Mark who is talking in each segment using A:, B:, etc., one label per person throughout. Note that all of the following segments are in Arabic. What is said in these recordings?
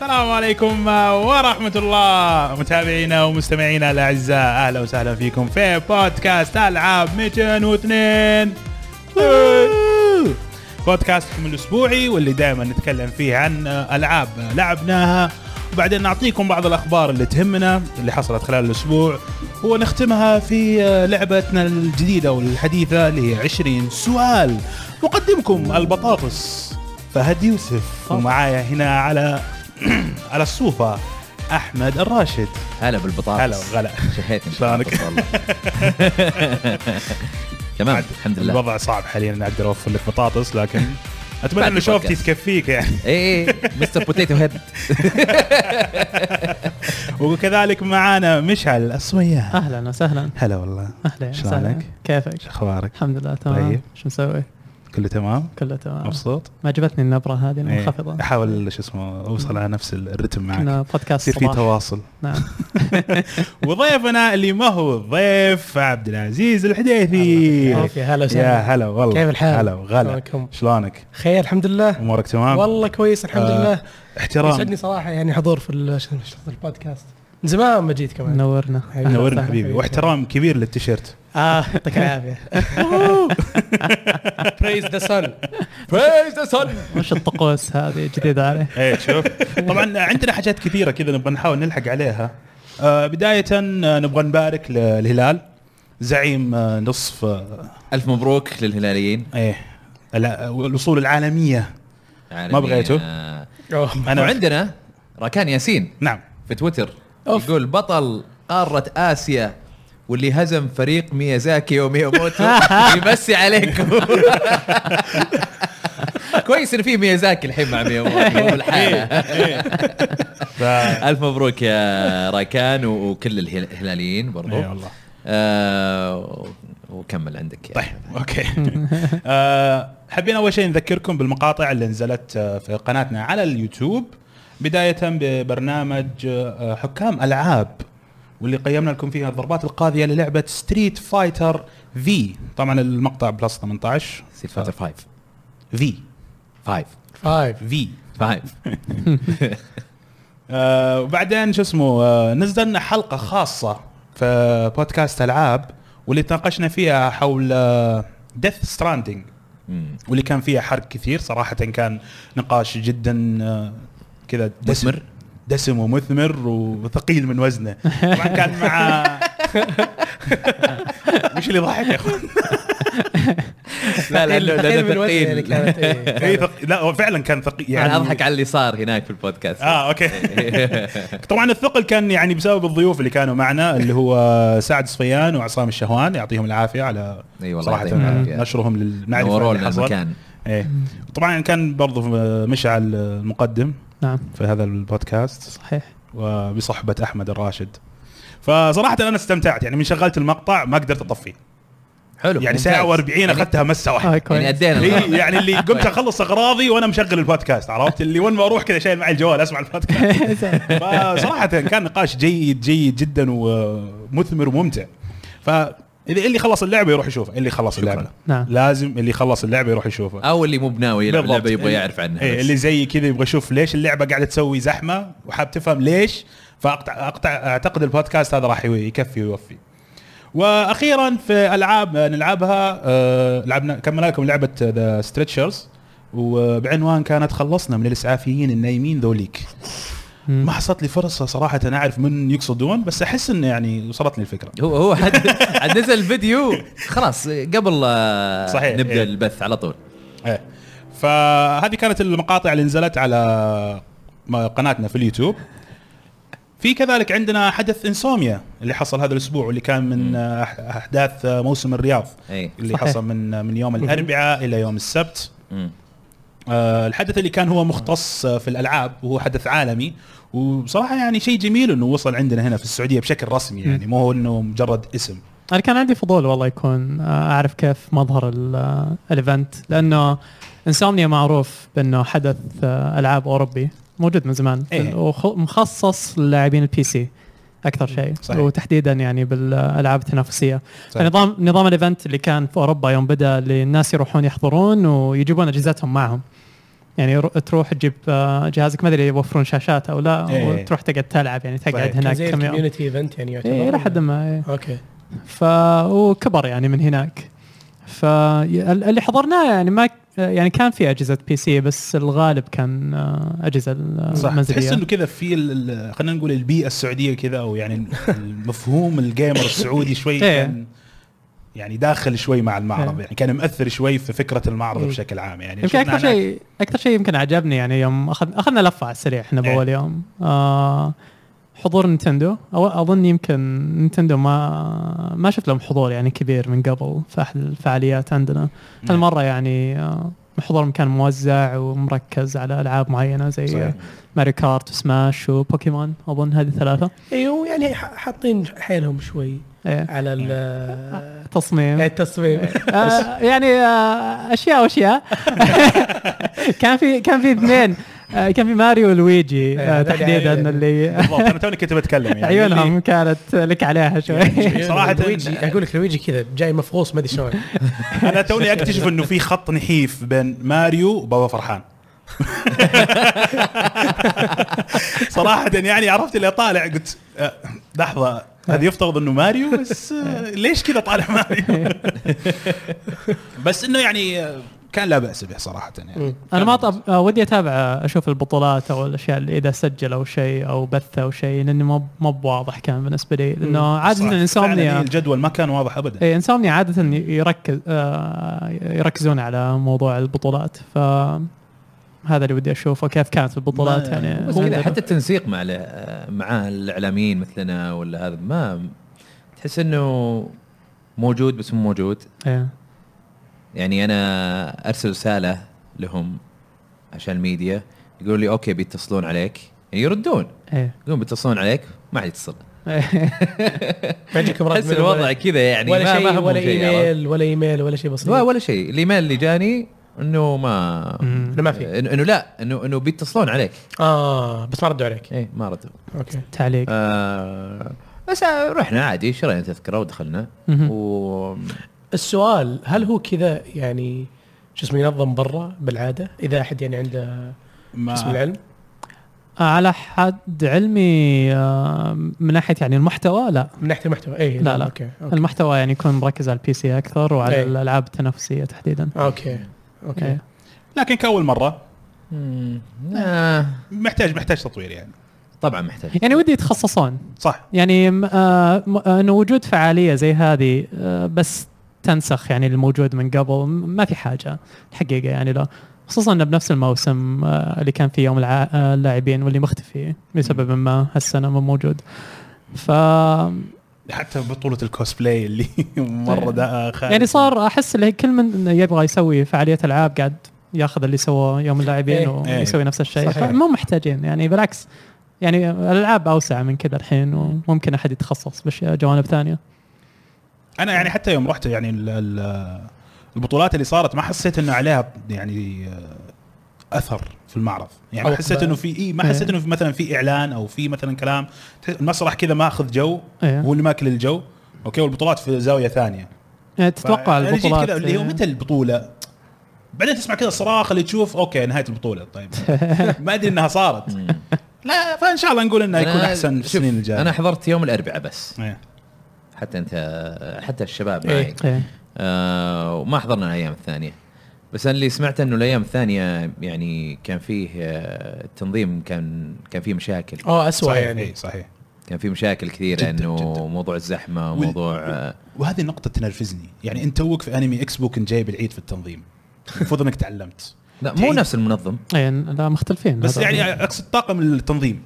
A: عليكم ورحمة الله متابعينا ومستمعينا الأعزاء أهلا وسهلا فيكم في بودكاست ألعاب 202 بودكاستكم الأسبوعي واللي دائما نتكلم فيه عن ألعاب لعبناها وبعدين نعطيكم بعض الأخبار اللي تهمنا اللي حصلت خلال الأسبوع ونختمها في لعبتنا الجديدة والحديثة اللي هي 20 سؤال مقدمكم البطاطس فهد يوسف ومعايا هنا على على الصوفة احمد الراشد
B: هلا بالبطاطس
A: هلا وغلا
B: شهيتني
A: شلونك؟
B: والله. تمام نعم، الحمد لله
A: الوضع صعب حاليا اني اقدر اوفر لك بطاطس لكن اتمنى
B: بعد
A: انه شوفتي
B: البودكاست.
A: تكفيك يعني
B: اي اي إيه، مستر بوتيتو هيد
A: وكذلك معانا مشعل
C: آه.
A: الصميان
D: اهلا وسهلا
A: هلا والله
D: اهلا يا
A: شلونك؟
D: وسهلا.
A: شو
D: يعني كيفك؟
A: اخبارك؟
D: الحمد لله تمام
A: طيب.
D: شو مسوي؟
A: كله تمام؟
D: كله
C: آه.
D: تمام
A: مبسوط؟
D: ما عجبتني النبره هذه
A: إيه.
D: المنخفضه
A: احاول شو اسمه اوصل على نفس الرتم
C: نعم.
A: معك
D: كنا بودكاست
A: يصير في
D: صباح
A: تواصل
D: نعم
A: وضيفنا اللي ما هو ضيف عبد العزيز الحديثي
C: الله يعافيك، هلا
A: إيه. يا
C: وسهلا
A: هلا والله
C: كيف الحال؟
A: هلا وغلا
C: شلونكم؟
A: شلونك؟
C: خير الحمد لله
A: امورك تمام؟
C: والله كويس الحمد
A: آه،
C: لله
A: احترام
C: يسعدني صراحه يعني حضور في ال- شو اسمه- شو اسمه البودكاست من زمان ما
A: طيب.
C: جيت كمان
D: نورنا
C: حبيبي،
A: نورنا
C: وسهلا
A: حبيبي
C: فيك.
A: واحترام كبير للتيشيرت
D: آه،
C: اه يعطيك العافيه بريز ذا سن بريز ذا سن
D: وش الطقوس هذه جديدة عليه
A: ايه شوف طبعا عندنا حاجات كثيره كذا نبغى نحاول نلحق عليها آه بدايه آه، نبغى نبارك للهلال زعيم آه، نصف آه،
B: الف مبروك للهلاليين
A: ايه لا، الوصول العالميه
B: عالمين.
A: ما بغيته.
B: آه،
A: انا عندي
B: وعندنا راكان ياسين
A: نعم
B: في تويتر
C: أوف.
B: يقول بطل قاره اسيا واللي هزم فريق ميازاكي ومياموتو يمسي عليكم كويس ان في ميازاكي الحين مع مياموتو
A: إيه.
B: بالحالة.
A: ف...
B: الف مبروك يا راكان و- وكل الهل- الهلاليين برضو
A: اي إيه، والله
B: آه، وكمل عندك يا
A: طيب اوكي آه، حابين اول شيء نذكركم بالمقاطع اللي نزلت آه، في قناتنا على اليوتيوب بدايه ببرنامج آه، حكام العاب واللي قيمنا لكم فيها الضربات القاضيه للعبه ستريت فايتر في طبعا المقطع بلس آه، 18
B: سيت فايتر 5
A: في
B: 5
C: فايف
A: في
B: 5
A: آه، وبعدين شو اسمه آه، نزلنا حلقه خاصه في بودكاست العاب واللي تناقشنا فيها حول آه، ديث ستراندنج واللي كان فيها حرق كثير صراحة كان نقاش جدا آه، كذا دسم
B: مثمر.
A: دسم ومثمر وثقيل من وزنه طبعا كان مع وش اللي ضحك يا اخوان؟
B: لا لا لا
C: تخيل من وجهي يعني
B: لا
C: كانت إيه.
A: إي ثق- لا هو فعلا كان ثقيل
B: يعني
A: يعني
B: اضحك على اللي صار هناك في البودكاست
A: اه اوكي طبعا الثقل كان يعني بسبب الضيوف اللي كانوا معنا اللي هو سعد صفيان وعصام الشهوان يعطيهم العافيه على
B: اي والله
A: صراحه
B: يعطيهم العافية.
A: نشرهم للمعرفه
B: نوروا
A: اللي
B: لنا
A: حصل.
B: المكان
A: ايه طبعا كان برضو مشعل المقدم
D: نعم
A: في هذا البودكاست
D: صحيح
A: وبصحبه احمد الراشد فصراحه انا استمتعت يعني من شغلت المقطع ما قدرت اطفيه
B: حلو
A: يعني
B: ممتاز.
A: ساعه و40
B: يعني-
A: اخذتها مسه واحده
D: هاي
B: يعني
D: آه،
B: طيب.
D: كويس
B: ادينا
A: لي-
B: الغرض.
A: يعني اللي قمت اخلص اغراضي وانا مشغل البودكاست عرفت اللي وين ما اروح كذا شايل معي الجوال اسمع البودكاست فصراحه كان نقاش جيد جيد جدا ومثمر وممتع ف اللي خلص اللعبه يروح يشوفها اللي خلص اللعبه
D: نعم.
A: لازم اللي خلص اللعبه يروح يشوفها
B: او اللي مو بناوي يلعب
A: بالضبط.
B: لعبه يبغى يعرف عنها
A: إيه
B: بس.
A: اللي زي كذا يبغى يشوف ليش اللعبه قاعده تسوي زحمه وحاب تفهم ليش فاقطع أقطع اعتقد البودكاست هذا راح يوي- يكفي ويوفي واخيرا في العاب نلعبها آه، لعبنا كملنا لكم لعبه ذا ستريتشرز وبعنوان كانت خلصنا من الاسعافيين النايمين ذوليك
D: مم.
A: ما حصلت لي فرصه صراحه أنا اعرف من يقصدون بس احس انه يعني وصلت لي الفكره
B: هو هو حد حد نزل فيديو خلاص قبل آه،
A: صحيح، إيه.
B: نبدا البث على طول
A: ايه فهذه كانت المقاطع اللي نزلت على م- قناتنا في اليوتيوب في كذلك عندنا حدث انسوميا اللي حصل هذا الاسبوع واللي كان من آه، أح- احداث آه، موسم الرياض
B: اي
A: اللي
D: صحيح.
A: حصل من من يوم الاربعاء الى يوم السبت آه، الحدث اللي كان هو مختص آه، في الالعاب وهو حدث عالمي وبصراحه يعني شيء جميل انه وصل عندنا هنا في السعوديه بشكل رسمي يعني مو هو انه مجرد اسم
D: انا كان عندي فضول والله يكون آه، اعرف كيف مظهر ال- آه، الايفنت لانه انسومنيا معروف بانه حدث آه، العاب اوروبي موجود من زمان
A: إيه.
D: ومخصص للاعبين البي سي اكثر شيء
A: صحيح.
D: وتحديدا يعني بالالعاب التنافسيه
A: صحيح.
D: فنظام نظام الايفنت اللي كان في اوروبا يوم بدا للناس يروحون يحضرون ويجيبون اجهزتهم معهم يعني رو- تروح تجيب آه، جهازك ما ادري يوفرون شاشات او لا
A: إيه.
D: وتروح تقعد تلعب يعني تقعد
A: صحيح.
D: هناك
C: زي
D: كم يوم
C: الكوميونتي ايفنت يعني يعتبر
D: اي الى حد
C: ولا؟
D: ما إيه.
C: اوكي
D: ف وكبر يعني من هناك ف ال- اللي حضرناه يعني ما يعني كان في اجهزه بي سي بس الغالب كان آه، اجهزه ال-
A: صح
D: المنزليه
A: تحس انه كذا في ال- ال- خلينا نقول البيئه السعوديه كذا او يعني المفهوم الجيمر السعودي شوي
D: إيه.
A: كان يعني داخل شوي مع المعرض
D: إيه.
A: يعني كان مؤثر شوي في فكره المعرض
C: إيه.
A: بشكل عام يعني
D: يمكن
A: شفنا
D: اكثر
A: هناك-
D: شيء اكثر شيء يمكن عجبني يعني يوم اخذ اخذنا لفه على السريع احنا
A: إيه.
D: باول يوم آه حضور نينتندو أو اظن يمكن نينتندو ما ما شفت لهم حضور يعني كبير من قبل في احد الفعاليات عندنا
A: نعم.
D: هالمره يعني آه، حضورهم كان موزع ومركز على العاب معينه زي
A: صحيح.
D: ماريو كارت وسماش وبوكيمون اظن هذه ثلاثه
C: ايوه يعني ح- حاطين حيلهم شوي
D: إيه.
C: على ال-
D: تصميم
C: التصميم
D: آه، يعني آه، اشياء واشياء كان في كان في اثنين آه، كان في ماريو ولويجي
C: إيه،
D: آه،
C: هذول
D: تحديدا
C: عيال.
D: اللي
A: بالضبط انا توني كنت بتكلم يعني
D: عيونهم كانت لك عليها شوي
A: صراحة-
C: لويجي اقول لك لويجي كذا جاي مفغوص ما ادري شلون
A: اللي- انا توني اكتشف انه في خط نحيف بين ماريو وبابا فرحان صراحة يعني عرفت اللي طالع قلت آه، لحظة هذا يفترض انه ماريو بس آه، ليش كذا طالع ماريو؟ بس انه يعني آه، كان لا بأس به صراحة يعني
C: مم.
D: انا ما طب... آه، ودي اتابع آه، اشوف البطولات او الاشياء اللي اذا سجلوا شيء او بث او شيء لانه مو مو بواضح كان بالنسبه لي لانه
A: صراحة
D: عاده
A: فعلاً يعني
D: الانسومنيا
A: الجدول ما كان واضح ابدا
D: اي انسومنيا عاده إيه، يركز آه، يركزون على موضوع البطولات ف هذا اللي ودي اشوفه كيف كانت البطولات
A: ما-
D: يعني
B: بس كذا حتى التنسيق مع ال- مع الاعلاميين مثلنا ولا هذا ما تحس انه موجود بس مو موجود
D: إيه.
B: يعني انا ارسل رساله لهم عشان الميديا يقولوا لي اوكي بيتصلون عليك يعني يردون
D: ايه
B: يقولون بيتصلون عليك ما حد يتصل
C: يعجبك
B: احس الوضع كذا يعني
C: ولا
B: ما ما
C: شيء
B: همهم
C: ولا
B: شيء عرفت؟
C: ايميل ولا ايميل ولا شيء بسيط
B: لا ولا شيء الايميل اللي جاني انه ما
D: مم.
C: إنه ما في.
B: إنه- انه لا انه انه بيتصلون عليك
C: اه بس ما ردوا عليك
B: ايه ما ردوا
C: اوكي
D: تعليق
B: آه بس رحنا عادي شرينا تذكره ودخلنا
D: مهم.
B: و
C: السؤال هل هو كذا يعني شو اسمه ينظم برا بالعاده اذا احد يعني عنده
A: ما-
C: اسم العلم
D: آه، على حد علمي آه، من ناحيه يعني المحتوى لا
C: من ناحيه المحتوى إيه، اي
D: لا، لا.
C: اوكي اوكي
D: المحتوى يعني يكون مركز على البي سي اكثر وعلى
C: إيه.
D: الالعاب التنافسيه تحديدا
C: اوكي اوكي
D: إيه.
A: لكن كأول مرة
B: مم، آه
A: محتاج محتاج تطوير يعني
B: طبعا محتاج
D: يعني ودي يتخصصون
A: صح
D: يعني م- آه، م- آه، انه وجود فعاليه زي هذه آه، بس تنسخ يعني الموجود من قبل م- ما في حاجه الحقيقه يعني لا خصوصا انه بنفس الموسم آه، اللي كان في يوم الع- آه، اللاعبين واللي مختفي لسبب ما هالسنه مو موجود ف
A: حتى بطولة الكوسبلاي اللي مرة ده خارج
D: يعني صار احس اللي كل من يبغى يسوي فعاليه العاب قاعد ياخذ اللي سواه يوم اللاعبين
C: إيه.
A: إيه.
D: ويسوي نفس الشيء
C: صحيح.
D: فمو محتاجين يعني بالعكس يعني الالعاب اوسع من كذا الحين وممكن احد يتخصص باشياء جوانب ثانيه
A: انا يعني حتى يوم رحت يعني ال- ال- البطولات اللي صارت ما حسيت انه عليها يعني آه، اثر في المعرض يعني ما
C: أو
A: حسيت
C: إقبال.
A: انه في إيه ما
D: إيه.
A: حسيت انه في مثلا في اعلان او في مثلا كلام تحس- المسرح كذا ماخذ جو
D: إيه.
A: هو اللي ماكل الجو اوكي والبطولات في زاويه ثانيه
D: يعني تتوقع
A: فأنا جيت
D: البطولات إيه.
A: كذا اللي هو متى البطوله بعدين تسمع كذا الصراخ اللي تشوف اوكي نهايه البطوله طيب ما ادري انها صارت
B: مم.
A: لا فان شاء الله نقول انه يكون
B: أنا-
A: احسن في
B: شوف،
A: السنين الجايه
B: انا حضرت يوم الاربعاء بس
A: إيه.
B: حتى انت حتى الشباب
C: إيه.
B: معي
D: إيه.
B: آه وما حضرنا الايام الثانيه بس انا اللي سمعت انه الايام الثانيه يعني كان فيه آه، التنظيم كان كان فيه مشاكل
C: اه
D: طيب.
C: اسوء
A: صحيح
C: يعني
A: إيه، صحيح
B: كان في مشاكل كثيره
A: جداً-
B: انه
A: جداً.
B: موضوع الزحمه
A: وال-
B: وموضوع آه،
A: وهذه النقطة تنرفزني، يعني انت توك في انمي اكسبو كنت جايب العيد في التنظيم. المفروض انك تعلمت.
B: لا مو
A: تعيد.
B: نفس المنظم
D: إيه، لا مختلفين
A: بس
D: هذا.
A: يعني اقصد طاقم التنظيم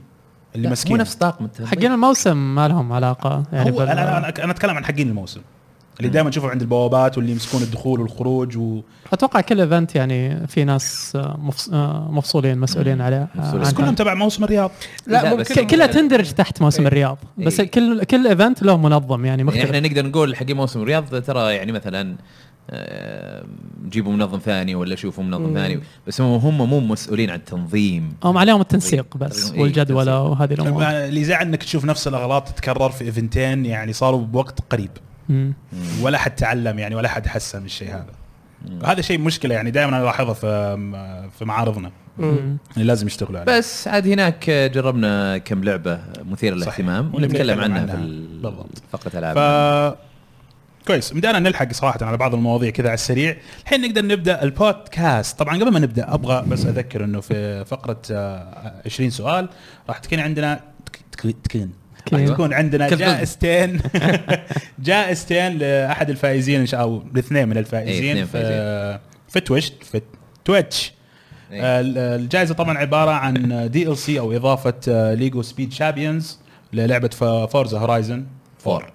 A: اللي
B: لا،
A: مسكين.
B: مو نفس طاقم التنظيم.
D: حقين الموسم ما لهم علاقه يعني
A: هو
D: بال-
A: انا انا انا أنا اتكلم عن حقين الموسم. اللي دائما نشوفهم عند البوابات واللي يمسكون الدخول والخروج و...
D: اتوقع كل ايفنت يعني في ناس آه، مفص- آه، مفصولين مسؤولين عليه آه،
B: مفصولين.
A: بس كلهم تبع موسم الرياض.
C: لا,
B: لا،
C: مو
B: بس-
C: بس
D: ك- كلها تندرج تحت موسم
C: إيه.
D: الرياض بس
B: إيه.
D: كل كل ايفنت له منظم يعني
B: يعني
D: مختلف
B: احنا نقدر نقول حق موسم الرياض ترى يعني مثلا آه، جيبوا منظم ثاني ولا شوفوا منظم
C: مم.
B: ثاني بس هم هم مو مسؤولين عن التنظيم
D: هم عليهم التنسيق بس
B: إيه،
D: والجدوله
B: التنسيق.
D: وهذه الامور
A: يعني اللي زعل انك تشوف نفس الاغلاط تتكرر في ايفنتين يعني صاروا بوقت قريب.
D: مم.
A: ولا حد تعلم يعني ولا حد حسن من الشيء هذا. هذا شيء مشكله يعني دائما الاحظها في في معارضنا
C: مم.
A: اللي لازم يشتغلوا عليه
B: بس عاد هناك جربنا كم لعبه مثيره
A: صحيح.
B: للاهتمام
A: واللي
B: ونتكلم
A: بنتكلم
B: عنها
A: عنها.
B: في ال-
A: بالضبط.
B: فقره العاب
A: ف كويس بدانا نلحق صراحه على بعض المواضيع كذا على السريع الحين نقدر نبدا البودكاست طبعا قبل ما نبدا ابغى بس اذكر انه في فقره آه، 20 سؤال راح تكون عندنا تك- تك- تكون راح
D: أيوة.
A: تكون عندنا
B: كذب.
A: جائزتين جائزتين لاحد الفائزين ان شاء الله الاثنين من
B: إيه،
A: الفائزين
B: اثنين
A: في في تويتش في تويتش
B: إيه.
A: آه، ال- الجائزه طبعا عباره عن دي ال سي او اضافه ليجو سبيد شامبيونز للعبه فورزا هورايزن
B: فور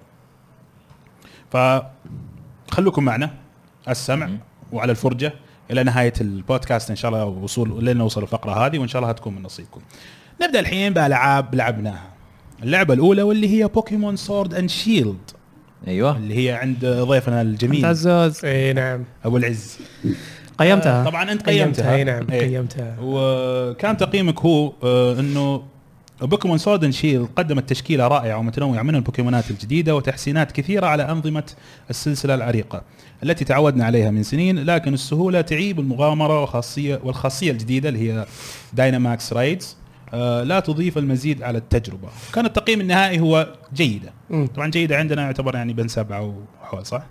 A: فخلوكم معنا على السمع
B: مم.
A: وعلى الفرجه الى نهايه البودكاست ان شاء الله وصول لين نوصل الفقره هذه وان شاء الله هتكون من نصيبكم. نبدا الحين بالعاب لعبناها. اللعبه الاولى واللي هي بوكيمون سورد اند شيلد
B: ايوه
A: اللي هي عند ضيفنا
D: انت
A: الجميل
D: عزوز
C: اي نعم
A: ابو العز. آه،
D: قيمتها
A: طبعا انت قيمتها
C: قيمتها اي نعم
A: إيه.
C: قيمتها
A: وكان تقييمك هو آه، انه بوكيمون سورد اند شيلد قدمت تشكيله رائعه ومتنوعه من البوكيمونات الجديده وتحسينات كثيره على انظمه السلسله العريقه التي تعودنا عليها من سنين لكن السهوله تعيب المغامره وخاصيه والخاصيه الجديده اللي هي دايناماكس رايدز آه، لا تضيف المزيد على التجربه كان التقييم النهائي هو جيده
C: مم.
A: طبعا جيده عندنا يعتبر يعني بين سبعه وحول صح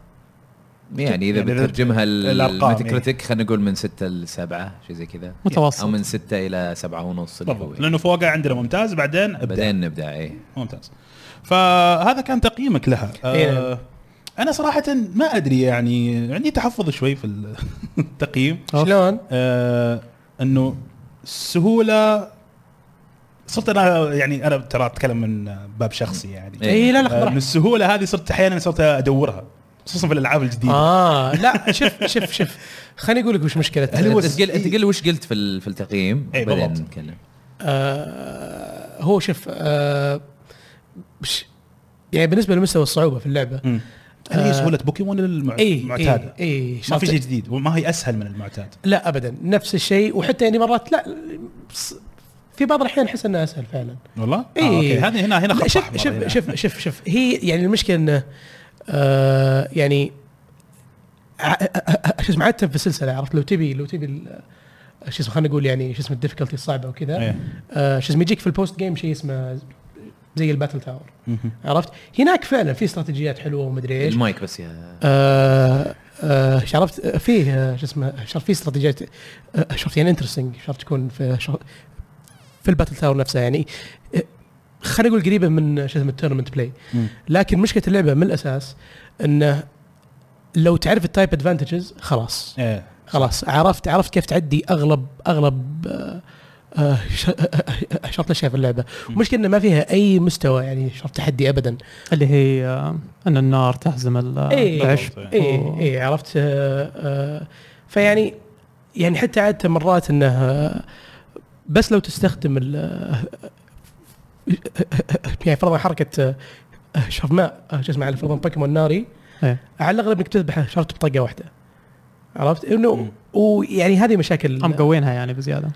B: يعني اذا
A: يعني إذا
B: بترجمها
A: الأرقام، إيه.
B: الميتكريتك خلينا نقول من ستة لسبعة شيء زي كذا او
D: متوسط
B: من ستة الى سبعة ونص اللي هو
A: بالضبط لانه فوقها عندنا ممتاز بعدين ابداع
B: بعدين إيه. نبدا اي
A: ممتاز فهذا كان تقييمك لها
C: إيه
A: آه
C: نعم.
A: انا صراحه ما ادري يعني عندي تحفظ شوي في ال- التقييم
D: أوف.
C: شلون؟
A: آه انه السهوله صرت انا يعني انا ترى اتكلم من باب شخصي يعني
B: إيه.
C: اي لا
A: آه
C: لا
A: من
C: براحتك.
A: السهوله هذه صرت احيانا صرت ادورها خصوصا في الالعاب الجديده آه.
C: اه لا شوف شوف شوف خليني اقول لك وش مشكلتها
A: هل هو
B: انت قل انت قل وش قلت في ال- في التقييم
A: إيه،
B: بعدين
A: بالضبط.
B: نتكلم
C: آه هو شوف آه بش- يعني بالنسبه لمستوى الصعوبه في إيه، اللعبه
A: هل هي
C: آه.
A: سهوله بوكيمون الم-
C: اي
A: المعتاده
C: اي, أي
A: ما في
C: شرط-
A: شيء جديد وما هي اسهل من المعتاد
C: لا ابدا نفس الشيء وحتى يعني مرات لا ص- في بعض الاحيان احس انها اسهل فعلا
A: والله
C: إيه.
A: آه اوكي هذه هنا هنا
C: لا،
A: خط
C: شوف
A: أحمر
C: شوف
A: هنا.
C: شوف شوف شوف هي يعني المشكله انه آه يعني ع- شو اسمه عاده في السلسله عرفت لو تبي لو تبي ال- شو اسمه خلينا نقول يعني شو اسمه الديفيكولتي الصعبه وكذا
A: إيه.
C: آه شو اسمه يجيك في البوست جيم شيء اسمه زي الباتل تاور
A: مهم.
C: عرفت هناك فعلا في استراتيجيات حلوه ومدري ايش
B: المايك بس يا
C: آه آه عرفت آه، فيه آه، شو اسمه شرط في استراتيجيات آه، شرط يعني انترستنج شرط تكون في شرط في الباتل تاور نفسها يعني آه، خلينا نقول قريبه من شو اسمه التورنمنت بلاي
A: مم.
C: لكن مشكله اللعبه من الاساس انه لو تعرف التايب ادفانتجز خلاص
A: ايه
C: خلاص عرفت عرفت كيف تعدي اغلب اغلب آه، آه، ش- آه، آه، شرط الاشياء في اللعبه مشكلة انه ما فيها اي مستوى يعني شرط تحدي ابدا
D: اللي هي آه، ان النار تهزم ال-
C: إيه.
D: العشب
A: بالضبط،
C: اي اي عرفت آه، آه، فيعني يعني حتى عاده مرات انه آه، بس لو تستخدم ال آه، يعني فرضا حركه آه، آه، شرط ماء آه، شو اسمه على فرضا بوكيمون ناري
D: إيه.
C: على الاغلب انك تذبحه شرط بطقه واحده عرفت
A: مم.
C: انه ويعني هذه مشاكل
D: هم قوينها يعني بزياده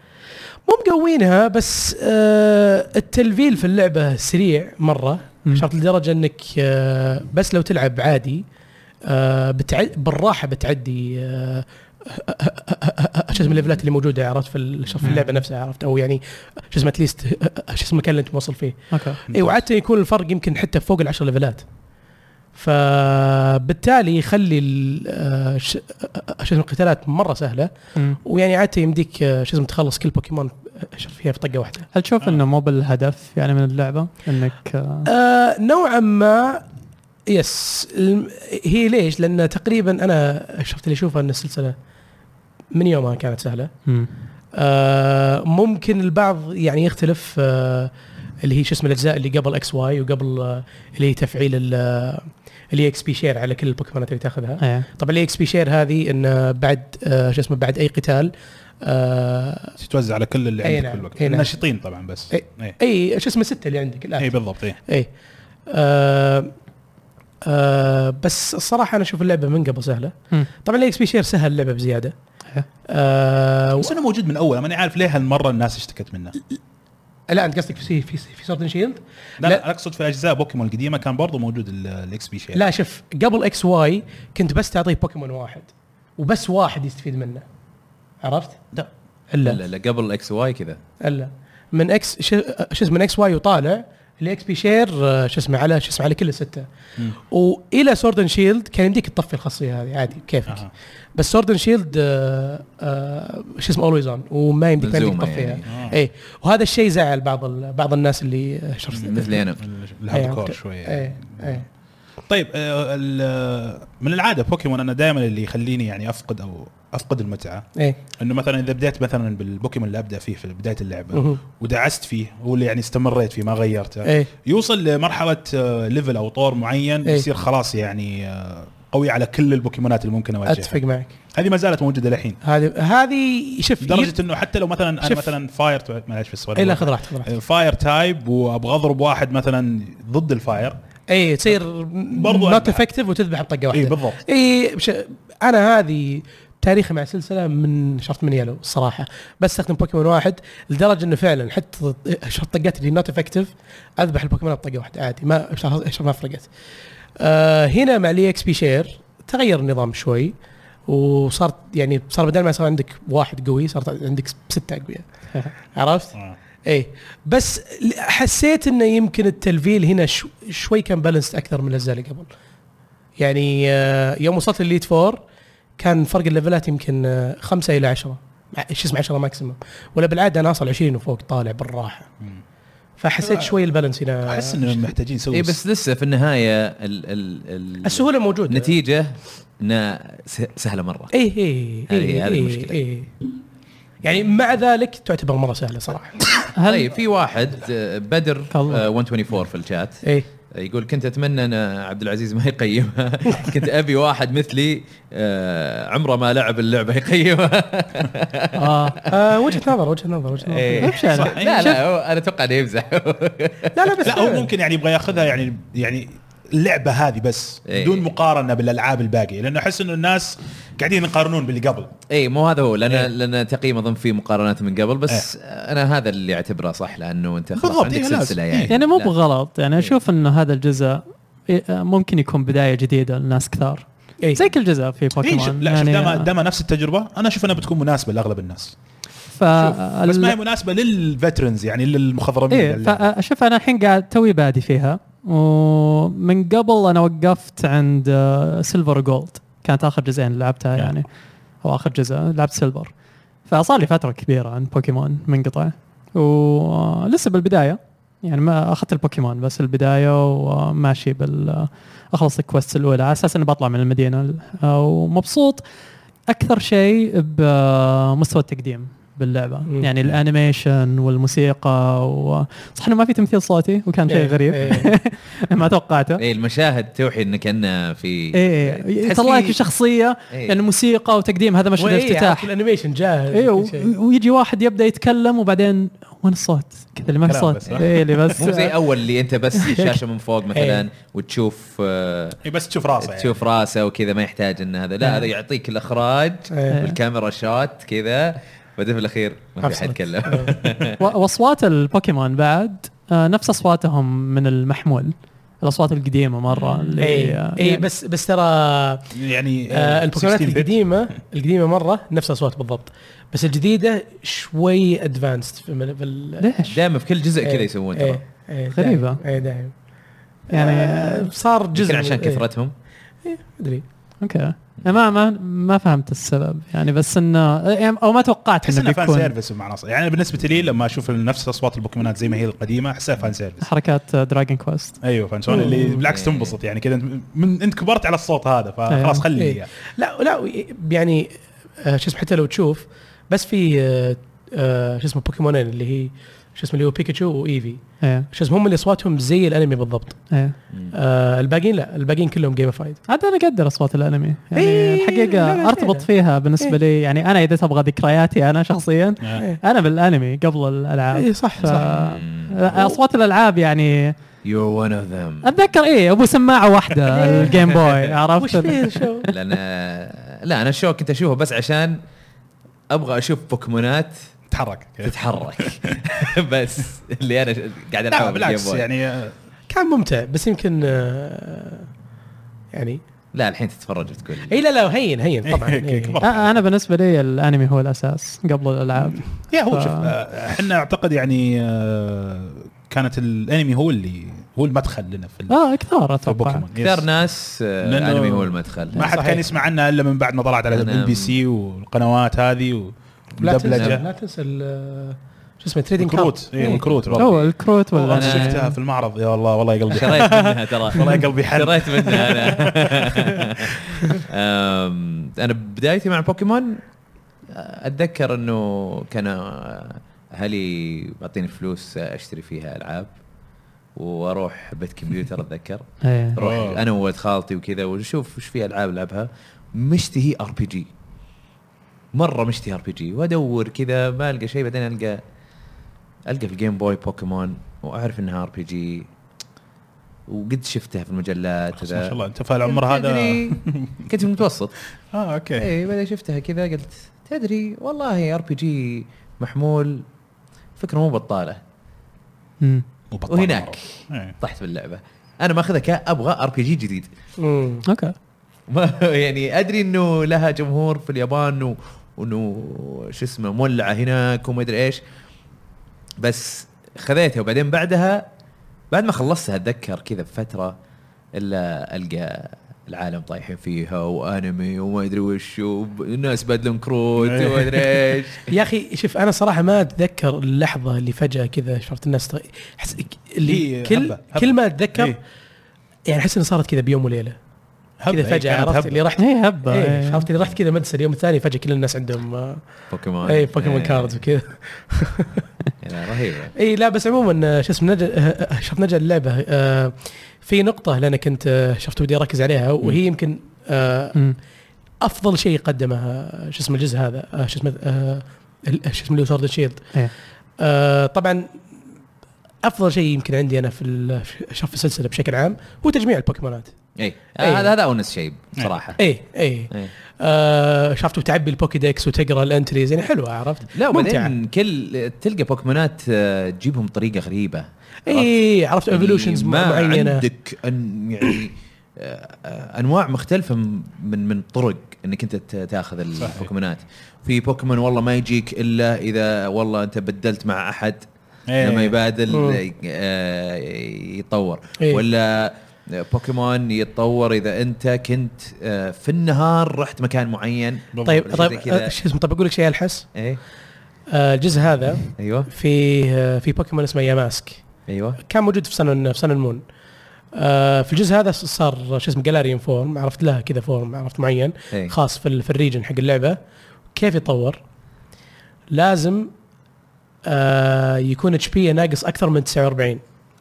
C: مو مقوينها بس آه التلفيل في اللعبه سريع مره
D: مم.
C: شرط لدرجه انك آه بس لو تلعب عادي آه بتعد بالراحه بتعدي آه شو اسمه الليفلات اللي موجوده عرفت في ال- شرط في
D: مم.
C: اللعبه نفسها عرفت او يعني شو اسمه اتليست شو اسمه المكان اللي انت موصل فيه
D: اوكي
C: اي وعاده يكون الفرق يمكن حتى فوق العشر ليفلات فبالتالي يخلي ال- آه، ش- آه، شو اسمه القتالات مره سهله
D: مم.
C: ويعني عاده يمديك آه، شو اسمه تخلص كل بوكيمون آه، شر فيها في طقه واحده.
D: هل
B: آه.
D: تشوف انه مو بالهدف يعني من اللعبه انك آه،
C: آه نوعا ما يس الم- هي ليش؟ لان تقريبا انا شفت اللي اشوفه ان السلسله من يومها كانت سهله.
D: مم.
C: آه ممكن البعض يعني يختلف آه اللي هي شو اسمه الاجزاء اللي قبل اكس واي وقبل آه اللي هي تفعيل ال- آه، اللي اكس بي شير على كل البوكيمونات اللي تاخذها.
D: ايه
C: طبعا الاي اكس بي شير هذه ان بعد آه شو اسمه بعد اي قتال آه
A: تتوزع على كل اللي
C: أي
A: عندك
C: نعم،
A: في الوقت
C: أي نعم.
A: الناشطين طبعا بس
C: أي-
B: إيه.
A: اي
C: اي إيه، شو اسمه سته اللي عندك الان
A: اي بالضبط اي
C: ايه آه آه بس الصراحه انا اشوف اللعبه من قبل سهله
D: مم.
C: طبعا الاكس بي شير سهل اللعبه بزياده
D: إيه.
C: آه و...
A: بس انه موجود من اول ماني عارف ليه هالمره الناس اشتكت منه
C: لا انت قصدك في في في سورد شيلد
A: لا,
C: لا.
A: لا اقصد في اجزاء بوكيمون القديمه
B: إيه.
A: كان برضو موجود الاكس بي شير
C: لا شوف قبل اكس واي كنت بس تعطيه بوكيمون واحد وبس واحد يستفيد منه عرفت؟
B: لا.
C: الا
B: لا لا قبل اكس واي كذا
C: الا من اكس شو شو اسمه من اكس واي وطالع الاكس بي شير آه، شو اسمه على شو اسمه على كل السته
A: مم.
C: والى سورد اند شيلد كان يمديك تطفي الخاصيه هذه عادي كيفك
A: أها.
C: بس سورد اند شيلد آه، آه، شو اسمه اولويز اون وما يمديك ما يمديك
B: ملزومه
C: تطفيها
B: يعني
A: آه.
C: اي وهذا الشيء زعل بعض ال- بعض الناس اللي آه، شو اسمه-
B: مثلي انا
A: الهارد
C: أيوة.
A: كور شويه
C: ايه ايه
A: طيب آه، ال- من العاده بوكيمون انا دائما اللي يخليني يعني افقد او افقد المتعه
C: ايه
A: انه مثلا اذا بديت مثلا بالبوكيمون اللي ابدا فيه في بدايه اللعبه
C: مهم.
A: ودعست فيه هو اللي يعني استمريت فيه ما غيرته
C: ايه
A: يوصل لمرحله آه، ليفل او طور معين
C: إيه.
A: يصير خلاص يعني آه، قوي على كل البوكيمونات اللي ممكن
C: اتفق
A: اواجهها
C: معك
A: هذه ما زالت موجوده للحين
C: هذه هذه شوف
A: لدرجه انه حتى لو مثلا انا
C: شوف.
A: مثلا فاير معلش في السؤال
C: اي لا خذ راحتك خذ راحتك
A: فاير تايب وابغى اضرب واحد مثلا ضد الفاير
C: اي إيه، تصير
A: برضو إيه،
C: برضو نوت
A: أذبح.
C: افكتيف وتذبح بطقه واحده
A: اي بالضبط
C: اي إيه، بش... انا هذه تاريخي مع السلسله من شفت من يلو الصراحه بس استخدم بوكيمون واحد لدرجه انه فعلا حتى شفت طقتي اللي نوت افكتيف اذبح البوكيمون بطقه واحده عادي ما شفت ما فرقت آه هنا مع الاي اكس بي شير تغير النظام شوي وصارت يعني صار بدل ما صار عندك واحد قوي صارت عندك سته اقوياء عرفت؟
A: آه.
C: ايه بس ل- حسيت انه يمكن التلفيل هنا شو- شوي كان بالانس اكثر من الاجزاء اللي قبل يعني آه، يوم وصلت الليد فور كان فرق الليفلات يمكن آه، خمسة الى عشرة مع- شو اسمه عشرة ماكسيموم ولا بالعاده انا اصل 20 وفوق طالع بالراحه
A: مم. آه.
C: فحسيت شوي البالانس هنا
A: احس انهم محتاجين يسووا
C: إيه،
B: اي إيه، بس لسه في النهايه ال ال ال
C: السهوله موجوده
B: النتيجه انها س- سهله مره
C: ايه ايه
B: هذه-
C: ايه
B: هذه
C: إيه،
B: المشكلة.
C: إيه. يعني مع ذلك تعتبر مره سهله صراحه
D: هل
B: طيب في واحد آه، بدر
D: الله.
B: آه، 124 في الشات آه،
C: ايه
B: يقول كنت اتمنى ان عبد العزيز ما يقيمها كنت ابي واحد مثلي آه، عمره ما لعب اللعبه يقيمها
D: اه
C: آه وجهه نظر وجهه نظر وجهه نظر
B: إيه.
D: إيش أنا؟
A: صح.
B: لا لا هو انا اتوقع انه يمزح
C: لا لا بس
A: لا هو ممكن يعني يبغى ياخذها يعني يعني اللعبه هذه بس
B: إيه.
A: بدون مقارنه بالالعاب الباقيه لانه احس انه الناس قاعدين يقارنون باللي قبل
B: اي مو هذا هو لان
A: إيه.
B: لان تقييم اظن في مقارنات من قبل بس انا هذا اللي اعتبره صح لانه انت خلاص
A: بالضبط،
B: عندك
A: إيه، لازم.
B: سلسله
A: إيه.
B: يعني
D: يعني مو
B: لا.
D: بغلط يعني اشوف انه هذا الجزء ي- ممكن يكون بدايه جديده لناس كثار
C: إيه.
D: زي كل جزء في
A: إيه شوف-
D: بوكيمون
A: لا
C: يعني
A: شوف دام
D: آه،
A: دام نفس التجربه انا اشوف انها بتكون مناسبه لاغلب الناس
D: ف
A: بس ما هي مناسبه للفترنز يعني للمخضرمين
D: ايه
A: لل-
D: فشوف انا الحين قاعد توي بادي فيها ومن قبل انا وقفت عند آه، سيلفر جولد كانت اخر جزئين اللي لعبتها
A: نعم.
D: يعني او اخر جزء لعبت سيلفر فصار لي فتره كبيره عن بوكيمون منقطع ولسه بالبدايه يعني ما اخذت البوكيمون بس البدايه وماشي بال اخلص الكويست الاولى على اساس اني بطلع من المدينه ومبسوط اكثر شيء بمستوى التقديم باللعبه
C: مم.
D: يعني الانيميشن والموسيقى و... صح انه ما في تمثيل صوتي وكان شيء
C: إيه،
D: غريب
C: إيه.
D: ما توقعته
B: اي المشاهد توحي انه كانه في
D: ايه إيه،
B: إيه، تحس
D: يطلع لك
B: في-
D: شخصيه
B: إيه.
D: يعني موسيقى وتقديم هذا مشهد افتتاح
C: الانيميشن جاهز
D: ايه
C: وكل شيء.
D: و- ويجي واحد يبدا يتكلم وبعدين وين الصوت؟ كذا اللي ما في
A: كلام
D: صوت
A: بس، ها؟
D: ايه اللي بس
B: مو زي اول اللي انت بس شاشه من فوق مثلا
C: إيه.
B: وتشوف آه،
A: إيه بس تشوف راسه يعني.
B: تشوف راسه وكذا ما يحتاج ان هذا لا هذا يعطيك الاخراج
C: إيه.
B: والكاميرا شوت كذا بعدين في الاخير ما في
C: أبصر.
B: حد يتكلم
C: إيه.
D: و- واصوات البوكيمون بعد آه، نفس اصواتهم من المحمول الاصوات القديمه مره اللي
C: اي
D: آه،
C: اي
D: يعني-
C: إيه، بس بس ترى
B: إيه،
A: يعني
C: آه، البوكيمونات
A: 16 بت.
C: القديمه القديمه مره نفس الاصوات بالضبط بس الجديده شوي ادفانسد في ال- في ال-
D: ليش؟
B: دائما في كل جزء
C: إيه،
B: كذا يسوون
C: إيه،
B: ترى
C: إيه، دايم،
D: غريبة.
C: اي دايم
D: يعني-
C: آه، صار
B: يمكن
C: جزء
B: عشان
C: من- إيه،
B: كثرتهم
C: ادري
D: اوكي أنا ما ما ما فهمت السبب يعني بس انه يعني- او ما توقعت
A: تحس
D: انه
A: انها فان
D: بيكون
A: سيرفيس مع ناس يعني أنا بالنسبه لي لما اشوف نفس اصوات البوكيمونات زي ما هي القديمه احسها فان سيرفيس
D: حركات آه، دراجون كويست
A: ايوه فان سيرفيس اللي بالعكس
B: أوه.
A: تنبسط يعني كذا أنت- من انت كبرت على الصوت هذا فخلاص
D: أيوة.
A: خلي
C: إيه.
A: إياه.
C: لا لا يعني آه، شو اسمه حتى لو تشوف بس في آه، آه، شو اسمه بوكيمونين اللي هي شو اسمه اللي هو بيكاتشو وايفي
D: ايه
C: شو اسمه هم اللي اصواتهم زي الانمي بالضبط
D: ايه
C: آه، الباقيين لا الباقيين كلهم جيمفايد
D: عاد انا اقدر اصوات الانمي يعني
C: إيه، لا، لا،
D: الحقيقه
C: لا.
D: ارتبط فيها بالنسبه
C: إيه.
D: لي يعني انا اذا تبغى ذكرياتي انا شخصيا
A: آه.
D: انا بالانمي قبل الالعاب
C: اي إيه، صح
D: ف...
C: صح
D: اصوات الالعاب يعني
B: يور ون اوف ذم
D: اتذكر ايه ابو سماعه واحده
C: إيه.
D: الجيم بوي
C: وش
D: عرفت
C: فيه الشو
B: لان لا انا الشو كنت اشوفه بس عشان ابغى اشوف بوكيمونات
A: تحرك
B: تتحرك بس اللي انا قاعد
A: لا يعني، آه،
B: العبها بالجيم
A: بالعكس
B: بوي
A: يعني آه،
C: كان ممتع بس يمكن آه، يعني
B: لا الحين تتفرج وتقول
C: اي لا لا هين هين طبعا إي.
A: كبر.
D: آه، انا بالنسبه لي الانمي هو الاساس قبل الالعاب
A: يا هو
D: ف-
A: شوف آه، احنا اعتقد يعني آه، كانت الانمي هو اللي هو المدخل لنا في ال-
D: اه كثار
A: في
D: اتوقع
A: بوكيمون
B: كثار
A: يس.
B: ناس آه،
A: لأنه
B: الانمي هو المدخل
A: ما حد
C: صحيح.
A: كان يسمع عنها الا من بعد ما طلعت على
B: أنا-
A: الام بي سي والقنوات هذه
C: لا تنسى
A: ودبلجه
C: لا إيه. تنسى ال- شو اسمه تريدنج
A: كروت اي من كروت
D: هو الكروت
A: إيه، والله
D: ولا
A: أنا شفتها في المعرض يا والله والله قلبي حن.
B: شريت منها ترى
A: والله قلبي حن
B: شريت منها انا أم، انا بدايتي مع بوكيمون اتذكر انه كان اهلي معطيني فلوس اشتري فيها العاب واروح بيت كمبيوتر اتذكر
D: إيه.
B: اروح
A: أوه.
B: انا وولد خالتي وكذا ونشوف وش في العاب العبها مشتهي ار بي جي مره مشتهي ار بي جي وادور كذا ما القى شيء بعدين القى القى في الجيم بوي بوكيمون واعرف انها ار بي جي وقد شفتها في المجلات
A: ما شاء الله انت في العمر هذا
B: تدري، إيه. كنت في المتوسط
A: اه اوكي
B: اي بعدين شفتها كذا قلت تدري والله ار بي جي محمول فكره مو بطاله
D: مم.
A: مو بطال
B: وهناك
A: مرة. إيه.
B: طحت في اللعبه انا ماخذها كابغى ار بي جي جديد
C: مم.
D: اوكي
B: ما يعني ادري انه لها جمهور في اليابان و- وانه شو اسمه مولعه هناك وما ادري ايش بس خذيتها وبعدين بعدها بعد ما خلصتها اتذكر كذا بفتره الا القى العالم طايحين فيها وانمي وما ادري وش والناس بادلون كروت وما ادري ايش
C: يا اخي شوف انا صراحه ما اتذكر اللحظه اللي فجاه كذا شفت الناس تغ... حس... اللي
A: إيه،
C: كل
A: هبة، هبة.
C: كل ما اتذكر
A: إيه.
C: يعني احس ان صارت كذا بيوم وليله
A: هبة،
C: كذا
A: إيه،
C: فجاه
A: كانت
C: عرفت
A: هبة.
C: اللي رحت
D: اي هبه
C: ايه
D: إيه.
C: عرفت اللي رحت كذا مدرسه اليوم الثاني فجاه كل الناس عندهم آه،
B: بوكيمون
C: اي بوكيمون
D: إيه.
C: كاردز وكذا
B: يعني رهيبه
C: اي لا بس عموما آه، شو اسمه نرجع آه، آه، شوف نرجع اللعبه آه، في نقطه اللي انا كنت آه، شفت ودي اركز عليها وهي يمكن آه،
D: مم.
C: افضل شيء قدمه آه، شو اسمه الجزء هذا آه، شو اسمه آه، ال- شو اسمه اللي سورد شيلد
D: إيه.
C: آه، طبعا افضل شيء يمكن عندي انا في ال- شوف السلسله بشكل عام هو تجميع البوكيمونات
B: اي
C: إيه.
B: هذا هذا اونس شيء بصراحه
C: اي اي
B: إيه.
C: آه شفت وتعبي البوكيدكس وتقرا الانتريز يعني حلوه عرفت
B: لا
C: ممتعة.
B: وبعدين كل تلقى بوكيمونات آه، تجيبهم بطريقه غريبه
C: اي إيه، عرفت ايفولوشنز
B: إيه، ما
C: معينه
B: عندك أن يعني آه، آه، انواع مختلفه م- من من طرق انك انت ت- تاخذ
A: صحيح.
B: البوكيمونات في بوكيمون والله ما يجيك الا اذا والله انت بدلت مع احد
A: إيه.
B: لما يبادل
C: مم.
B: آه، يتطور
C: إيه.
B: ولا بوكيمون يتطور اذا انت كنت آه، في النهار رحت مكان معين
A: بالضبط.
C: طيب
B: ولا شيء
C: طيب
B: زي كذا.
C: آه، شو اسمه طيب اقول لك شيء الحس
B: ايه
C: آه الجزء هذا
B: ايوه
C: في آه في بوكيمون اسمه ياماسك
B: ايوه
C: كان موجود في سن في سن المون آه في الجزء هذا صار شو اسمه جالاريوم فورم عرفت لها كذا فورم عرفت معين
B: إيه.
C: خاص في ال- في الريجن حق اللعبه كيف يتطور؟ لازم آه يكون اتش بي ناقص اكثر من 49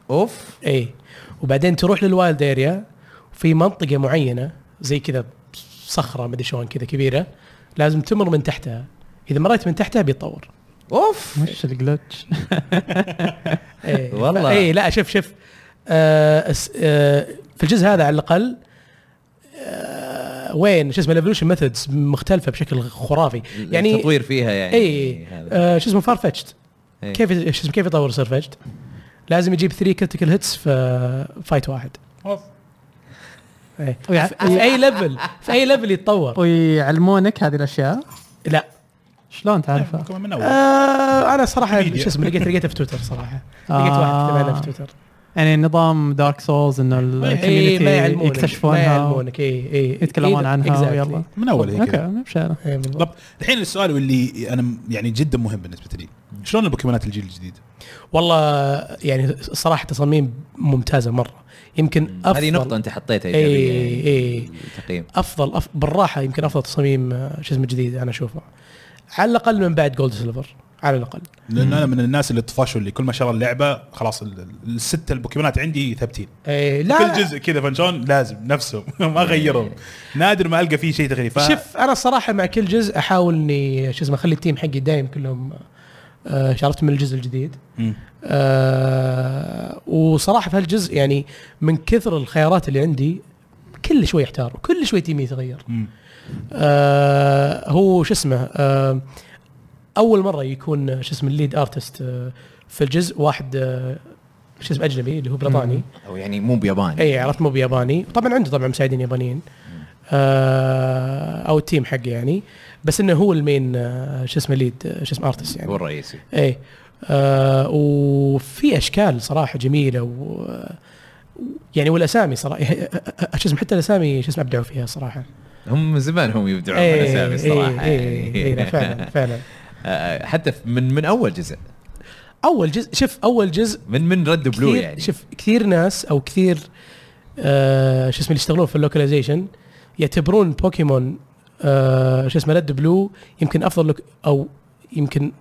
B: اوف
C: اي وبعدين تروح للوايلد اريا في منطقه معينه زي كذا صخره مدري شلون كذا كبيره لازم تمر من تحتها اذا مريت من تحتها بيتطور
B: اوف
D: وش الجلتش
C: إيه.
B: والله.
C: اي لا شوف شوف آه أس- آه في الجزء هذا على الاقل آه وين شو اسمه الايفولوشن ميثودز مختلفه بشكل خرافي يعني
B: التطوير فيها يعني
C: اي
B: هذا.
C: آه شو اسمه فارفتشت
B: إيه.
C: كيف شو اسمه كيف يطور سيرفجت لازم يجيب 3 كريتيكال هيتس في آه، فايت واحد
A: أوف.
C: إيه.
D: ويع-
C: في اي ليفل في اي ليفل يتطور
D: ويعلمونك هذه الاشياء
C: لا
D: شلون تعرفها؟
A: بوكيمون إيه، من اول
C: آه انا صراحه
A: ميديا.
C: شو اسمه لقيت لقيته في آه. تويتر صراحه لقيت واحد كتب عنها في تويتر
D: يعني نظام دارك سولز ان
C: إيه، ما
D: الكوميونتي
C: يعلمونك ما
D: يكتشفونها
C: يعلمونك إيه، اي اي
D: يتكلمون عنها ويلا
A: من اول هي
D: اوكي
A: كذا
D: مو بشعر
C: إيه بالضبط.
A: بالضبط الحين السؤال واللي انا م- يعني جدا مهم بالنسبه لي شلون البوكيمونات الجيل الجديد؟
C: والله يعني صراحه تصاميم ممتازه مره يمكن افضل
B: هذه نقطة أنت حطيتها
C: إي،
B: إيجابية يعني
C: إي.
B: تقييم
C: افضل أف... بالراحه يمكن افضل تصاميم آه، شو اسمه جديد انا اشوفه على الاقل من بعد جولد سيلفر على الاقل
A: لان انا من الناس اللي طفشوا اللي كل ما شرى اللعبه خلاص ال- ال- السته البوكيمونات عندي ثابتين
C: إيه لا إيه.
A: كل جزء كذا فنشون لازم نفسهم ما غيرهم نادر ما القى فيه شيء تغيير ف...
C: شوف انا الصراحه مع كل جزء احاول اني شو اسمه اخلي التيم حقي دايم كلهم آه، شاركت من الجزء الجديد
A: مم.
C: آه وصراحه في هالجزء يعني من كثر الخيارات اللي عندي كل شوي احتار وكل شوي تيمي يتغير
A: مم.
C: آه هو شو اسمه آه اول مره يكون شو اسمه الليد ارتست آه في الجزء واحد آه شو اسمه اجنبي اللي هو بريطاني
B: أو يعني مو بياباني
C: اي عرفت مو بياباني طبعا عنده طبعا مساعدين يابانيين آه، او التيم حقه يعني بس انه هو المين آه، شو اسمه ليد آه، شو اسمه ارتست يعني
B: هو الرئيسي
C: ايه آه وفي اشكال صراحه جميله و آه، يعني والاسامي صراحه شو اسمه حتى الاسامي شو اسمه ابدعوا فيها صراحه
B: هم من زمان هم يبدعون
C: إيه،
B: بالاسامي الصراحه
C: إيه، إيه، إيه، لا، فعلا فعلا
B: يعني. آه، حتى من من اول جزء
C: اول جزء شوف اول جزء
B: من من رد بلو
C: كثير-
B: يعني
C: شوف كثير ناس او كثير آه شو اسمه اللي يشتغلون في اللوكاليزيشن يعتبرون بوكيمون آه شو اسمه ريد بلو يمكن افضل لوك او يمكن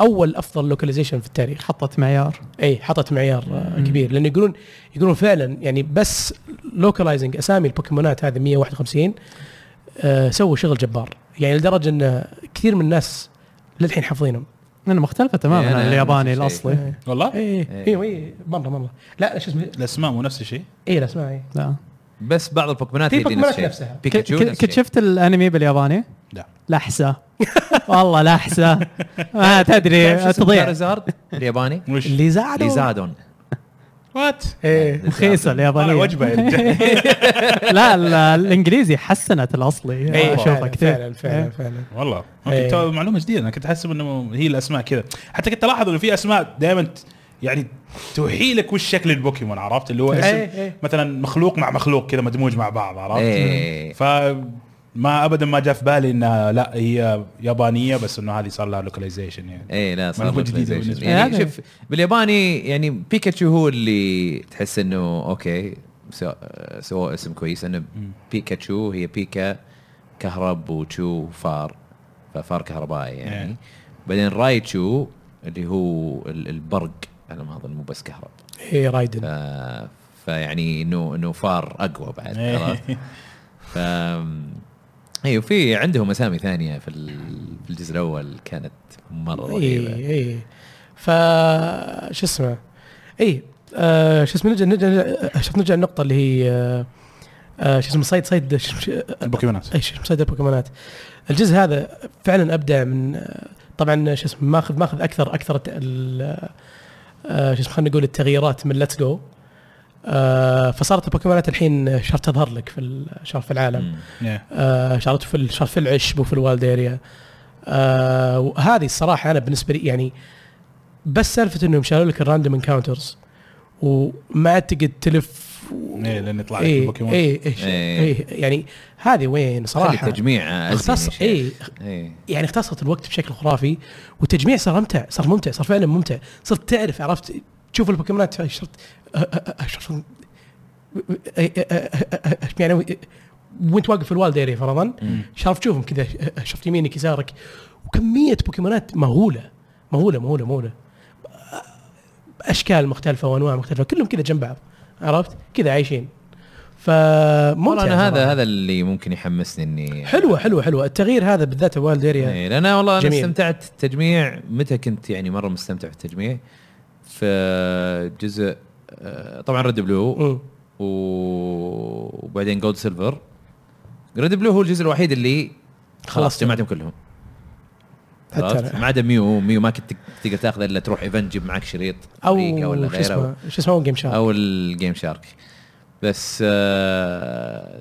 C: اول افضل لوكاليزيشن في التاريخ
D: حطت معيار
C: اي حطت معيار آه، كبير لان يقولون يقولون فعلا يعني بس لوكلايزنج اسامي البوكيمونات هذه 151 آه سووا شغل جبار يعني لدرجه ان كثير من الناس للحين حافظينهم
D: لانه مختلفه تماما
B: إيه، أنا
D: عن الياباني
B: نفس الشيء.
D: الاصلي
A: والله
C: اي
B: إيه.
C: اي اي مره مره لا شو اسمه
A: الاسماء مو نفس الشيء
C: اي لا إيه. اسمها اي
D: لا
B: بس بعض البوكمونات
C: في
B: هي اللي
C: بوكيمونات
B: الشيء.
C: نفسها.
B: بيكاتشو
D: ك- ك-
B: نفس
D: كنت
B: الشيء.
D: شفت الانمي بالياباني؟
A: لا
D: لحسه والله لحسه ما
B: تعرف شو
D: تدري
B: اسمه
D: تضيع
B: كارزارد الياباني
A: وش
C: اللي زعلوا
B: ليزادون
A: وات
C: ايه
D: رخيصه
A: طالع
D: اليابانيه
A: وجبه يا رجال.
D: لا ال- الانجليزي حسنت الاصلي
C: إيه،
D: اشوفها
C: فعلا،
D: كثير
C: فعلا فعلا فعلا
A: والله
C: إيه.
A: اوكي تو معلومه جديده انا كنت احسب انه هي الاسماء كذا حتى كنت الاحظ انه في اسماء دائما يعني توحي لك وش شكل البوكيمون عرفت اللي هو اسم
C: إيه، إيه.
A: مثلا مخلوق مع مخلوق كذا مدموج مع بعض عرفت
B: ايه
A: ف ما ابدا ما جاء في بالي انها لا هي يابانيه بس انه هذه صار لها لوكاليزيشن يعني
B: ايه لا صار
A: معلومة جديدة
B: localization.
A: بالنسبة
B: يعني
D: لي.
B: شوف بالياباني يعني بيكاتشو هو اللي تحس انه اوكي سو- سووا اسم كويس انه بيكاتشو هي بيكا كهرب وتشو فار ففار كهربائي يعني
A: إيه.
B: بعدين رايتشو اللي هو ال- البرق انا ما اظن مو بس كهرب
C: اي إيه، رايدن
B: ف- فيعني انه انه فار اقوى بعد
A: إيه.
B: عرفت؟ ف ايوه في عندهم اسامي ثانيه في ال- في الجزء الاول كانت مره
A: إيه،
B: رهيبه
C: اي اي إيه، ف شو اسمه اي آه، شو اسمه نرجع نرجع نرجع- شوف نرجع النقطه اللي هي آه، آه، شو اسمه صيد صيد شو اسمه-
A: البوكيمونات
C: اي شو اسمه صيد البوكيمونات الجزء هذا فعلا ابدع من آه، طبعا شو اسمه ماخذ ماخذ اكثر اكثر الت- ال- آه، شو اسمه خلينا نقول التغييرات من ليتس جو فصارت البوكيمونات الحين شهر تظهر لك في ال- شهر في العالم
B: مم.
A: إيه.
C: آه، شارت في ال- شارت في العشب وفي الوالد اريا آه، وهذه الصراحه انا بالنسبه لي يعني بس سالفه انهم شالوا لك الراندوم انكاونترز وما عاد تقعد تلف و...
A: ايه لان يطلع لك
C: ايه
A: البوكيمون
C: ايه ايه,
B: إيه.
C: إيه يعني هذه وين
B: صراحه
C: صراحه
B: تجميع
C: اختص ايه
B: اي
C: يعني اختصرت الوقت بشكل خرافي والتجميع صار ممتع صار ممتع صار فعلا ممتع صرت تعرف عرفت تشوف البوكيمونات أه، شرط شرط أه، يعني وانت واقف في الوالد اريا فرضا شرف تشوفهم كذا أه، شفت يمينك يسارك وكميه بوكيمونات مهوله مهوله مهوله مهوله اشكال مختلفه وانواع مختلفه كلهم كذا جنب بعض عرفت كذا عايشين فممتع
B: والله انا هذا
C: صراحة.
B: هذا اللي ممكن يحمسني اني
C: حلوه حلوه حلوه التغيير هذا بالذات الوالد اريا
B: إيه، لان أنا والله انا
C: جميل.
B: استمتعت التجميع متى كنت يعني مره مستمتع في التجميع في جزء آه، طبعا ريد بلو
C: مم.
B: و- وبعدين جولد سيلفر ريد بلو هو الجزء الوحيد اللي خلاص
C: خلصت.
B: جمعتهم كلهم
C: حتى
B: عرفت؟
C: أنا.
B: ما عدا ميو ميو ما كنت تقدر تاخذه الا تروح ايفنت تجيب معك شريط أمريكا
C: او
B: ولا
C: شو
B: غيره
C: اسمه شو اسمه جيم شارك
B: او الجيم شارك بس آه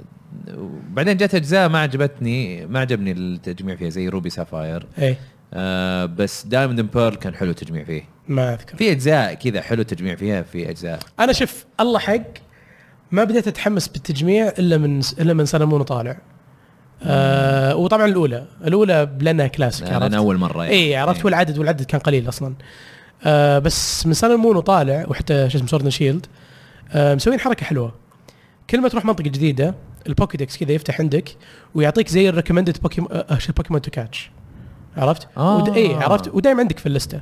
B: بعدين جت اجزاء ما عجبتني ما عجبني التجميع فيها زي روبي سافاير
C: اي
B: آه بس دايموند اند بيرل كان حلو التجميع فيه
C: ما اذكر
B: في اجزاء كذا حلو التجميع فيها في اجزاء
C: انا شف الله حق ما بديت اتحمس بالتجميع الا من الا من سلمون طالع آه وطبعا الاولى الاولى لانها كلاسيك
B: انا أنا
C: عرفت
B: اول مره
C: اي إيه، عرفت والعدد والعدد كان قليل اصلا آه بس من سلمون وطالع وحتى شو اسمه سورد شيلد آه مسوين حركه حلوه كل ما تروح منطقه جديده البوكيدكس كذا يفتح عندك ويعطيك زي الريكومندد بوكيمون آه بوكيمون تو كاتش عرفت؟
B: آه.
C: ود... اي عرفت ودائما عندك في اللسته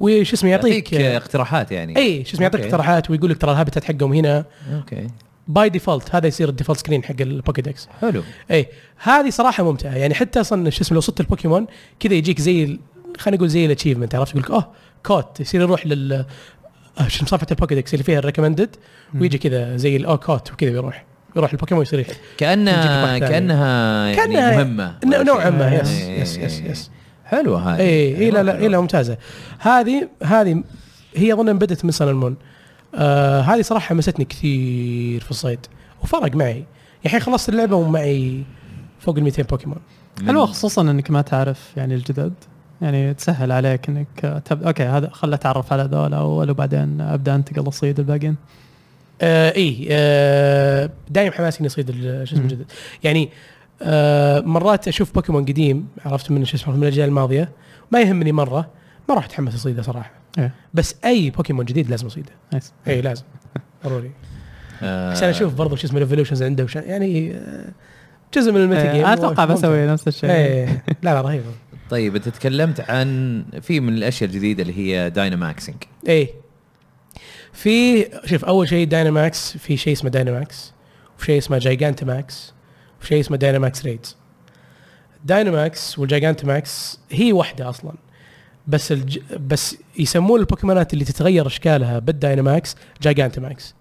C: وش اسمه يعطيك آه، إيه.
B: يعطيك اقتراحات يعني
C: اي شو اسمه يعطيك
B: أوكي.
C: اقتراحات ويقول لك ترى الهابيتات حقهم هنا
B: اوكي
C: باي ديفولت هذا يصير الديفولت سكرين حق البوكيدكس
B: حلو
C: اي إيه، هذه صراحه ممتعه يعني حتى اصلا شو اسمه لو صدت البوكيمون كذا يجيك زي ال- خلينا نقول زي الاتشيفمنت عرفت يقول لك اه كوت يصير يروح لل آه، شو اسمه صفحه البوكيدكس اللي فيها الريكومندد ويجي كذا زي الاو كوت وكذا يروح يروح البوكيمون يصير يح- يجيك
B: كانها
C: واحد ثاني.
B: كانها يعني
C: كأنها-
B: مهمه
C: ن- نوعا ما
B: إيه.
C: يس يس يس يس
B: حلوه هذه
C: اي اي إيه، لا لا
B: حلوة.
C: اي لا ممتازه هذه هذه هي اظن بدت من سن المون آه هذه صراحه حمستني كثير في الصيد وفرق معي الحين خلصت اللعبه ومعي فوق ال 200 بوكيمون
D: حلوه خصوصا انك ما تعرف يعني الجدد يعني تسهل عليك انك تب... اوكي هذا خل اتعرف على ذولا اول وبعدين ابدا انتقل اصيد الباقيين
C: آه اي آه دايم حماسي اني اصيد ال- شو اسمه
D: مم.
C: الجدد يعني آه مرات اشوف بوكيمون قديم عرفت من شو اسمه من الاجيال الماضيه ما يهمني مره ما راح اتحمس اصيده صراحه
D: إيه.
C: بس اي بوكيمون جديد لازم اصيده
D: نايس
C: اي لازم ضروري
B: آه،
C: عشان اشوف برضو شو اسمه الايفولوشنز عنده وشان يعني آه، جزء من الميتا جيم
D: إيه، اتوقع بسوي نفس الشيء
C: ايه لا لا رهيب
B: طيب انت تكلمت عن في من الاشياء الجديده اللي هي دايناماكسنج
C: ايه في شوف اول شيء دايناماكس في شيء اسمه دايناماكس وشيء اسمه جايجانتماكس وشيء اسمه دايناماكس ريدز دايناماكس والجايجانتماكس هي واحده اصلا بس الج... بس يسمون البوكيمونات اللي تتغير اشكالها بالدايناماكس جايجانتماكس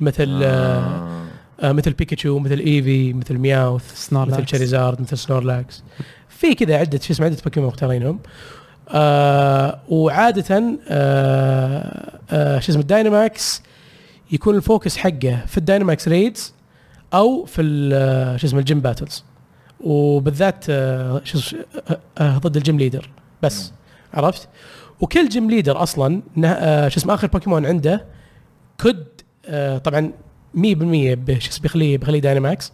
C: مثل آه. آه مثل بيكاتشو مثل ايفي مثل مياوث
D: سنورلاكس.
C: مثل تشاريزارد مثل سنورلاكس في كذا عده شو اسمه عده بوكيمون مختارينهم آه وعاده آه آه شو اسمه الدايناماكس يكون الفوكس حقه في الدايناماكس ريدز او في ال- آه، شو اسمه الجيم باتلز وبالذات آه، شو اسمه- آه، آه، ضد الجيم ليدر بس عرفت وكل جيم ليدر اصلا نه- آه، شو اسمه اخر بوكيمون عنده كد آه، طبعا 100% ب- شو اسمه بيخليه بيخليه دايناماكس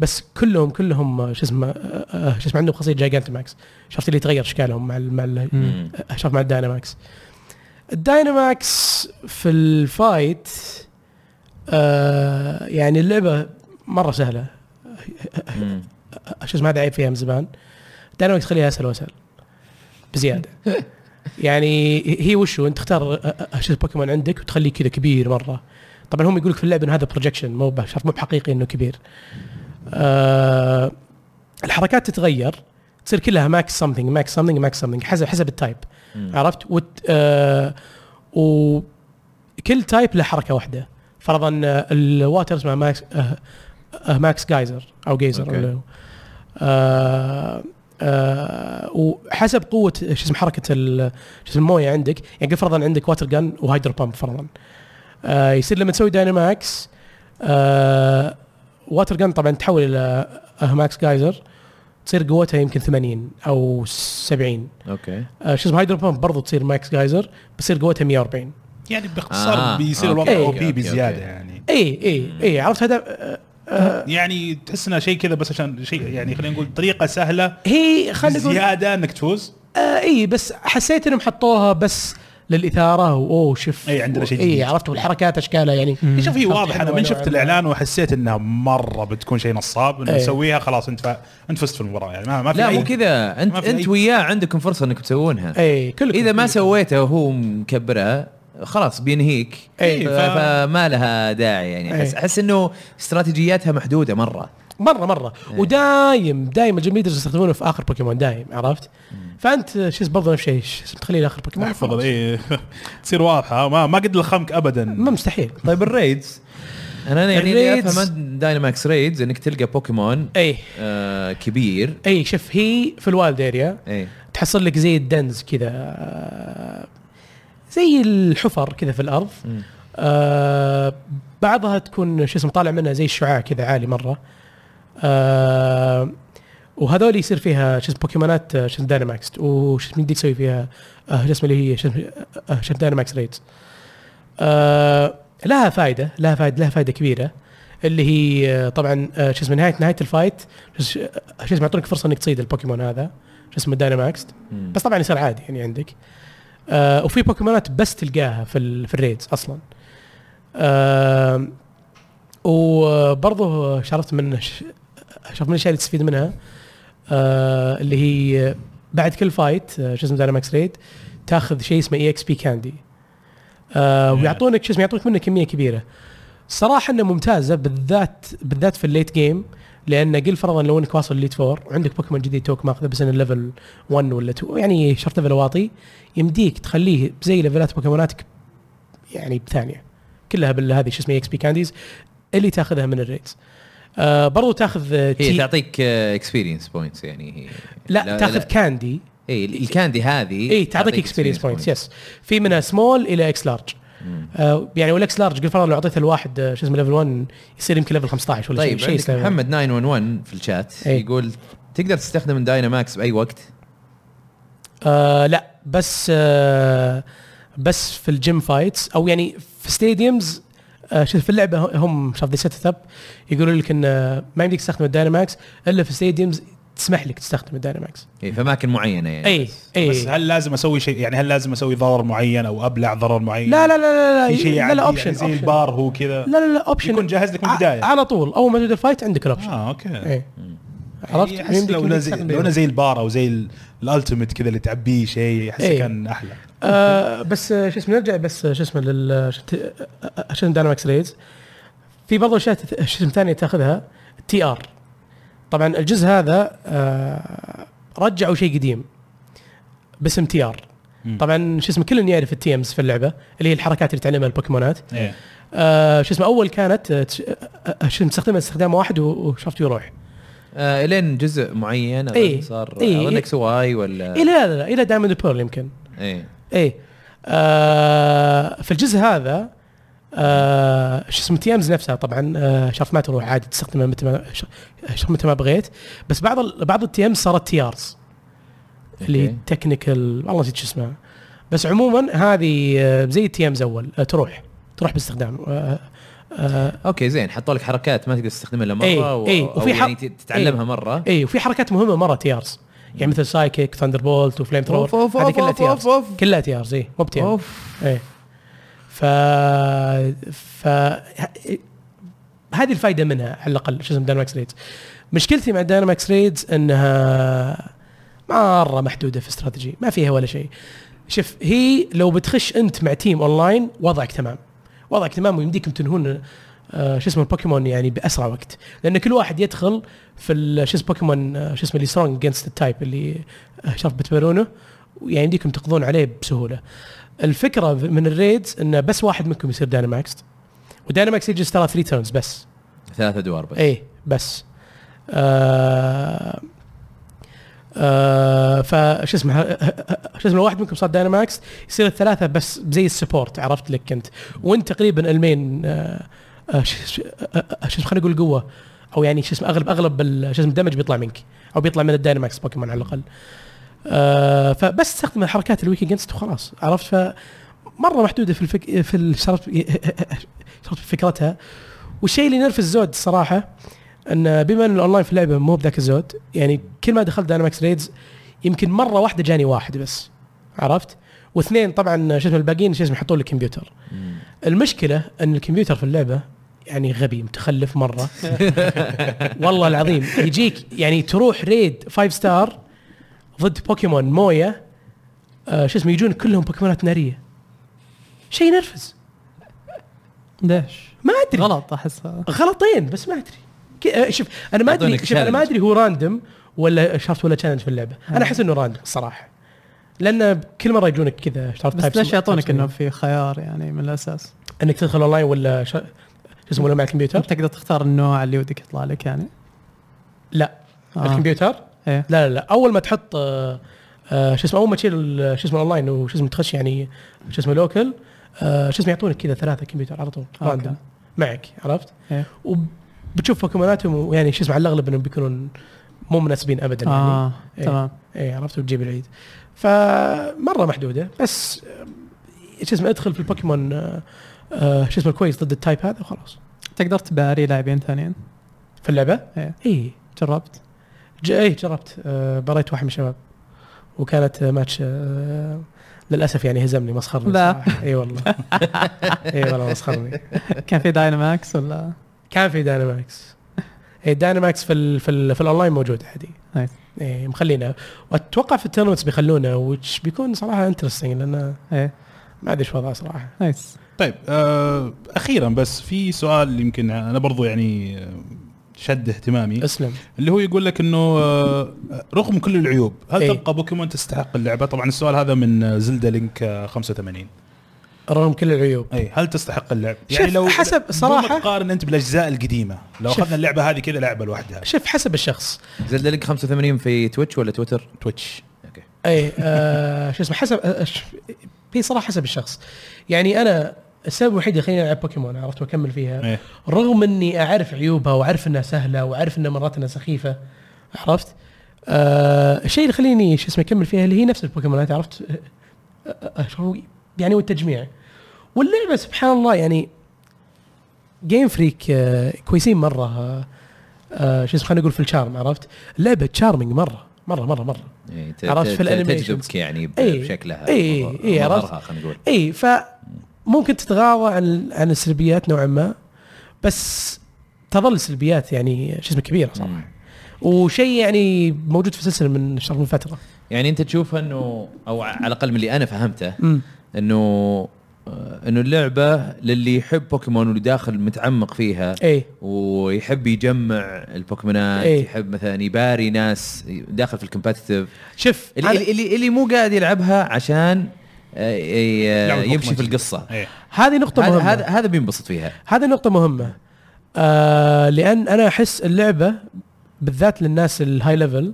C: بس كلهم كلهم آه، شو اسمه آه، آه، شو اسمه عندهم خاصيه جايجانتماكس شفت اللي تغير اشكالهم مع ال- مع ال- آه،
D: مم.
C: شوف مع الدايناماكس الدايناماكس في الفايت آه يعني اللعبه مره سهله شو اسمه هذا عيب فيها من زمان دايناماكس خليها اسهل واسهل بزياده يعني هي وشو انت تختار آه، آه، شو بوكيمون عندك وتخليه كذا كبير مره طبعا هم يقول لك في اللعبه ان هذا بروجكشن مو ب- شرط مو بحقيقي انه كبير آه الحركات تتغير تصير كلها ماكس سمثينج ماكس سمثينج ماكس سمثينج حسب حسب التايب عرفت وت... آه... وكل تايب له حركه واحده فرضا آه، الواتر اسمه ماكس آه... آه... ماكس جايزر او جيزر
B: أوكي.
C: okay. آه... آه... وحسب قوه شو اسمه حركه ال... شو اسمه المويه عندك يعني قل فرضا عندك واتر جن وهايدرو بامب فرضا آه... يصير لما تسوي دايناماكس آه... واتر جن طبعا تحول الى آه... ماكس جايزر تصير قوتها يمكن 80 او 70
B: اوكي
C: آه، شو اسمه هايدرو بامب برضه تصير ماكس جايزر بتصير قوتها 140
A: يعني باختصار
B: آه،
A: بيصير
B: أوكي.
A: الوضع او
C: أوكي،
A: بي
B: أوكي،
A: بزياده
B: أوكي.
A: يعني
C: اي اي اي إيه، عرفت هذا آه،
A: يعني تحس انها شيء كذا بس عشان شيء يعني خلينا نقول طريقه سهله
C: هي خلينا نقول
A: زياده انك تفوز
C: آه اي بس حسيت انهم حطوها بس للاثاره واوه شف
A: إي، إيه، عندنا شيء جديد.
C: اي إيه، عرفت والحركات اشكالها يعني
A: شوف هي
C: خلط
A: واضح انا
C: حلوة
A: من
C: نوعاً
A: شفت
C: ما.
A: الاعلان وحسيت انها مره بتكون شيء نصاب انه
C: إيه.
A: يسويها خلاص انت فا... انت فزت في المباراه يعني ما, ما في
B: لا
A: أي-
B: مو كذا انت
A: ما في
B: انت
A: أي-
B: وياه عندكم فرصه انكم تسوونها
C: اي كلكم
B: اذا ما سويتها وهو مكبرها خلاص بينهيك
A: إيه،
B: ف-
A: ف-
B: فما لها داعي يعني احس
C: إيه.
B: احس انه استراتيجياتها محدوده مره
C: مره مره
A: إيه.
C: ودايم دايم الجيم ليدرز يستخدمونه في اخر بوكيمون دايم عرفت فانت شو اسمه برضه نفس الشيء شو اسمه تخليه لاخر بوكيمون
A: احفظ اي إيه. تصير واضحه ما ما قد الخمك ابدا
C: ما مستحيل
B: طيب الريدز انا أنا يعني اللي
C: الريدز-
B: افهم دايناماكس ريدز انك تلقى بوكيمون
C: اي
B: آه كبير
C: اي شوف هي في الوالد اريا
B: ايه
C: تحصل لك زي الدنز كذا آه، زي الحفر كذا في الارض آه، بعضها تكون شو اسمه طالع منها زي الشعاع كذا عالي مره آه، وهذول يصير فيها شو اسمه بوكيمونات آه، شو اسمه دايناماكس وش اسمه يديك تسوي فيها آه، شو اسمه اللي هي شو اسمه آه، شو اسمه دايناماكس ريدز آه، لها فائده لها فائده لها فائده كبيره اللي هي آه، طبعا آه، شو اسمه نهايه نهايه الفايت شو آه، شو اسمه يعطونك فرصه انك تصيد البوكيمون هذا شو اسمه دايناماكس
B: مم.
C: بس طبعا يصير عادي يعني عندك آه وفي بوكيمونات بس تلقاها في ال- في الريدز اصلا آه وبرضه شرفت من ش- شرفت من الاشياء اللي تستفيد منها آه اللي هي بعد كل فايت آه، شو اسمه دايناماكس ريد تاخذ شيء اسمه E اي اكس بي كاندي آه ويعطونك شو اسمه يعطونك منه كميه كبيره صراحه انه ممتازه بالذات بالذات في الليت جيم لان قل فرضا لو انك واصل ليت فور وعندك بوكيمون جديد توك ماخذه بس انه ليفل 1 ولا 2 يعني شرط ليفل واطي يمديك تخليه زي ليفلات بوكيموناتك يعني بثانيه كلها بالهذه شو اسمه E اكس بي كانديز اللي تاخذها من الريدز آه برضو تاخذ آه،
B: هي
C: تي-
B: تعطيك اكسبيرينس بوينتس يعني هي
C: لا, تاخذ كاندي
B: إيه، اي الكاندي هذه إيه،
C: إيه، اي تعطيك اكسبيرينس بوينتس يس في منها سمول الى اكس لارج
B: مم.
C: آه، يعني والاكس لارج جريفالر لو اعطيته الواحد آه، شو اسمه ليفل 1 يصير يمكن ليفل 15 ولا
B: طيب
C: شيء
B: عندك
C: شيء
B: محمد 911 في الشات
C: إيه.
B: يقول تقدر تستخدم الدايناماكس باي وقت
C: آه لا بس آه بس في الجيم فايتس او يعني في ستاديومز آه شوف في اللعبه هم شاف ذي سيت اب يقولوا لك ان آه، ما يمديك تستخدم الدايناماكس الا في ستاديومز تسمح لك تستخدم الدايناماكس إيه،
B: إيه في اماكن معينه يعني
C: اي
A: بس
C: اي
A: هل لازم اسوي شيء يعني هل لازم اسوي ضرر معين او ابلع ضرر معين
C: لا لا لا لا لا
A: في شيء
C: لا
A: عادي
C: لا
A: يعني
C: اوبشن
A: زي البار هو كذا
C: لا لا لا اوبشن
A: يكون جاهز لك من البداية.
C: على طول اول ما تبدا الفايت عندك الاوبشن
A: اه اوكي
C: اي إيه. عرفت
A: يعني أحس
C: يمديك-
A: لو
C: يمديك
A: أنا زي-
C: تستخدم
A: لو انا
C: دايناماكس.
A: زي البار او زي الالتيميت كذا اللي تعبيه شيء احس
C: إيه.
A: كان احلى
C: آه بس آه، شو اسمه نرجع بس آه، شو اسمه لل شو اسمه داينامكس ريز في برضه اشياء تت- شو اسمه ثانيه تاخذها تي ار طبعا الجزء هذا آه رجعوا شيء قديم باسم تي ار
A: مم.
C: طبعا شو اسمه كلن يعرف التي امز في اللعبه اللي هي الحركات اللي تعلمها البوكيمونات
A: ايه
C: آه شو اسمه اول كانت آه، تش- آه، آه، شو اسمه تستخدمها استخدام واحد و- وشفت يروح
B: آه الين جزء معين أظن
C: إيه.
B: صار
C: إيه.
B: اظن اكس واي
A: آه.
B: ولا
C: الى لا لا لا، الى دايموند بيرل يمكن
B: ايه
C: ايه آه في الجزء هذا آه شو اسمه تيامز نفسها طبعا آه شرط ما تروح عادي تستخدمها متى ما ش- شرط متى ما بغيت بس بعض ال- بعض التيامز صارت تيارز اللي
B: أوكي.
C: تكنيكال والله نسيت شو اسمها بس عموما هذه آه زي التيامز اول آه تروح تروح باستخدام آه آه
B: اوكي زين حطوا لك حركات ما تقدر تستخدمها الا مره
C: إيه،
B: و...
C: إيه،
B: وفي
C: وفي إيه.
B: أو يعني
C: حق-
B: ت- تتعلمها مره
C: اي وفي حركات مهمه مره تيارز يعني مثل سايكيك ثاندر بولت وفليم ثرور
B: أوف، أوف،
C: هذه
B: أوف،
C: كلها
B: أوف،
C: تيارز
B: أوف، أوف.
C: كلها تيارز اي مو بتيارز
B: اوف
C: ايه ف ف ه- هذه الفائده منها على الاقل شو اسمه داينامكس ريدز مشكلتي مع داينامكس ريدز انها مره محدوده في استراتيجي ما فيها ولا شيء شوف هي لو بتخش انت مع تيم اونلاين وضعك تمام وضعك تمام ويمديكم تنهون آه، شو اسمه البوكيمون يعني باسرع وقت لان كل واحد يدخل في ال- شو اسمه بوكيمون آه، شو اسمه اللي سترونج جينست التايب اللي آه، شرف بتبرونه ويعني يمديكم تقضون عليه بسهوله الفكره من الريدز انه بس واحد منكم يصير دايناماكس ودايناماكس يجلس ترى 3 تيرنز بس
B: ثلاث ادوار بس
C: اي إيه، بس آه آه فش اسمه شو اسمه لو واحد منكم صار دايناماكس يصير الثلاثه بس زي السبورت عرفت لك انت وانت تقريبا المين آه، آه، ش- ش- آه، آه، شو اسمه خلينا نقول قوه او يعني شو اسمه اغلب اغلب ال- شو اسمه الدمج بيطلع منك او بيطلع من الدايناماكس بوكيمون على الاقل آه فبس تستخدم الحركات الويك اجينست وخلاص عرفت ف مره محدوده في الفك... في ال- شرط شرط فكرتها والشيء اللي نرفز زود الصراحه ان بما ان الاونلاين في اللعبه مو بذاك الزود يعني كل ما دخلت داينامكس ريدز يمكن مره واحده جاني واحد بس عرفت واثنين طبعا شو اسمه الباقيين شو اسمه يحطون لي كمبيوتر
B: مم.
C: المشكله ان الكمبيوتر في اللعبه يعني غبي متخلف مره والله العظيم يجيك يعني تروح ريد 5 ستار ضد بوكيمون مويه آه شو اسمه يجون كلهم بوكيمونات ناريه شيء نرفز
D: ليش؟
C: ما ادري
D: غلط احسها
C: غلطين بس ما ادري ك- آه، شوف انا ما ادري
B: أعطونك
C: شوف انا ما
B: challenge.
C: ادري هو راندم ولا شرط ولا تشالنج في اللعبه انا احس انه راندم الصراحه لان كل مره يجونك كذا شرط types-
D: بس ليش يعطونك
C: types-
D: انه في خيار يعني من الاساس؟
C: انك تدخل اونلاين ولا شو شو اسمه ولا مع الكمبيوتر
D: انت تقدر تختار النوع اللي ودك يطلع لك يعني
C: لا
D: آه.
C: الكمبيوتر
D: ايه
C: لا لا لا اول ما تحط آه، آه، شو اسمه اول ما تشيل ال- شو اسمه اونلاين وشو اسمه تخش يعني شو اسمه لوكل آه، شو اسمه يعطونك كذا ثلاثه كمبيوتر على طول
D: أوكي.
C: راندوم معك عرفت؟
D: إيه.
C: وبتشوف بوكيموناتهم ويعني شو اسمه على الاغلب انهم بيكونون مو مناسبين ابدا يعني
D: اه
C: إيه.
D: تمام
C: اي عرفت وتجيب العيد فمره محدوده بس آه، شو اسمه ادخل في البوكيمون آه، آه، شو اسمه الكويس ضد التايب هذا وخلاص
D: تقدر تباري لاعبين ثانيين
C: في اللعبه
D: إيه.
C: اي
D: جربت
C: ج- ايه جربت آه، بريت واحد من الشباب وكانت آه، ماتش آه، للاسف يعني هزمني مسخرني
D: لا.
C: صراحة. اي إيه والله اي والله مسخرني
D: كان في دايناماكس ولا
C: كان في دايناماكس اي دايناماكس في ال في, ال في الاونلاين موجود عادي
D: نايس.
C: اي مخلينا واتوقع في التورنمنتس بيخلونا وتش بيكون صراحه انترستنج لان
D: ايه
C: ما ادري شو وضعه صراحه
D: نايس
A: طيب آه اخيرا بس في سؤال يمكن انا برضو يعني آه، شد اهتمامي
C: اسلم
A: اللي هو يقول لك انه آه، رغم كل العيوب هل
C: إيه.
A: تبقى بوكيمون تستحق اللعبه طبعا السؤال هذا من آه، زلدا لينك آه، 85
C: رغم كل العيوب
A: اي هل تستحق اللعب
C: شوف، حسب صراحة-
A: لو تقارن انت بالاجزاء القديمه لو
C: شوف.
A: اخذنا اللعبه هذه كذا لعبه لوحدها
C: شوف حسب الشخص
B: زلدة لك 85 في تويتش ولا تويتر؟
A: تويتش
B: اوكي
C: إيه، آه، اي آه شو اسمه حسب آه، ش- في صراحه حسب الشخص يعني انا السبب الوحيد اللي خليني العب بوكيمون عرفت واكمل فيها
A: إيه.
C: رغم اني اعرف عيوبها واعرف انها سهله واعرف انها مرات انها سخيفه عرفت آه الشيء اللي خليني شو اسمه اكمل فيها اللي هي نفس البوكيمونات عرفت آه، آه، آه، يعني والتجميع واللعبه سبحان الله يعني جيم فريك آه، كويسين مره آه، آه، شو اسمه خلينا نقول في الشارم عرفت لعبه تشارمينج مره مره مره مره
B: إيه، ت-
C: عرفت
B: ت-
C: في
B: ت-
C: الأنيميشنز.
B: تجذبك يعني ب-
C: إيه.
B: بشكلها
C: إيه،
B: وظهر-
C: إيه، عرفت؟
B: وظهرها خلينا نقول
C: اي فممكن تتغاضى عن عن السلبيات نوعا ما بس تظل سلبيات يعني شو اسمه كبيره صراحه
B: مم.
C: وشيء يعني موجود في السلسله من شهر من فتره
B: يعني انت تشوفها انه او على الاقل من اللي انا فهمته
C: مم.
B: انه آه، انه اللعبه للي يحب بوكيمون واللي داخل متعمق فيها
C: اي
B: ويحب يجمع البوكيمونات
C: إيه.
B: يحب مثلا يباري ناس داخل في الكومبتتف
C: شوف
B: اللي, اللي, اللي, اللي مو قاعد يلعبها عشان آه، ي-
A: لعبة
B: يمشي
A: بوكيمون.
B: في القصه
C: إيه.
A: ايه
C: هذه نقطه
B: هذا
C: مهمه
B: هذا هذا بينبسط فيها
C: هذه نقطة مهمة آه لأن أنا أحس اللعبة بالذات للناس الهاي ليفل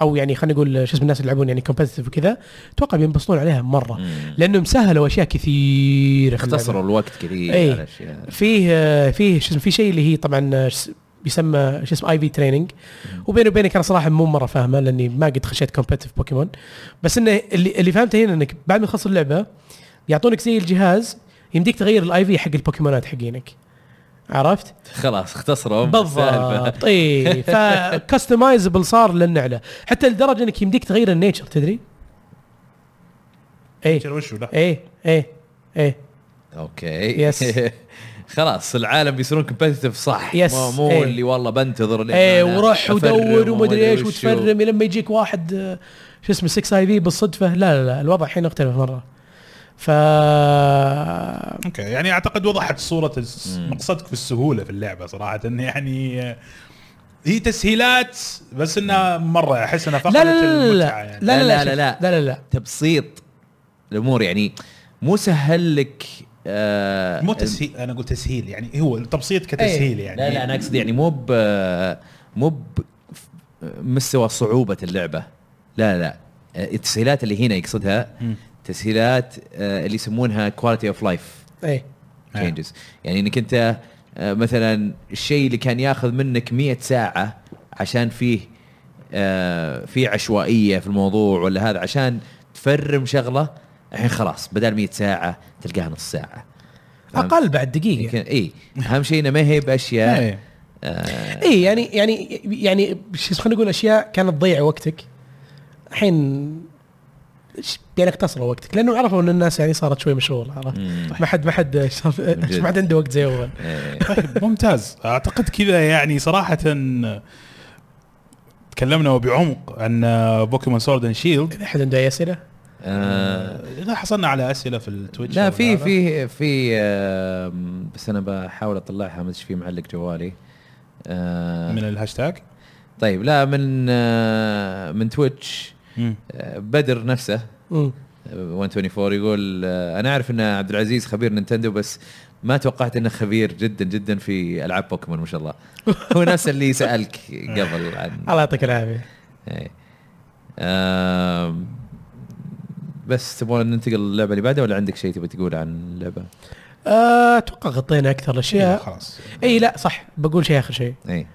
C: أو يعني خلينا نقول شو اسم الناس اللي يلعبون يعني كومبتتف وكذا أتوقع بينبسطون عليها مرة
B: مم.
C: لأنهم سهلوا أشياء كثيرة في اللعبة.
B: اختصروا الوقت كثير
C: إيه.
B: على اشياء
C: فيه آه، فيه شو اسمه في شيء اللي هي طبعا آه، ش- بيسمى شو اسمه اي في تريننج وبيني وبينك انا صراحه مو مره فاهمه لاني ما قد خشيت كومبتيف بوكيمون بس انه اللي, اللي فهمته هنا انك بعد ما تخلص اللعبه يعطونك زي الجهاز يمديك تغير الاي في حق البوكيمونات حقينك عرفت؟
B: خلاص اختصروا السالفة.
C: بالضبط اي فكستمايزبل صار للنعله حتى لدرجه انك يمديك تغير النيتشر تدري؟ اي
A: شنو وشو لا
C: اي اي اي
B: اوكي
C: يس.
B: خلاص العالم بيصيرون كومبتتف صح
C: يس.
B: مو, مو
C: إيه.
B: اللي والله بنتظر لين
C: ايه
B: أنا
C: وروح
B: أفرم
C: ودور
B: وما أدري
C: ومدري ايش
B: وشو.
C: وتفرم لما يجيك واحد آه، شو اسمه 6 اي في بالصدفه لا لا لا الوضع الحين اختلف مره ف
A: اوكي يعني اعتقد وضحت صوره الس-
B: مم.
A: مقصدك في السهوله في اللعبه صراحه إن يعني آه، هي تسهيلات بس انها مره احس انها
C: لا
A: فقدت
C: لا لا
A: المتعه
C: لا
A: يعني
C: لا
B: لا
C: لا
B: لا لا.
C: لا لا لا لا
B: تبسيط الامور يعني مو سهل لك آه
A: مو تسهيل انا اقول تسهيل يعني هو
C: إيه.
A: التبسيط كتسهيل يعني
B: لا لا انا اقصد يعني مو ب مو ب مستوى صعوبه اللعبه لا لا آه، التسهيلات اللي هنا يقصدها
A: مم.
B: تسهيلات آه، اللي يسمونها كواليتي اوف لايف
C: ايه
A: آه.
B: تشينجز يعني انك انت آه، مثلا الشيء اللي كان ياخذ منك 100 ساعه عشان فيه آه، في عشوائيه في الموضوع ولا هذا عشان تفرم شغله الحين خلاص بدل 100 ساعه تلقاها نص ساعه فهمت؟
C: اقل بعد دقيقه
B: يمكن اي اهم شيء انه ما هي باشياء
A: إيه.
B: آه،
C: اي يعني يعني يعني شو اسمه، خلينا نقول اشياء كانت تضيع وقتك الحين ش- يعني اقتصروا وقتك لانه عرفوا ان الناس يعني صارت شوي مشغوله عرفت
B: مم.
C: ما حد ما حد شاف-
B: جد.
C: ما حد عنده وقت زي اول
B: إيه.
A: طيب ممتاز اعتقد كذا يعني صراحه تكلمنا وبعمق عن بوكيمون سورد اند شيلد
C: احد عنده اي اسئله؟
B: آه،
A: اذا حصلنا على اسئله في التويتش
B: لا
A: أو
B: في
A: هذا.
B: في في آم، بس انا بحاول اطلعها ما ادري إيش في معلق جوالي آه،
A: من الهاشتاج
B: طيب لا من آه، من تويتش
A: مم.
B: آه، بدر نفسه
C: مم.
B: آه، 124 يقول آه، انا اعرف ان عبد العزيز خبير نينتندو بس ما توقعت انه خبير جدا جدا في العاب بوكيمون ما شاء الله هو نفس اللي سالك قبل عن
C: الله يعطيك العافيه
B: إيه. آم، بس تبغون ننتقل للعبه اللي بعدها ولا عندك شيء تبي تقوله عن اللعبه؟
C: آه، اتوقع غطينا اكثر الاشياء
A: خلاص
C: اي لا صح بقول شيء اخر شيء
B: اي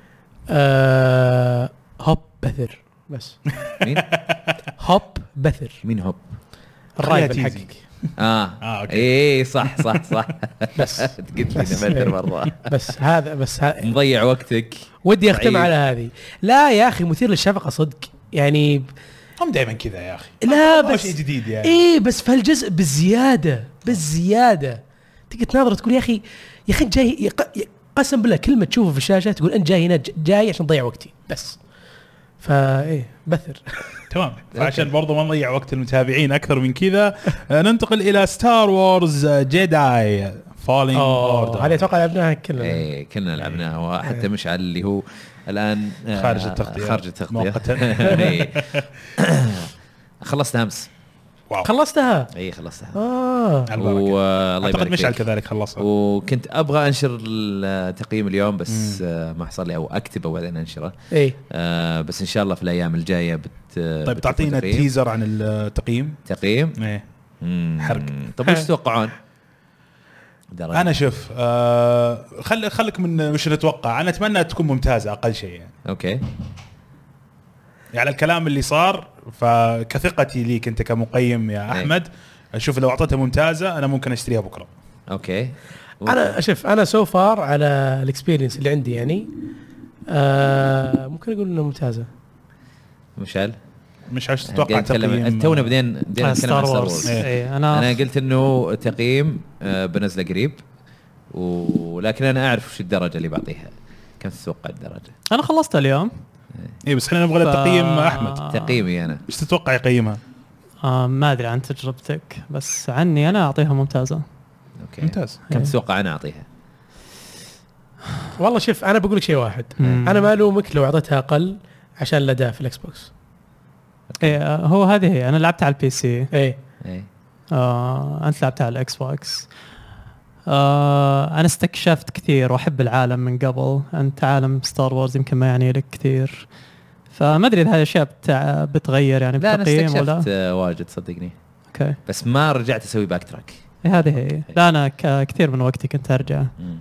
C: أه هوب بثر بس
B: مين؟
C: هوب بثر
B: مين هوب؟
C: الرايفل
A: خليها تيجي.
C: حقك
B: اه
A: آه، أوكي.
B: اي صح صح صح
C: بس
B: قلت لي إنه ما أدري مره
C: بس هذا بس ها
B: مضيع وقتك
C: ودي اختم
B: ضعيف.
C: على هذه لا يا اخي مثير للشفقه صدق يعني
A: هم دائما كذا يا اخي
C: لا
A: ما هو
C: بس
A: شيء جديد يعني
C: ايه بس في هالجزء بالزياده بالزياده تقعد تناظر تقول يا اخي يا اخي أنت جاي يق- ي- قسم بالله كلمه تشوفه في الشاشه تقول انت جاي هنا ج- جاي عشان تضيع وقتي بس فا ايه بثر
A: تمام فعشان برضو ما نضيع وقت المتابعين اكثر من كذا آه، ننتقل الى ستار وورز جيداي فالينج
C: اوه هذه
A: اوردر
C: اتوقع لعبناها كلنا
B: اي كلنا إيه، لعبناها وحتى مشعل اللي هو الان آه،
A: إيه. خارج التغطية.
B: خارج التغطيه
A: مؤقتاً.
B: إي. خلصت إيه، امس
A: واو
C: خلصتها
B: اي خلصتها
C: اه
A: على البركه
B: والله
A: اعتقد
B: يبارك
A: مشعل
B: فيك.
A: كذلك خلصها
B: وكنت ابغى انشر التقييم اليوم بس آه، ما حصل لي او اكتبه وبعدين انشره
C: ايه
B: آه، بس ان شاء الله في الايام الجايه بت آه،
A: طيب
B: بتكون
A: تعطينا
B: تقييم.
A: التيزر عن التقييم
B: تقييم
A: ايه
B: مم.
A: حرق.
B: طب وش تتوقعون؟ درجة.
A: انا شوف آه خل خلك من وش نتوقع انا اتمنى تكون ممتازه اقل شيء يعني
B: اوكي
A: يعني الكلام اللي صار فكثقتي ليك انت كمقيم يا
B: إيه.
A: احمد اشوف لو اعطيتها ممتازه انا ممكن اشتريها بكره
B: اوكي
C: انا شوف انا سو فار على الاكسبيرينس اللي عندي يعني آه ممكن اقول انها ممتازه
B: مشعل
A: مش عشان تتوقع
B: قاعد أتكلم عن-
A: تقييم آه،
B: تونا بدينا بدينا نتكلم عن ستار وورز
A: إيه.
D: اي
B: انا
D: انا
B: قلت انه تقييم آه، بنزله قريب ولكن انا اعرف وش الدرجه اللي بعطيها كم تتوقع الدرجه
D: انا خلصت اليوم
A: اي إيه، بس احنا نبغى له
D: ف-
A: تقييم احمد
D: آه.
B: تقييمي انا
A: ايش تتوقع يقيمها؟
D: آه ما ادري عن تجربتك بس عني انا اعطيها ممتازه
B: اوكي
A: ممتاز
B: كم
D: إيه.
B: تتوقع انا اعطيها
C: والله شوف انا بقول لك شيء واحد
D: مم.
C: انا ما الومك لو اعطيتها اقل عشان الاداء في الاكس بوكس
D: اي آه هو هذه هي انا لعبت على البي سي
C: اي
D: إيه.
B: ايه
D: آه انت لعبت على الاكس بوكس آه انا استكشفت كثير واحب العالم من قبل انت عالم ستار وورز يمكن ما يعني لك كثير فما ادري اذا هذه الاشياء بتع- بتغير يعني
B: لا انا
D: بتقييم
B: استكشفت آه، واجد صدقني
D: اوكي
B: بس ما رجعت اسوي باك تراك
D: إيه هذه هي لا انا ك- كثير من وقتي كنت ارجع
B: مم.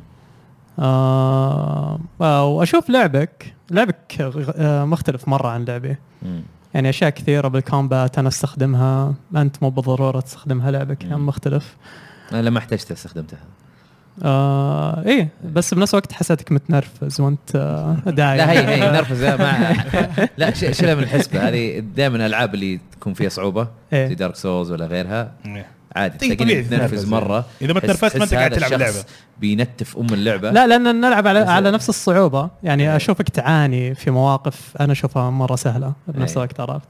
D: آه واشوف لعبك لعبك غ- آه، مختلف مره عن لعبي
B: مم.
D: يعني اشياء كثيره بالكومبات انا استخدمها انت مو بالضروره تستخدمها لعبك يعني
B: مم.
D: مختلف
B: انا لما احتجتها استخدمتها
D: آه ايه بس بنفس الوقت حسيتك متنرفز وانت آه، داعي
B: لا هي هي نرفزه ما لا ش- شيلها من الحسبه هذه دائما الالعاب اللي تكون فيها صعوبه
D: إيه. طيب،
B: زي دارك سولز ولا غيرها
A: إيه.
B: عادي
A: إيه،
B: تلاقيني
A: طبيعي
B: متنرفز
A: تتنرفز.
B: مره
A: إذا ما
B: تحس-
A: تنرفزت ما أنت
B: تحس
A: قاعد
B: هذا
A: تلعب
B: الشخص
A: اللعبة.
B: بينتف ام اللعبه
D: لا لان نلعب على
B: بس-
D: على نفس الصعوبه
B: إيه.
D: يعني اشوفك تعاني في مواقف انا اشوفها مره سهله
B: إيه.
D: بنفس الوقت عرفت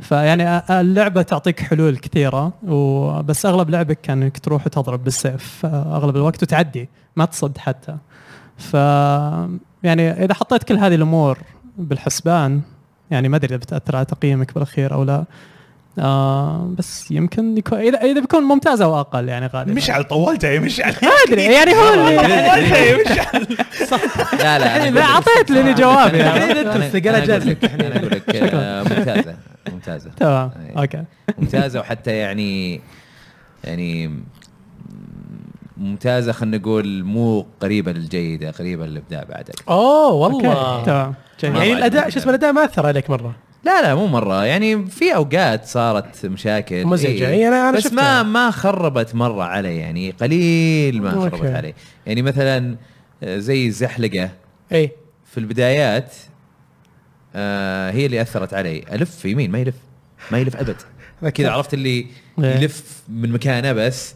D: فيعني أ- اللعبه تعطيك حلول كثيره وبس اغلب لعبك كان انك تروح وتضرب بالسيف آه، اغلب الوقت وتعدي ما تصد حتى ف يعني اذا حطيت كل هذه الامور بالحسبان يعني ما ادري اذا بتاثر على تقييمك بالاخير او لا آه بس يمكن يكون اذا اذا بيكون ممتاز او اقل يعني غالبا
A: مشعل طولتها يا مشعل
D: ما ادري يعني هو اللي
A: طولتها يا مشعل
B: لا لا أنا
D: لا
B: أقول لك-
D: اعطيت لي جوابي
B: أنا-
D: يعني.
B: أنا-
C: أنت تلصق، أنا
B: أقول لك-
C: جالس أمتحن.
B: انا اقول لك آه، ممتازه ممتازه
D: تمام
B: إيه.
D: اوكي
B: ممتازه وحتى يعني يعني م- ممتازه خلينا نقول مو قريبه للجيده قريبه للابداع بعد أكثر.
C: اوه والله
D: اوكي تمام
C: يعني
B: مرة
C: الاداء
B: عجبني.
C: شو اسمه الاداء ما اثر عليك مره
B: لا لا مو مره يعني في اوقات صارت مشاكل
C: مزعجة. إي، أنا- أنا
B: بس ما
C: شفتها.
B: ما خربت مره علي يعني قليل ما
C: أوكي.
B: خربت علي يعني مثلا آه، زي الزحلقه
C: اي
B: في البدايات آه هي اللي اثرت علي الف يمين ما يلف ما يلف ابد كذا عرفت اللي
D: إيه.
B: يلف من مكانه بس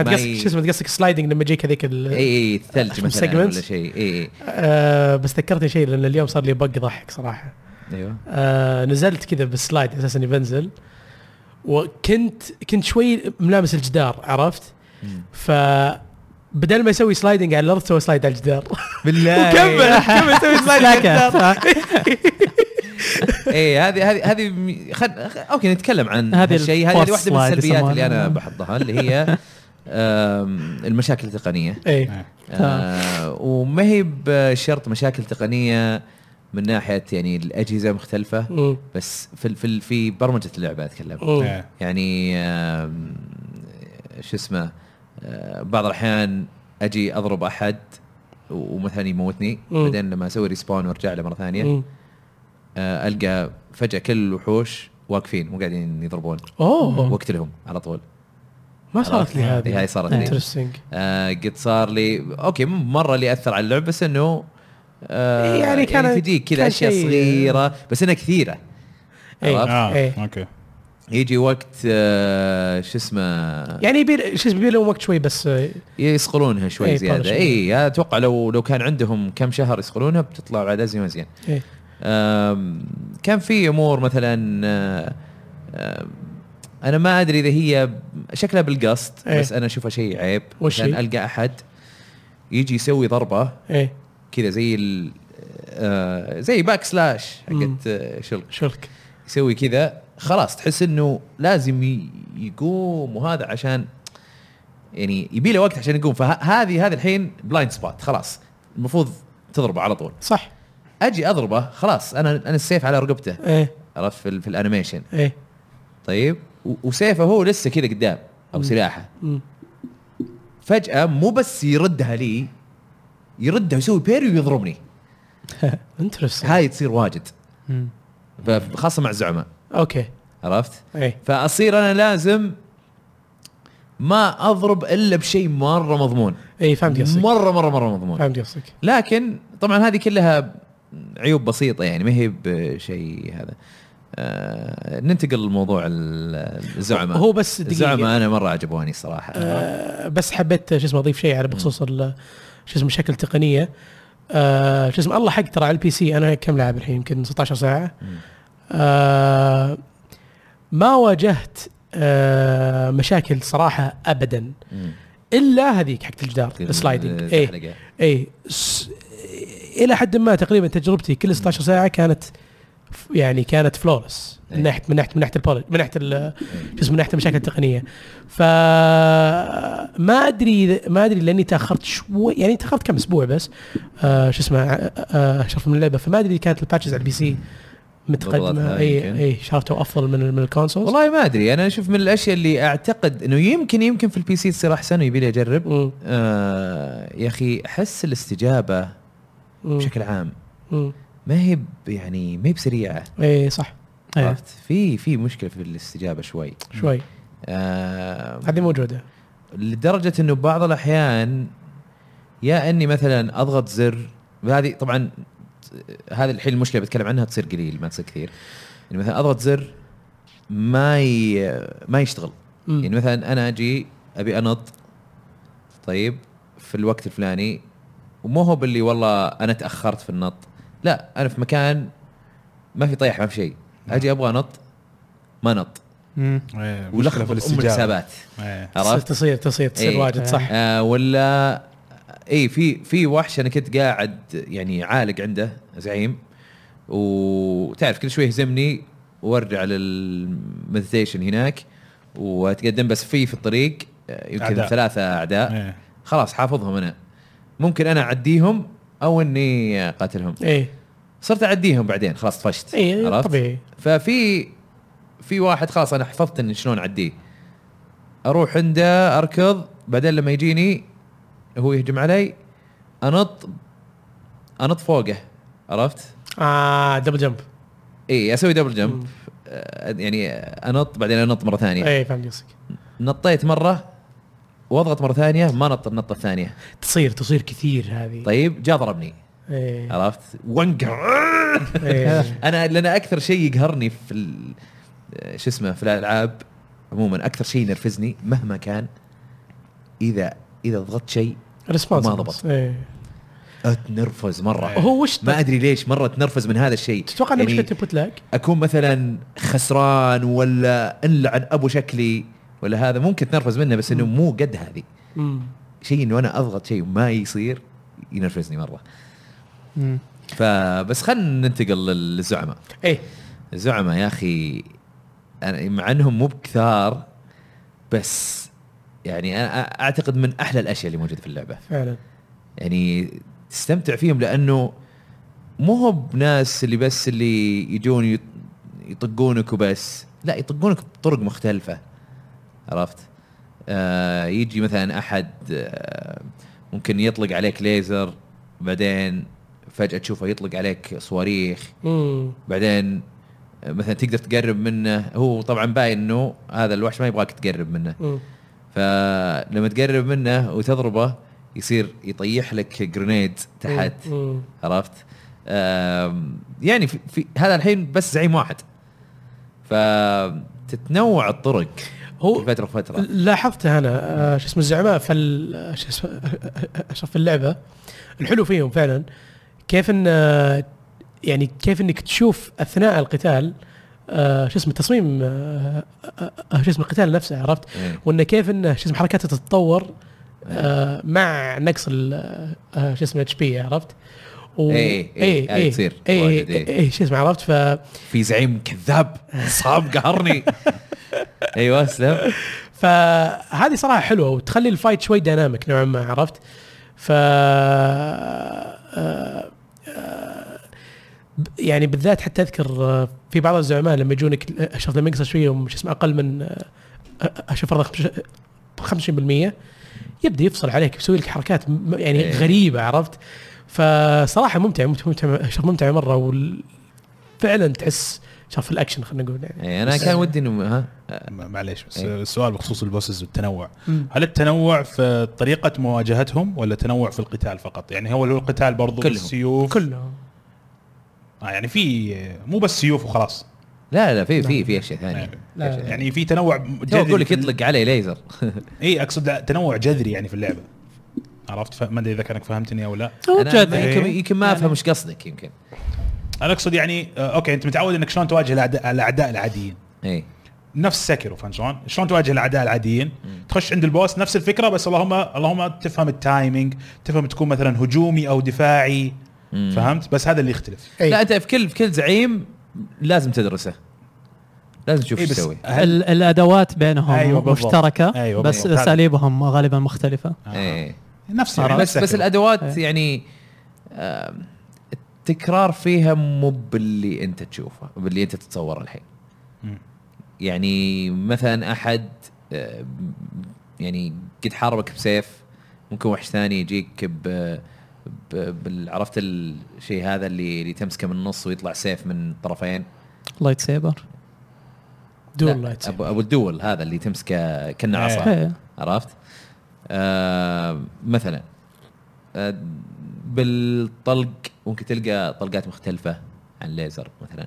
C: انت
B: ما إيه.
C: قصدك
B: ي-
C: شو اسمه أنت قصدك سلايدنج لما يجيك هذيك ال-
B: اي اي الثلج
C: خمس
B: مثلا
C: segments.
B: ولا شيء إيه، اي اي
C: آه بس ذكرتني شيء لان اليوم صار لي بق ضحك صراحه
B: ايوه
C: آه نزلت كذا بالسلايد اساسا اني بنزل وكنت كنت شوي ملامس الجدار عرفت؟
B: مم.
C: ف بدل ما يسوي سلايدنج على الارض سوى سلايد على الجدار
B: بالله
C: وكمل كمل يسوي سلايد على الجدار
B: اي إيه، هذه هذه هذه م- خل... خ- اوكي نتكلم عن
D: هذه
B: هذه الشيء هذه
D: الفورس
B: هذه واحده من
D: slide
B: السلبيات اللي انا
D: يسمونها.
B: بحطها اللي هي آم، المشاكل التقنيه
C: اي
A: إيه.
B: آه، وما هي بشرط مشاكل تقنيه من ناحيه يعني الاجهزه مختلفه
C: مم.
B: بس في ال- في ال- في برمجه اللعبه اتكلم
C: مم.
A: إيه.
B: يعني آم، شو اسمه آه، بعض الاحيان اجي اضرب احد و- ومثلا يموتني
C: مم.
B: بعدين لما اسوي ريسبون وارجع له مره ثانيه
C: مم.
B: آه، القى فجاه كل الوحوش واقفين مو قاعدين يضربون
C: اوه
B: واقتلهم على طول
C: ما صارت لي
B: عرفت؟
C: هذه
B: هاي Mm. صارت لي
C: انترستنج
B: آه، قد صار لي اوكي مو مره اللي اثر على اللعب بس انه آه
C: إيه، يعني كان-
B: تجيك كذا
C: كان
B: اشياء
C: شيء-
B: صغيره بس انها كثيره
C: إيه.
B: عرفت؟
A: اه
C: إيه.
A: اوكي
B: يجي وقت آه، شو اسمه
C: يعني يبي شو اسمه يبي لهم وقت شوي بس آه،
B: يصقلونها شوي
C: إيه،
B: زياده
C: طبعاً.
B: اي اتوقع لو لو كان عندهم كم شهر يصقلونها بتطلع على زي ما زين
C: إيه.
B: أم، كان في امور مثلا آه، آه، انا ما ادري اذا هي شكلها بالقصد
C: إيه.
B: بس انا اشوفها شيء عيب
C: وش
B: عشان
C: هي؟
B: القى احد يجي يسوي ضربه
C: ايه
B: كذا زي ال آه، زي باك سلاش حقت آه، شلق
C: شرك
B: يسوي كذا خلاص تحس انه لازم ي- يقوم وهذا عشان يعني يبي له وقت عشان يقوم فهذه هذه الحين بلايند سبوت خلاص المفروض تضربه على طول
C: صح
B: اجي اضربه خلاص انا انا السيف على رقبته
C: ايه
B: عرفت في, ال- في الانيميشن
C: ايه
B: طيب و- وسيفه هو لسه كذا قدام او سلاحه
C: مم.
B: فجاه مو بس يردها لي يردها ويسوي بيري ويضربني
C: انترستنج
B: هاي تصير واجد
D: مم.
B: ف- خاصه مع الزعماء
C: اوكي
B: عرفت
C: اي
B: فاصير انا لازم ما اضرب الا بشيء مره مضمون
C: اي إيه، فهمت قصدك
B: مره مره مره مضمون
C: فهمت قصدك
B: لكن طبعا هذه كلها عيوب بسيطه يعني ما هي بشيء هذا آه ننتقل لموضوع ال- الزعماء
C: هو بس دقيقه
B: الزعماء انا مره عجبوني صراحه
C: آه، بس حبيت شو اسمه اضيف شيء على بخصوص ال- شو اسمه مشاكل تقنيه آه، شو اسمه الله حق ترى على البي سي انا كم لاعب الحين يمكن 16 ساعه
B: مم.
C: آه، ما واجهت آه، مشاكل صراحه ابدا
B: مم.
C: الا هذيك حقت الجدار
B: آه،
C: إيه. السلايدنج اي
B: الزحلقة.
C: اي إيه، س- الى حد ما تقريبا تجربتي كل 16 ساعه كانت ف- يعني كانت فلولس
B: إيه.
C: من ناحيه من ناحيه من ناحيه البولج من ناحيه ال-
B: إيه.
C: شو اسمه من ناحيه المشاكل التقنيه ف ما ادري إذا- ما ادري لاني تاخرت شوي يعني تاخرت كم اسبوع بس آه شو اسمه آه، آه، شرف من اللعبه فما ادري إذا كانت الباتشز على إيه، البي سي متقدمه
B: ضبطتها
C: اي
B: يمكن.
C: اي شافته افضل من من الكونسولز
B: والله ما ادري انا اشوف من الاشياء اللي اعتقد انه يمكن يمكن في البي سي تصير احسن ويبي لي اجرب
C: مم،
B: آه يا اخي احس الاستجابه
C: مم،
B: بشكل عام
C: مم.
B: ما هي ب- يعني ما هي بسريعه
C: اي صح إيه،
D: ايه
B: عرفت في في مشكله في الاستجابه شوي
C: شوي
B: آه
C: هذه موجوده
B: لدرجه انه بعض الاحيان يا اني مثلا اضغط زر هذه طبعا هذه الحين المشكله بتكلم عنها تصير قليل ما تصير كثير يعني مثلا اضغط زر ما ي... ما يشتغل
C: مم.
B: يعني مثلا انا اجي ابي انط طيب في الوقت الفلاني ومو هو باللي والله انا تاخرت في النط لا انا في مكان ما في طيح ما في شيء اجي ابغى انط ما نط
D: مم.
A: إيه، نعم. مشكلة في
B: ولخبط ام
A: الاستجابه
B: الحسابات
A: إيه.
B: عرفت
C: تصير تصير تصير
B: إيه.
C: واجد صح
B: آه ولا اي في في وحش انا كنت قاعد يعني عالق عنده زعيم وتعرف كل شوي يهزمني وارجع للمديتيشن هناك واتقدم بس في في الطريق آه، يمكن
A: أعداء.
B: أعداء. ثلاثه اعداء
A: إيه.
B: خلاص حافظهم انا ممكن انا اعديهم او اني اقاتلهم
C: ايه
B: صرت اعديهم بعدين خلاص طفشت
C: ايه
B: عرفت؟
C: طبيعي
B: ففي في واحد خلاص انا حفظت ان شلون اعديه اروح عنده اركض بعدين لما يجيني هو يهجم علي انط انط فوقه عرفت؟
C: اه دبل جمب
B: اي اسوي دبل جمب
C: مم.
B: آه، يعني انط بعدين انط مره ثانيه
C: ايه فهمت قصدك
B: نطيت مره واضغط مره ثانيه ما نط النطه الثانيه
C: تصير تصير كثير هذه
B: طيب جا ضربني
C: ايه
B: عرفت؟ وانقع
C: ايه
B: انا لان اكثر شيء يقهرني في ال- شو اسمه في الالعاب عموما اكثر شيء ينرفزني مهما كان اذا اذا ضغطت شيء
C: ريسبونس
B: ما ضبط.
C: ايه
B: اتنرفز مره
C: هو وش
B: ما ادري ليش مره اتنرفز من هذا الشيء
C: إيه. تتوقع انه
B: يعني
C: مشكله انبوت لاج؟
B: اكون مثلا خسران ولا انلعن ابو شكلي ولا هذا ممكن تنرفز منه بس انه مو قد هذه شيء انه انا اضغط شيء وما يصير ينرفزني مره
D: مم.
B: فبس خلينا ننتقل للزعماء
C: ايه
B: الزعماء يا اخي أنا مع انهم مو بكثار بس يعني انا اعتقد من احلى الاشياء اللي موجوده في اللعبه
C: فعلا
B: يعني تستمتع فيهم لانه مو هو بناس اللي بس اللي يجون يط- يطقونك وبس لا يطقونك بطرق مختلفه عرفت آه يجي مثلا احد آه ممكن يطلق عليك ليزر بعدين فجاه تشوفه يطلق عليك صواريخ
C: مم.
B: بعدين مثلا تقدر تقرب منه هو طبعا باين انه هذا الوحش ما يبغاك تقرب منه
C: مم.
B: فلما تقرب منه وتضربه يصير يطيح لك جرينيد
C: إيه.
B: تحت
C: مم.
B: عرفت آم، يعني في, في هذا الحين بس زعيم واحد فتتنوع الطرق
C: هو-
B: من فتره فتره
C: لاحظته انا آه، شو اسمه الزعماء فال شو اسمه اشرف في اللعبه الحلو فيهم فعلا كيف ان آه، يعني كيف انك تشوف اثناء القتال آه، شو اسمه تصميم آه، آه، آه، شو اسمه القتال نفسه عرفت
B: إيه.
C: وانه كيف انه شو اسمه حركاته تتطور آه، مع نقص ال- آه، شو اسمه اتش بي عرفت و...
B: إيه، إيه،
C: إيه،
B: هاي
C: إيه،
B: تصير
C: إيه،
B: واجد، إيه.
C: إيه، إيه، شو اسمه عرفت ف
B: في زعيم كذاب صعب قهرني ايوه اسلم
C: فهذه صراحه حلوه وتخلي الفايت شوي ديناميك نوعا ما عرفت ف آه، آه، ب- يعني بالذات حتى اذكر آه، في بعض الزعماء لما يجونك آه، شوف لما يقصر شويه وم- شو اسمه اقل من آه، آه، شوف فرضا 25% يبدا يفصل عليك يسوي لك حركات م- يعني
B: إيه.
C: غريبه عرفت فصراحه ممتع ممتع ممتع شرف ممتع مره وال- فعلا تحس شرف الاكشن خلينا نقول يعني
B: إيه، انا كان ودي انه ها
A: م- معليش بس
B: إيه.
A: السؤال بخصوص البوسز والتنوع
C: مم.
A: هل التنوع في طريقه مواجهتهم ولا تنوع في القتال فقط يعني هو هو القتال برضو
B: كلهم.
A: بالسيوف
C: كله
A: آه يعني في مو بس سيوف وخلاص
B: لا لا في في
C: نعم.
B: في اشياء ثانيه
A: نعم.
C: لا،
B: أشياء
A: يعني في تنوع
B: تو اقول لك
A: في ال-
B: يطلق علي ليزر
A: اي اقصد لا، إيه، تنوع جذري يعني في اللعبه عرفت ف- ما ادري اذا كانك فهمتني او لا
D: هو
B: أنا
D: جد
B: ما-
A: إيه.
B: يمكن يمكن ما
D: يعني-
B: افهم ايش قصدك يمكن
A: انا اقصد يعني آه، اوكي انت متعود انك شلون تواجه الأعداء- الاعداء العاديين
B: اي
A: نفس سكرو فهمت شلون؟ شلون تواجه الاعداء العاديين؟
B: مم.
A: تخش عند البوس نفس الفكره بس اللهم اللهم تفهم التايمينج، تفهم تكون مثلا هجومي او دفاعي
B: مم.
A: فهمت؟ بس هذا اللي يختلف.
C: أي.
B: لا انت في كل في كل زعيم لازم تدرسه لازم تشوف
A: إيه
B: ايش
A: بس
B: يسوي
A: هل-
D: ال- الادوات بينهم
A: أيوة بالضبط.
D: مشتركه
A: أيوة
D: بس
A: بالضبط.
D: اساليبهم غالبا مختلفه
A: آه.
B: إيه.
A: نفس يعني
B: بس
A: نفس
B: بس
A: سكرو.
B: الادوات
D: إيه.
B: يعني آم، التكرار فيها مو باللي انت تشوفه باللي انت تتصوره الحين
A: مم.
B: يعني مثلا احد آه، يعني قد حاربك بسيف ممكن وحش ثاني يجيك ب ب- بال- عرفت الشيء هذا اللي اللي تمسكه من النص ويطلع سيف من الطرفين
D: لايت سيبر
C: دول
B: لا،
C: لايت
B: ابو أبو الدول هذا اللي تمسكه كنا
A: إيه.
B: عصا
D: إيه.
B: عرفت؟ آه مثلا آه بالطلق ممكن تلقى طلقات مختلفه عن ليزر مثلا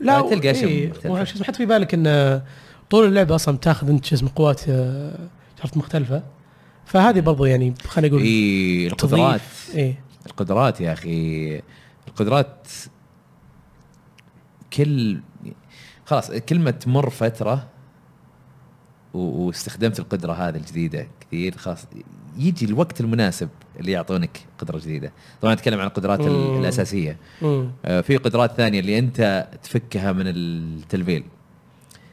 C: لا
B: تلقى
C: و-
B: أشياء
C: إيه،
B: مختلفة.
C: وش اسمه حط في بالك ان طول اللعبه اصلا تاخذ انت شو اسمه قوات آه، شرف مختلفه فهذه برضو يعني خلينا نقول
B: اي إيه، القدرات
C: تضيف اي
B: القدرات يا اخي القدرات كل خلاص كلمة مر فترة و- واستخدمت القدرة هذه الجديدة كثير خلاص يجي الوقت المناسب اللي يعطونك قدرة جديدة طبعا اتكلم عن القدرات ال-
C: مم.
B: الأساسية
C: مم.
B: آه، في قدرات ثانية اللي أنت تفكها من التلفيل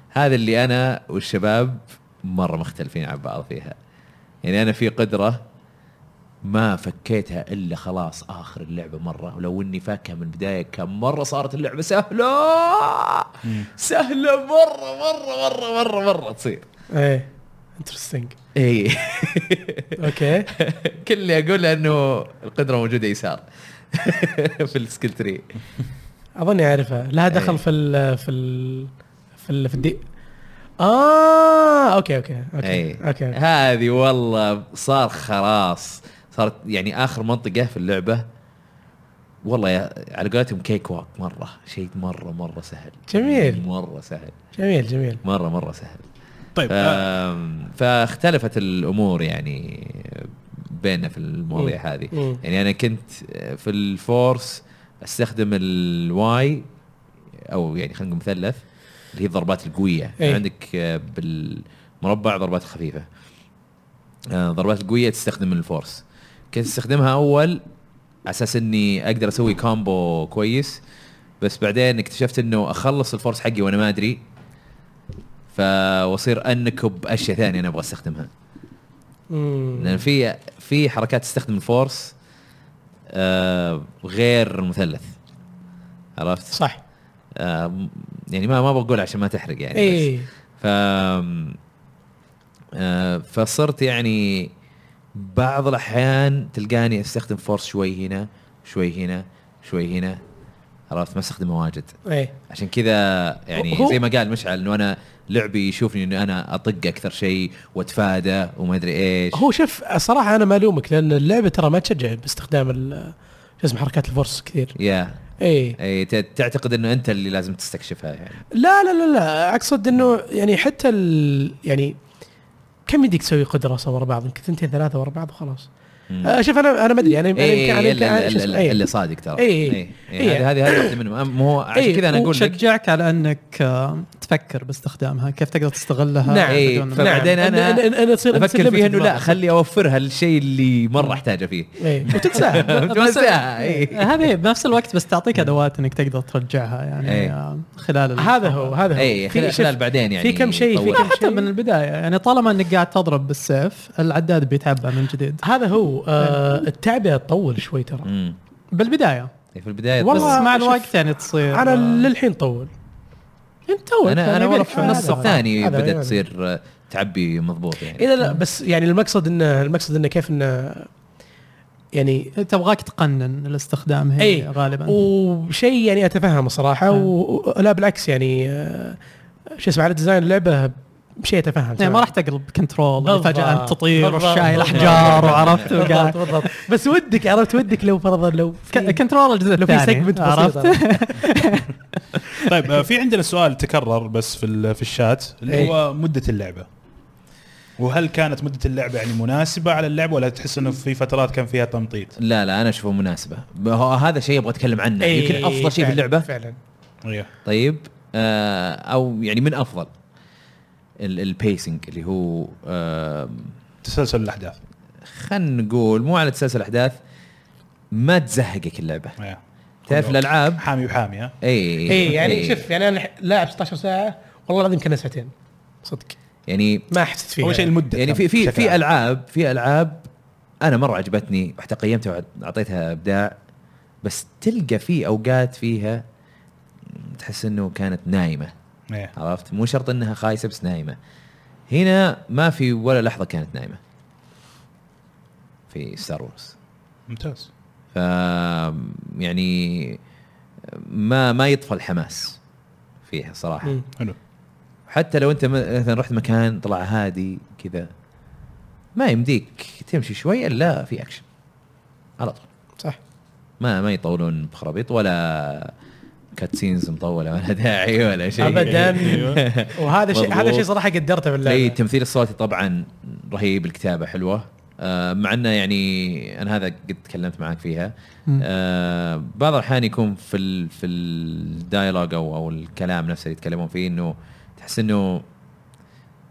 B: هذا اللي أنا والشباب مرة مختلفين عن بعض فيها يعني أنا في قدرة ما فكيتها إلا خلاص آخر اللعبة مرة ولو إني فاكها من البداية كم مرة صارت اللعبة سهلة
A: مم.
B: سهلة مرة مرة مرة مرة مرة تصير
C: ايه انترستنج
B: اي
C: اوكي
B: كل اللي اقوله انه القدره موجوده يسار في السكيل تري
C: اظني اعرفها لها
B: إيه.
C: دخل في ال في ال في ال في الدي اه اوكي اوكي اوكي
B: اي
C: اوكي
B: إيه. هذه والله صار خلاص صارت يعني اخر منطقه في اللعبه والله يا على قولتهم كيك واك مره شيء مره مره سهل
C: جميل.
B: مره سهل
C: جميل جميل
B: مره مره سهل
A: طيب آه.
B: آم، فاختلفت الامور يعني بيننا في المواضيع هذه
C: مم.
B: يعني انا كنت في الفورس استخدم الواي او يعني خلينا نقول مثلث اللي هي الضربات القويه
C: إيه.
B: عندك آه، بالمربع ضربات خفيفه آه، ضربات القويه تستخدم الفورس كنت استخدمها اول على اساس اني اقدر اسوي كومبو كويس بس بعدين اكتشفت انه اخلص الفورس حقي وانا ما ادري فواصير انكب اشياء ثانيه انا ابغى استخدمها
C: مم.
B: لان في في حركات تستخدم الفورس آه غير المثلث عرفت؟
C: صح
B: آه م- يعني ما ما بقول عشان ما تحرق يعني بس.
C: اي
B: ف آه، فصرت يعني بعض الاحيان تلقاني استخدم فورس شوي هنا شوي هنا شوي هنا عرفت ما استخدمه واجد
C: اي
B: عشان كذا يعني
C: هو-
B: زي ما قال مشعل انه انا لعبي يشوفني انه انا اطق اكثر شيء واتفادى وما ادري ايش
C: هو شوف صراحه انا ما الومك لان اللعبه ترى ما تشجع باستخدام ال- شو اسمه حركات الفرص كثير
B: يا
C: اي
B: اي إيه، ت- تعتقد انه انت اللي لازم تستكشفها يعني
C: إيه. لا لا لا لا اقصد انه يعني حتى ال يعني كم يديك تسوي قدره اصلا ورا بعض يمكن ثنتين ثلاثه ورا بعض وخلاص
B: مم. إيه،
C: آه، شوف انا انا ما ادري انا أنا
B: اي
C: يمكن- إيه. أنا
B: اي
C: يمكن-
B: الا-
C: أنا شو
B: الا-
C: اسمه،
B: الا-
C: إي.
B: اللي صادق ترى
C: إي.
B: إي.
C: إي.
B: هذه هذه هذه واحده منهم أم- مو عشان
C: إي.
B: كذا انا اقول لك
D: وشجعك على انك آه، تفكر باستخدامها كيف تقدر تستغلها
C: نعم.
B: إيه،
D: بدون-
B: فبعدين
C: نعم.
B: أنا
C: أنا- أنا- أنا أصير- أصير
B: افكر
C: limited
B: فيها انه لا
C: مرة.
B: خلي اوفرها الشيء اللي مره احتاجه فيه
C: إيه. وتنساها
B: تنساها
C: إيه.
B: اي
D: آه، هذه بنفس الوقت بس تعطيك ادوات انك تقدر ترجعها يعني
B: إيه.
D: آه، خلال ال-
C: هذا هو هذا هو
B: اي خلال-
C: شوف،
B: إيه، خلال بعدين يعني
C: في كم شيء في
B: طول.
D: لا،
C: كم
D: حتى
C: شيء
D: من البدايه يعني طالما انك قاعد تضرب بالسيف العداد بيتعبى من جديد
C: هذا هو آه التعبئه تطول شوي ترى
B: إيه. مم. إيه،
D: بالبدايه
B: في البدايه
D: بس
C: والله
D: مع
C: شوف،
D: الوقت يعني تصير
C: انا
D: آه،
C: للحين طول يعني انت تو
B: انا انا والله في النص الثاني بدات
C: تصير
B: تصير آه، تعبي مضبوط يعني
C: اذا يعني. لا بس يعني المقصد انه المقصد انه كيف انه يعني
D: تبغاك تقنن الاستخدام هي
C: أي.
D: غالبا
C: وشيء يعني اتفهمه صراحه
D: نعم.
C: و- ولا بالعكس يعني آه، شو اسمه على ديزاين اللعبه شيء اتفهم
D: يعني ما
C: صراحة.
D: راح تقلب كنترول
C: بالضبط.
D: فجاه انت تطير
C: بالضبط.
D: شايل
C: بالضبط.
D: احجار وعرفت وقاعد-
C: بالضبط بالضبط بس ودك عرفت ودك لو فرضا لو
D: ك- كنترول الجزء
C: لو في
D: الثاني
C: سيجمنت
D: عرفت
C: عرفت
A: طيب آه، في عندنا سؤال تكرر بس في ال- في الشات اللي
C: إيه.
A: هو مده اللعبه وهل كانت مده اللعبه يعني مناسبه على اللعبه ولا تحس انه في فترات كان فيها تمطيط؟
B: لا لا انا اشوفه مناسبه ب- هو هذا شيء ابغى اتكلم عنه يمكن افضل شيء في اللعبه
C: إيه، فعلا
A: ايوه
B: طيب آه او يعني من افضل البيسنج اللي هو آه
A: تسلسل الاحداث
B: خلينا نقول مو على تسلسل احداث ما تزهقك اللعبه
A: إيه.
B: تعرف إيه، الالعاب
A: حامي وحامي ها
B: اي
C: اي يعني شوف يعني انا لاعب 16 ساعه والله العظيم كان ساعتين صدق
B: يعني
C: ما حسيت فيها
A: اول شيء المده
B: يعني في في
A: بشكل
B: في
A: عام.
B: العاب في العاب انا مره عجبتني حتى قيمتها واعطيتها ابداع بس تلقى في اوقات فيها تحس انه كانت نايمه
A: إيه.
B: عرفت مو شرط انها خايسه بس نايمه هنا ما في ولا لحظه كانت نايمه في ستار وورز
A: ممتاز
B: ف يعني ما ما يطفى الحماس فيها صراحه
C: مم.
A: حلو
B: حتى لو انت مثلا رحت مكان طلع هادي كذا ما يمديك تمشي شوي الا في اكشن على طول
C: صح
B: ما ما يطولون بخرابيط ولا كاتسينز مطوله ولا داعي ولا شيء
C: ابدا
A: أيوة.
C: وهذا شيء
B: مضبوط.
C: هذا شيء صراحه قدرته
B: اي
C: بالله
B: التمثيل الصوتي طبعا رهيب الكتابه حلوه آه مع انه يعني انا هذا قد تكلمت معك فيها
D: مم.
B: آه بعض الاحيان يكون في ال في الدايلوج او او الكلام نفسه اللي يتكلمون فيه انه تحس انه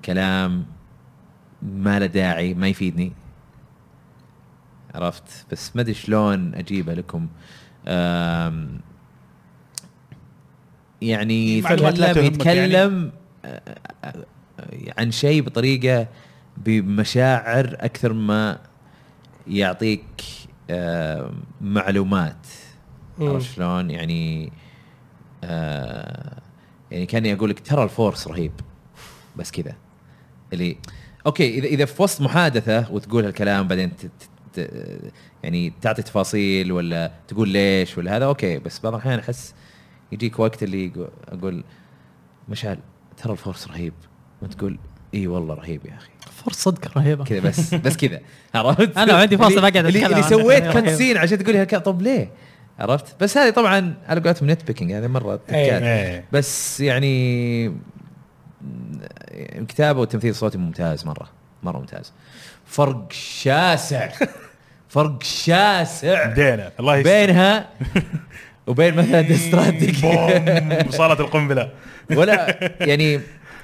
B: كلام ما له داعي ما يفيدني عرفت بس ما ادري شلون اجيبه لكم آم، يعني
A: معلومات لا
B: يتكلم
A: تهمك
B: يتكلم آه، آه، آه، عن شيء بطريقه بمشاعر اكثر ما يعطيك آه، معلومات
C: مم.
B: عرفت شلون يعني آه يعني كاني اقول لك ترى الفورس رهيب بس كذا اللي اوكي اذا اذا في وسط محادثه وتقول هالكلام بعدين ت- ت- ت- يعني تعطي تفاصيل ولا تقول ليش ولا هذا اوكي بس بعض الاحيان احس يجيك وقت اللي يقو- اقول مشعل ترى الفورس رهيب وانت تقول اي والله رهيب يا اخي
D: فرصه صدق رهيبه
B: كذا بس بس كذا عرفت
D: أنا لو عندي فرصة بقعد
B: اللي,
D: أتكلم إيه.
B: اللي
D: عنها.
B: سويت كات سين عشان تقول هالك- طب ليه عرفت بس هذه طبعا على قولتهم نت بيكينج هذه مره
C: إيه.
B: تكات.
A: ايه
B: بس يعني الكتابه والتمثيل الصوتي ممتاز مره مره ممتاز فرق شاسع فرق شاسع
A: بدينا الله يستر
B: بينها وبين مثلا ديستراتيك
A: بوم صارت القنبله
B: ولا يعني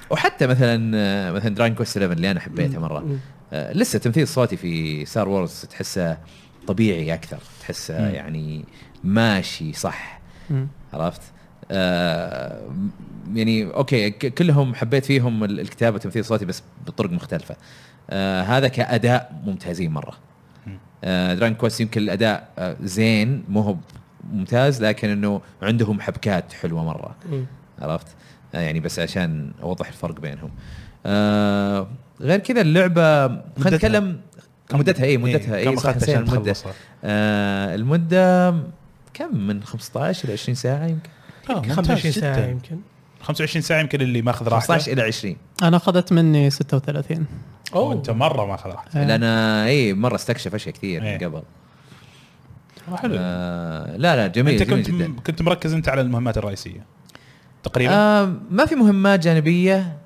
B: وحتى مثلا مثلا دراين كويست 11 اللي انا حبيتها مره آه، لسه التمثيل الصوتي في ستار وورز تحسه طبيعي اكثر تحسه
A: مم.
B: يعني ماشي صح
D: مم.
B: عرفت آه يعني اوكي ك- كلهم حبيت فيهم ال- الكتابه والتمثيل الصوتي بس بطرق مختلفه آه هذا كاداء ممتازين مره
A: مم.
B: آه دراين كويست يمكن الاداء آه زين مو هو ممتاز لكن انه عندهم حبكات حلوه مره
C: مم.
B: عرفت آه، يعني بس عشان اوضح الفرق بينهم آه غير كذا اللعبه خلينا
A: مدتها.
B: نتكلم مدتها اي مدتها
A: إيه. كم
B: اي صح
A: اخذت
B: نسينا
A: عشان
B: المده
A: تخلصها؟
B: آه المده كم من 15 الى 20 ساعه يمكن
A: آه، ممتاز
C: 25 ساعه
A: جداً.
C: يمكن
A: 25 ساعه يمكن اللي ماخذ راحته
B: 15 الى 20
D: انا اخذت مني 36
A: وانت مره ماخذ راحته
D: آه،
B: لان اي مره إيه، استكشف اشياء كثير
A: إيه.
B: من قبل
A: حلو
B: آه لا لا جميل
A: انت
B: جميل
A: كنت
B: جدا
A: كنت مركز انت على المهمات الرئيسيه تقريبا
B: آه ما في مهمات جانبيه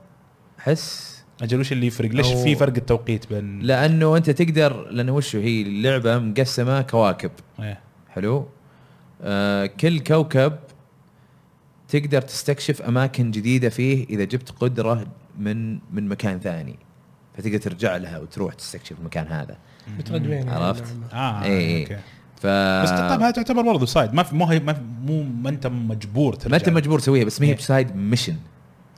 B: احس
A: اجل وش اللي يفرق ليش
B: أو-
A: في فرق التوقيت بين
B: لانه انت تقدر لانه وش هي اللعبه مقسمه كواكب
A: إيه.
B: حلو آه كل كوكب تقدر تستكشف اماكن جديده فيه اذا جبت قدره من من مكان ثاني فتقدر ترجع لها وتروح تستكشف المكان هذا
C: متردوين
B: عرفت؟
A: اه
B: إيه. آه.
A: اوكي
B: ف
A: بس طب هذا تعتبر برضه سايد ما في مو هي- ما في- مو ما انت مجبور ترجع
B: ما انت مجبور تسويها بس ما هي
A: إيه.
B: بسايد ميشن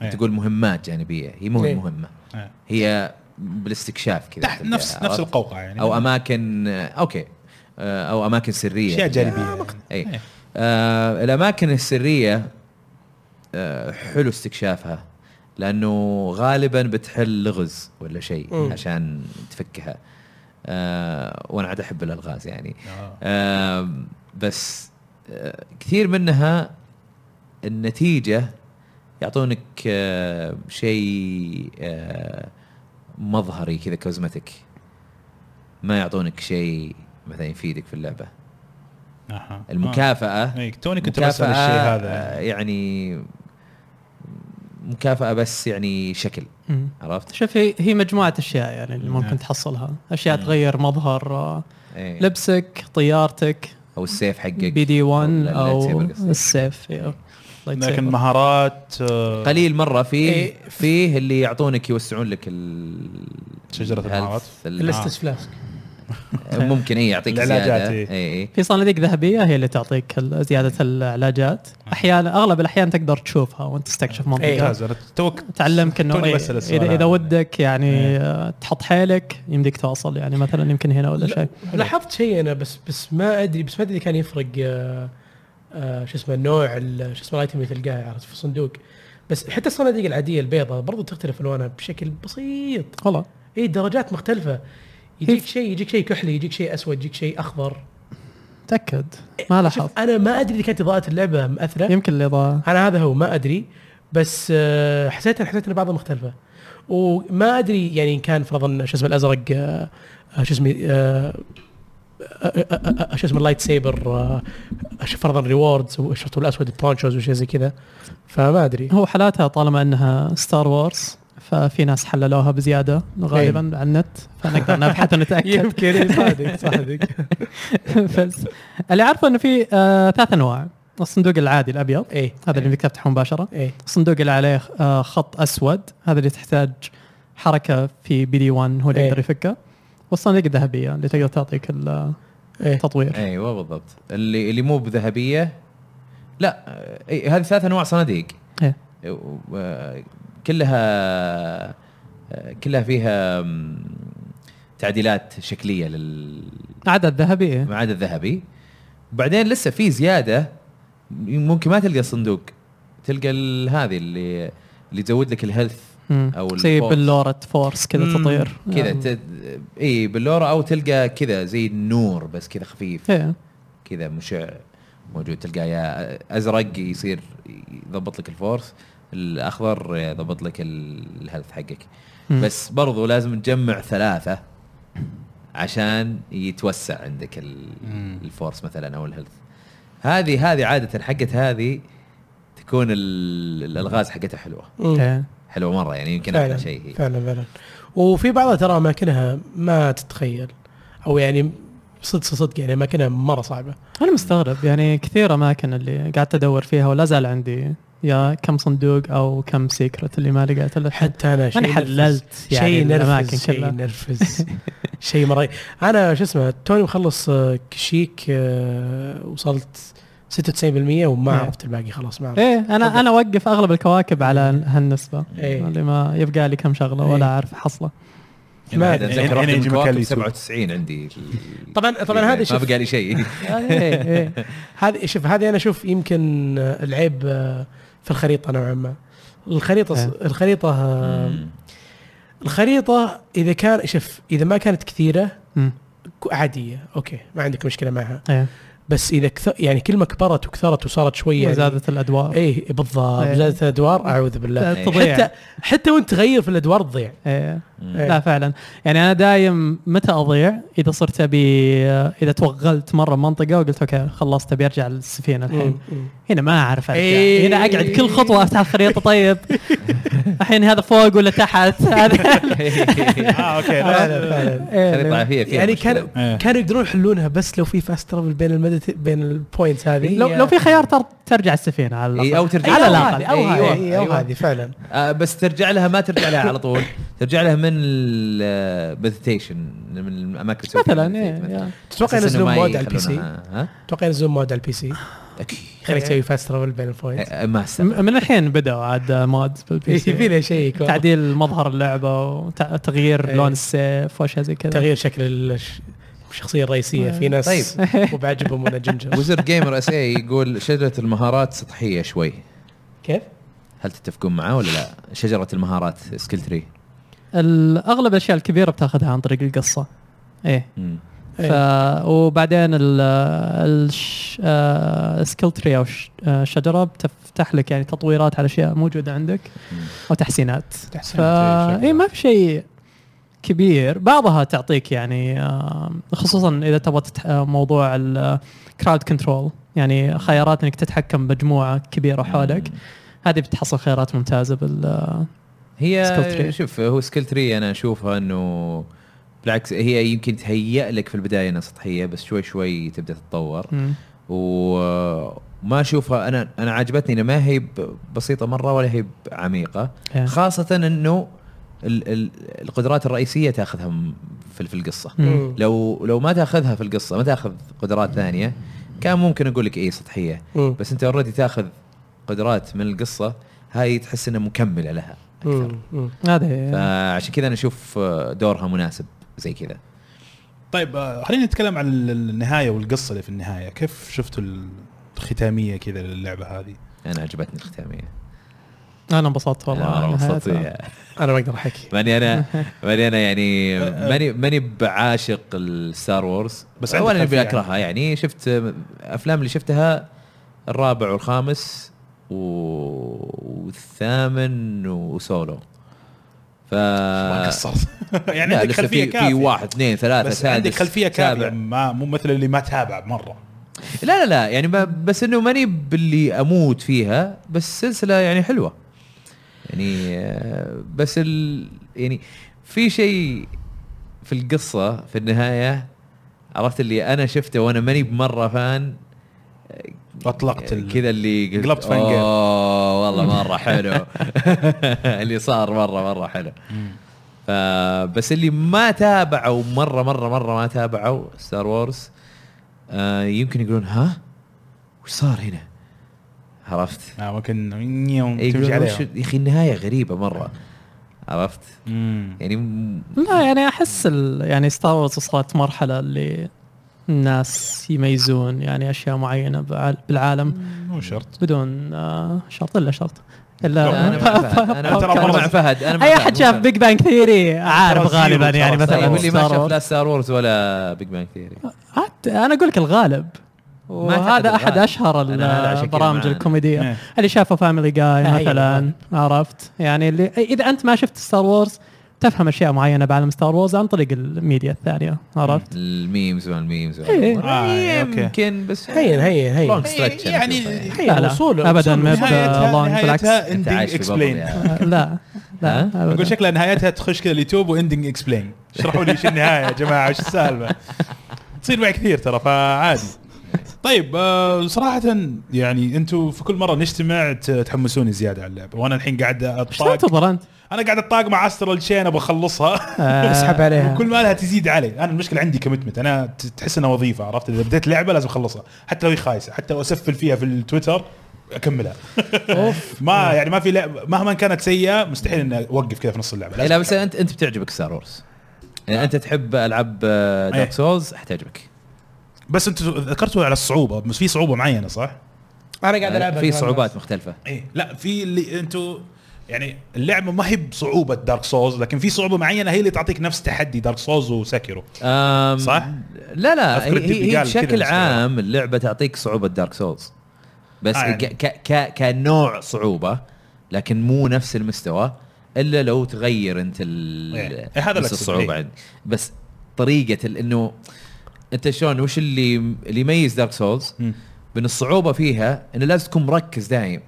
A: إيه.
B: تقول مهمات جانبيه هي مو
C: إيه.
B: مهمه
A: إيه.
B: هي بالاستكشاف كذا
A: تحت
B: تبدأ،
A: نفس
B: عرفت؟
A: نفس القوقعه يعني
B: او اماكن آه، اوكي آه، او اماكن سريه
A: اشياء
B: كذا.
A: جانبيه يعني.
B: اي آه الاماكن السريه آه، حلو استكشافها لانه غالبا بتحل لغز ولا شيء
C: مم.
B: عشان تفكها آه، وانا عاد احب الالغاز يعني
A: آه.
B: آم، بس آه، كثير منها النتيجة يعطونك آه، شيء آه، مظهري كذا كوزمتك ما يعطونك شيء مثلا يفيدك في اللعبة
A: أها.
B: المكافأة
A: آه. إيه، توني كنت بسال الشيء
B: آه،
A: هذا
B: يعني مكافأة بس يعني شكل
D: مم.
B: عرفت؟
D: شوف هي هي مجموعه اشياء يعني اللي
A: نعم.
D: ممكن تحصلها اشياء
B: مم.
D: تغير مظهر آه،
B: إيه.
D: لبسك طيارتك
B: او السيف حقك
D: بي دي 1
B: أو اللايت
D: او
B: سيبر قصدي.
D: السيف يا. لايت
A: لكن
D: سيبر.
A: مهارات آه،
B: قليل مره في
C: إيه.
B: فيه اللي يعطونك يوسعون لك ال
A: شجرة
B: الهيلث،
A: المهارات.
B: ال- آه،
C: الاستس فلاسك
B: ممكن اي يعطيك
A: العلاجات،
B: زياده
A: إيه.
B: اي
D: في صناديق ذهبيه هي اللي تعطيك ال- زياده العلاجات احيانا اغلب الاحيان تقدر تشوفها وانت تستكشف
C: إيه.
D: منطقه
A: ممتاز انا إيه، توك
D: تعلمك انه
A: توني
D: إيه،
A: بسأل السؤال
D: اذا
A: هذا.
D: اذا ودك يعني
A: إيه.
D: آه، تحط حيلك يمديك تواصل يعني مثلا يمكن هنا ولا
C: لا،
D: شيء
C: لاحظت شيء انا بس بس ما ادري بس ما ادري كان يفرق آه، آه، شو اسمه النوع ال- شو اسمه الايتم اللي تلقاها عرفت في الصندوق بس حتى الصناديق العاديه البيضاء برضو تختلف الوانها بشكل بسيط
D: والله
C: اي درجات مختلفه
D: هي-
C: يجيك شيء يجيك شيء كحلي يجيك شيء اسود يجيك شيء اخضر
D: تاكد ما لاحظت
C: شوف انا ما ادري اذا كانت اضاءه اللعبه مأثره
D: يمكن الاضاءه
C: انا هذا هو ما ادري بس آه، حسيت حسيت ان بعضها مختلفه وما ادري يعني ان كان فرضا شو اسمه الازرق آه، آه، شو اسمه آه، آه، آه، آه، آه، شو اسمه اللايت سيبر آه، شو فرضا ريوردز وشفت الاسود بونشوز وشيء زي كذا فما ادري
D: هو حالاتها طالما انها ستار وورز ففي ناس حللوها بزياده غالبا على النت فنقدر نبحث ونتاكد
C: إيه. يمكن إيه، صادق صادق
D: بس اللي اعرفه انه في آه ثلاث انواع الصندوق العادي الابيض
B: إيه.
C: ايه
D: هذا اللي يمديك تفتحه مباشره
C: ايه
D: الصندوق اللي عليه آه خط اسود هذا اللي تحتاج حركه في بي دي 1 هو اللي
C: إيه.
D: يقدر يفكه والصناديق الذهبيه اللي تقدر تعطيك ال- آه،
C: ايه
D: التطوير
B: ايوه بالضبط اللي اللي مو بذهبيه لا أي هذه ثلاث انواع صناديق
D: إيه.
B: و- كلها آه، كلها فيها م، تعديلات شكليه لل
D: عدد ذهبي إيه.
B: ما عدا الذهبي بعدين لسه في زياده ممكن ما تلقى الصندوق تلقى ال- هذه اللي اللي تزود لك الهيلث
D: مم.
B: أو
D: زي
B: الفورس.
D: بلورة فورس كذا
B: مم.
D: تطير
B: كذا
D: يعني.
B: ت... اي باللورا او تلقى كذا زي النور بس كذا خفيف
D: إيه.
B: كذا مشع موجود تلقى يا ازرق يصير يضبط لك الفورس الاخضر يضبط لك ال- الهيلث حقك
D: مم.
B: بس برضو لازم تجمع ثلاثه عشان يتوسع عندك ال...
A: مم.
B: الفورس مثلا او الهيلث هذه هذه عاده حقت هذه تكون ال- الالغاز حقتها حلوه
C: مم.
D: إيه.
B: حلوه مره يعني يمكن
C: فعلا
B: احلى شيء هي
C: فعلا فعلا وفي بعضها ترى اماكنها ما تتخيل او يعني صدق صدق يعني اماكنها مره صعبه
D: انا مستغرب يعني كثير اماكن اللي قعدت ادور فيها ولا زال عندي يا كم صندوق او كم سيكرت اللي ما لقيت الا
C: حتى انا شيء
D: ماني حللت يعني
C: شيء
D: الاماكن
C: نرفز شيء
D: كلها
C: نرفز شيء مره انا شو اسمه توني مخلص آه، كشيك آه، وصلت 96% وما
D: إيه.
C: عرفت الباقي خلاص ما عرفت
D: ايه انا انا اوقف اغلب الكواكب على هالنسبه
C: إيه.
D: اللي ما يبقى لي كم شغله ولا
C: إيه.
D: اعرف حصله
C: ما
B: ما
C: أدري.
B: اتذكر
A: يعني
B: رحت
A: يجي مكان
B: الكواكب
A: يسوق.
B: 97 عندي
C: طبعا طبعا هذا
B: ما
C: شوف
B: بقى لي شيء
C: آه،
D: إيه، إيه.
C: هذه شوف هذه انا اشوف يمكن آه، العيب آه، في الخريطه نوعا ما الخريطه
D: إيه.
C: الخريطه آه، الخريطه اذا كان شوف اذا ما كانت كثيره
D: مم.
C: ك- عاديه اوكي ما عندك مشكله معها
D: إيه.
C: بس اذا كثر يعني كل ما كبرت وكثرت وصارت شويه
D: وزادت الادوار
C: يعني اي بالضبط
D: إيه.
C: زادت الادوار اعوذ بالله
D: لا تضيع.
C: إيه. يعني حتى حتى وانت تغير في الادوار تضيع
D: إيه.
B: مم.
C: إيه.
D: لا فعلا يعني انا دايم متى اضيع اذا صرت ابي اذا توغلت مره منطقه وقلت اوكي خلصت ابي ارجع للسفينه الحين هنا ما اعرف ارجع
C: إيه.
D: هنا اقعد كل خطوه افتح الخريطه طيب الحين هذا فوق ولا تحت هذا
A: اه اوكي
C: فعلا
A: لا-
B: خريطه فيها
C: فعلا
B: فيها
C: يعني
B: مشكلة.
C: كان
A: إيه.
C: كانوا يقدرون يحلونها بس لو في فاست ترافل بين المدت بين البوينتس هذه
D: لو لو في خيار تر- ترجع السفينه على الأقل.
B: إيه، او ترجع
D: على
C: على
D: الأقل.
C: الاقل او
B: أيوة،
C: هذه إيه، او
B: أيوة.
C: هذه فعلا
B: آه، بس ترجع لها ما ترجع لها على طول ترجع لها من المديتيشن من الاماكن اللي تسوي فيها
D: مثلا
B: meditate مثلاً.
D: إيه، إيه.
C: تتوقع
B: أساس إنه
C: ينزلون
B: ما
C: مود على البي سي
B: يخلونها- ها؟
C: تتوقع ينزلون مود على البي سي
B: اكيد
C: خليك تسوي فاست ترافل بين البوينتس
B: إيه، ما استبعد
D: م- من الحين بدأوا عاد مود بالبي
C: يبي
D: سي
C: له شيء يكون.
D: إيه. تعديل مظهر اللعبه وتغيير
C: إيه.
D: لون السيف واشياء زي كذا
C: تغيير شكل الش- الشخصيه الرئيسيه في ناس
B: طيب.
C: طيب. وبعجبهم ولا جنجر
B: وزر جيمر اس اي يقول شجره المهارات سطحيه شوي
C: كيف؟
B: هل تتفقون معاه ولا لا؟ شجره المهارات سكيل تري
D: اغلب الاشياء الكبيره بتاخذها عن طريق القصه ايه ف... وبعدين ال الش... آه... سكيل تري او ش... آه... شجره بتفتح لك يعني تطويرات على اشياء موجوده عندك او تحسينات ف
A: إيه،
D: اي ما في شيء كبير بعضها تعطيك يعني آه، خصوصا اذا تبغى تتح... آه، موضوع الكراود كنترول يعني خيارات انك تتحكم بمجموعه كبيره حولك هذه بتحصل خيارات ممتازه بال آه، Skill
B: هي
D: tree.
B: شوف هو سكيل تري انا اشوفها انه بالعكس هي يمكن تهيأ لك في البدايه انها سطحيه بس شوي شوي تبدا تتطور
D: مم.
B: وما اشوفها انا انا عجبتني انها ما هي ب- بسيطه مره ولا هي عميقه
D: إيه.
B: خاصه انه ال- ال- القدرات الرئيسيه تاخذها م- في في القصه
D: مم.
B: لو لو ما تاخذها في القصه ما تاخذ قدرات ثانيه كان ممكن اقول لك اي سطحيه
C: مم.
B: بس انت اوريدي تاخذ قدرات من القصه هاي تحس انها مكمله لها اكثر
C: مم. مم.
D: هذه
B: فعشان كذا انا اشوف آه، دورها مناسب زي كذا
A: طيب آه، خلينا نتكلم عن ال- النهايه والقصه اللي في النهايه كيف شفتوا ال- الختاميه كذا للعبه هذه
B: انا عجبتني الختاميه
D: انا انبسطت والله يعني
B: أنا
D: على نهايتها.
B: انبسطت إيه. فيها.
C: انا ما اقدر احكي
B: ماني انا ماني انا يعني
A: أه،
B: ماني ماني بعاشق الستار وورز
A: بس
B: بس
A: عندك
B: ولا اني
A: خلفية
B: باكرهها يعني شفت افلام اللي شفتها الرابع والخامس و- والثامن وسولو ف
A: ما قصرت يعني
B: آه، لا،
A: عندك
B: لسه
A: خلفيه
B: في-
A: كافيه
B: في واحد اثنين ثلاثة
A: بس
B: سادس،
A: عندك خلفيه
B: سابع.
A: كافيه ما مو مثل اللي ما تابع مره
B: لا لا لا يعني ب- بس انه ماني باللي اموت فيها بس سلسله يعني حلوه يعني آه، بس ال يعني في شيء في القصه في النهايه عرفت اللي انا شفته وانا ماني بمره فان يعني
A: اطلقت ال-
B: آه، كذا اللي قلت
A: قلبت فان جيم.
B: اوه والله مره حلو اللي صار مره مره حلو آه، بس اللي ما تابعوا مره مره مره ما تابعوا ستار وورز آه، يمكن يقولون ها وش صار هنا عرفت
A: آه، ممكن يوم تمشي
B: إيه، يقولون وش-
A: عليها
B: يا اخي النهايه غريبه مره عرفت
A: مم.
B: يعني م-
D: لا يعني احس ال- يعني ستار وورز وصلت مرحله اللي الناس يميزون يعني اشياء معينه بعال- بالعالم
A: مو شرط
D: بدون آه، شرط الا شرط
A: لا،
B: انا
D: الا
B: مع فهد انا
A: ترى
B: أنا مع
A: مرة-
B: فهد انا مع
D: اي
B: فهد،
D: احد
B: مو
D: شاف
B: فهد.
D: بيج بانج ثيري عارف
A: ترى
D: غالبا
A: زيرو
D: يعني
A: ترى
D: مثلا
A: زيرو.
B: طيب اللي ما
D: Star
B: شاف
D: Wars.
B: لا ستار وورز ولا بيج بانج ثيري
D: عاد انا اقول لك الغالب
B: أعتقد
D: وهذا احد
B: الغالب.
D: اشهر
B: أنا- أنا عشان كذا
D: البرامج
B: ما-
A: إيه.
D: الكوميديه اللي شافه فاميلي جاي
C: أيوة.
D: مثلا عرفت يعني اللي اذا انت ما شفت ستار وورز تفهم اشياء معينه بعالم ستار وورز عن طريق الميديا الثانيه عرفت
B: الميمز والميمز
D: إيه.
A: آه، أوكي.
B: يمكن بس
C: هين هين هين
B: لونج ستريتش أنا
A: يعني
B: أشوفها يعني.
D: لا لا
C: وصول-
D: ابدا
C: وصول
D: ما
A: نهايتها
D: لونج بالعكس
A: نهايتها
B: أنت عايش
A: اندنج
B: في بابل
A: اكسبلين
B: يعني.
D: آه، لا لا
B: ها؟
D: أبداً.
A: اقول شكلها نهايتها تخش كذا اليوتيوب واندنج اكسبلين اشرحوا لي ايش النهايه يا جماعه وش السالفه تصير معي كثير ترى فعادي طيب آه، صراحة يعني انتم في كل مرة نجتمع ت- تحمسوني زيادة على اللعبة وانا الحين قاعد
D: ايش
A: اطاق
D: تنتظر انت؟
A: انا قاعد اطاق مع استرال تشين ابغى اخلصها
D: آه،
C: اسحب عليها
A: وكل ما لها تزيد علي انا المشكله عندي كوميتمنت انا ت- تحس انها وظيفه عرفت اذا بديت لعبه لازم اخلصها حتى لو هي خايسه حتى لو اسفل فيها في التويتر اكملها اوف ما يعني ما في لعبه مهما كانت سيئه مستحيل اني اوقف كذا في نص اللعبه
B: إيه،
A: لازم
B: لا بس انت انت بتعجبك ستار وورز يعني انت تحب العاب
A: إيه.
B: دارك سولز حتعجبك
A: بس انت ذكرتوا على الصعوبه بس في صعوبه معينه صح؟
C: انا قاعد العبها
B: آه، في
C: كمان.
B: صعوبات مختلفه
A: ايه لا في اللي انتوا يعني اللعبه ما هي بصعوبه دارك سولز لكن في صعوبه معينه هي اللي تعطيك نفس تحدي دارك سولز وسكيرو
B: أم،
A: صح؟
B: لا لا
A: أذكر
B: هي-
A: التيب
B: هي هي
A: قال كذا
B: بشكل
A: بس طبعاً.
B: عام اللعبه تعطيك صعوبه دارك سولز بس
A: آه،
B: آه
A: يعني.
B: ك ك كنوع صعوبه لكن مو نفس المستوى الا لو تغير انت ال
A: إيه. إيه، هذا اللي
B: بس
A: أقصده.
B: الصعوبه
A: إيه.
B: عندي بس طريقه ال- انه انت شلون وش اللي اللي يميز دارك سولز
A: مم.
B: من الصعوبه فيها انه لازم تكون مركز دايم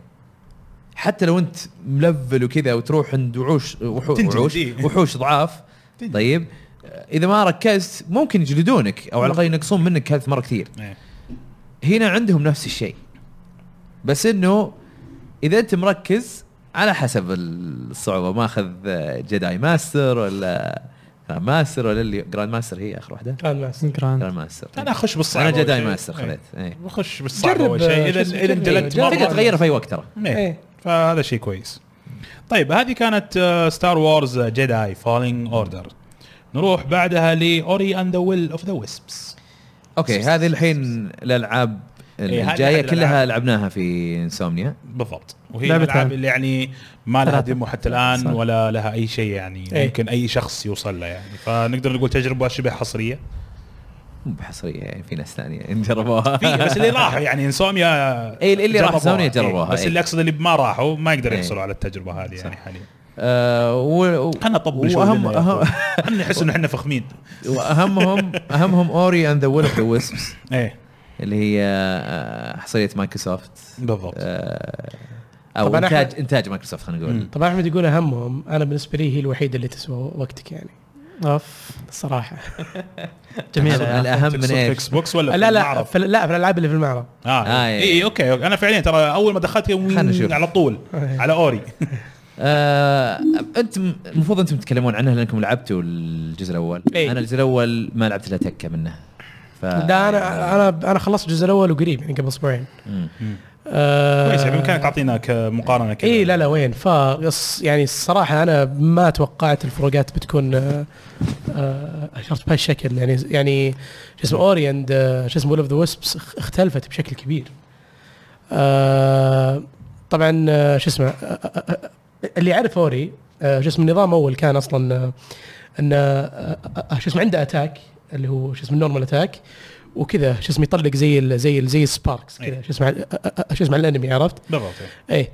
B: حتى لو انت ملفل وكذا وتروح عند وحوش وحو-
A: تنجلد،
B: وحوش
A: إيه.
B: وحوش ضعاف
A: تنجلد.
B: طيب اذا ما ركزت ممكن يجلدونك او على الاقل ينقصون منك ثلاث مره كثير
A: إيه.
B: هنا عندهم نفس الشيء بس انه اذا انت مركز على حسب الصعوبه ماخذ جداي ماستر ولا جراند ماستر ولا اللي جراند ماستر هي اخر واحده
C: كان ناس.
D: جراند.
B: جراند ماستر
A: انا اخش بالصعب
B: انا جداي ماستر خذيت إيه.
A: بخش بالصعب
C: جرب،
A: اول شيء اذا
C: شو اسمه،
A: اذا
C: جرب.
A: انجلدت
C: جرب.
A: مرة-
B: تقدر تغيره في اي وقت ترى
A: إيه.
C: إيه.
A: فهذا شيء كويس طيب هذه كانت ستار وورز جيداي فولينج اوردر نروح بعدها لاوري اند ذا ويل اوف ذا ويسبس
B: اوكي هذه الحين الالعاب
A: إيه، هذه
B: الجايه
A: أحد
B: كلها
A: الألعاب.
B: لعبناها في انسومنيا
A: بالضبط وهي
D: لعبة
A: الالعاب
D: ثانية.
A: اللي يعني ما لها
D: ثلاثة.
A: ديمو حتى الان
D: صح.
A: ولا لها اي شيء يعني
C: إيه.
A: يمكن اي شخص يوصل له يعني فنقدر نقول تجربه شبه حصريه
B: مو بحصريه يعني في ناس ثانيه جربوها
A: في بس اللي راحوا يعني انسوميا
B: إيه، اللي راح
A: جربوها.
B: إنسوميا
A: إيه،
B: جربوها،
A: بس
B: إيه.
A: اللي اقصد اللي ما راحوا ما يقدروا
B: إيه.
A: يحصلوا على التجربه هذه يعني
B: صح.
A: حاليا
B: آه، و... و...
A: خلنا نطبل شوي
B: وأهم-
A: لنا يا أخوي. خلنا نحس ان احنا فخمين
B: واهمهم اهمهم اوري اند ذا ويل اوف ذا ويسبس
C: إيه.
A: ايه
B: اللي هي آه، حصريه مايكروسوفت
A: بالضبط
B: آه، او
C: طبعاً
B: انتاج
C: أحد-
B: انتاج مايكروسوفت خلينا نقول
A: مم.
C: طبعا احمد يقول اهمهم انا بالنسبه لي هي الوحيده اللي تسوى وقتك يعني
D: اوف
C: الصراحه
D: جميله يا أخي.
B: الاهم من
A: تقصد في اكس
B: ايش؟
A: بوكس ولا في
C: لا لا
A: المعرض؟
C: في لا في الالعاب اللي في المعرض
A: اه,
B: آه،
A: اي
B: إيه.
A: إيه اوكي أوكي. انا فعليا ترى اول ما دخلت
B: خلنا نشوف.
A: يوم على طول
C: إيه.
A: على اوري
B: آه، انتم المفروض انتم تتكلمون عنها لانكم لعبتوا الجزء الاول
C: إيه.
B: انا الجزء الاول ما لعبت الا تكه منه ف...
C: لا انا انا انا خلصت الجزء الاول وقريب يعني قبل اسبوعين
B: مم.
C: آه،
A: كويس يعني بامكانك تعطينا كمقارنه كذا
C: اي إيه، لا لا وين ف يعني الصراحه انا ما توقعت الفروقات بتكون آه، آه، عرفت بهالشكل يعني يعني شو اسمه اوري اند شو اسمه اوف ذا ويسبس اختلفت بشكل كبير. آه، طبعا آه، شو اسمه آه، آه، آه، اللي يعرف اوري آه، شو اسمه النظام اول كان اصلا آه، انه آه، آه، شو اسمه عنده اتاك اللي هو شو اسمه نورمال اتاك وكذا شو اسمه يطلق زي ال زي ال زي السباركس كذا
A: إيه.
C: شو اسمه آه، آه، آه، شو اسمه على الانمي عرفت؟
A: بالضبط إيه.
C: ايه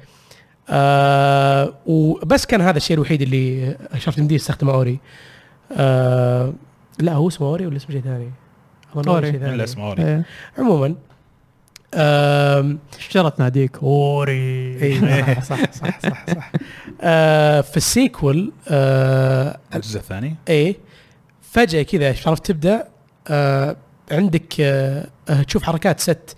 C: آه وبس كان هذا الشيء الوحيد اللي شفت مدير استخدمه اوري آه لا هو اسمه اوري ولا اسمه شيء ثاني؟ أظن
D: أوري.
C: شيء ثاني.
A: الا اسمه اوري
D: إيه.
C: عموما آم،
D: شجره ناديك اوري
C: إيه، صح صح صح صح آه في السيكول آه
A: الجزء الثاني
C: ايه فجاه كذا عرفت تبدا آه عندك آه آه، تشوف حركات ست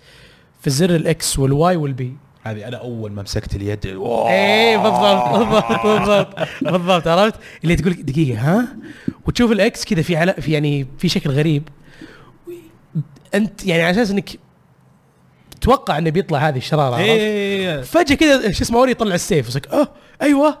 C: في زر الاكس والواي والبي
A: هذه انا اول ما مسكت اليد
C: ايه بالضبط بالضبط بالضبط بالضبط عرفت اللي تقول دقيقه ها وتشوف الاكس كذا في علا في يعني في شكل غريب انت يعني على اساس انك تتوقع انه بيطلع هذه الشراره عرفت؟
A: ايه
C: فجاه كذا شو اسمه اوري يطلع السيف وصك اه ايوه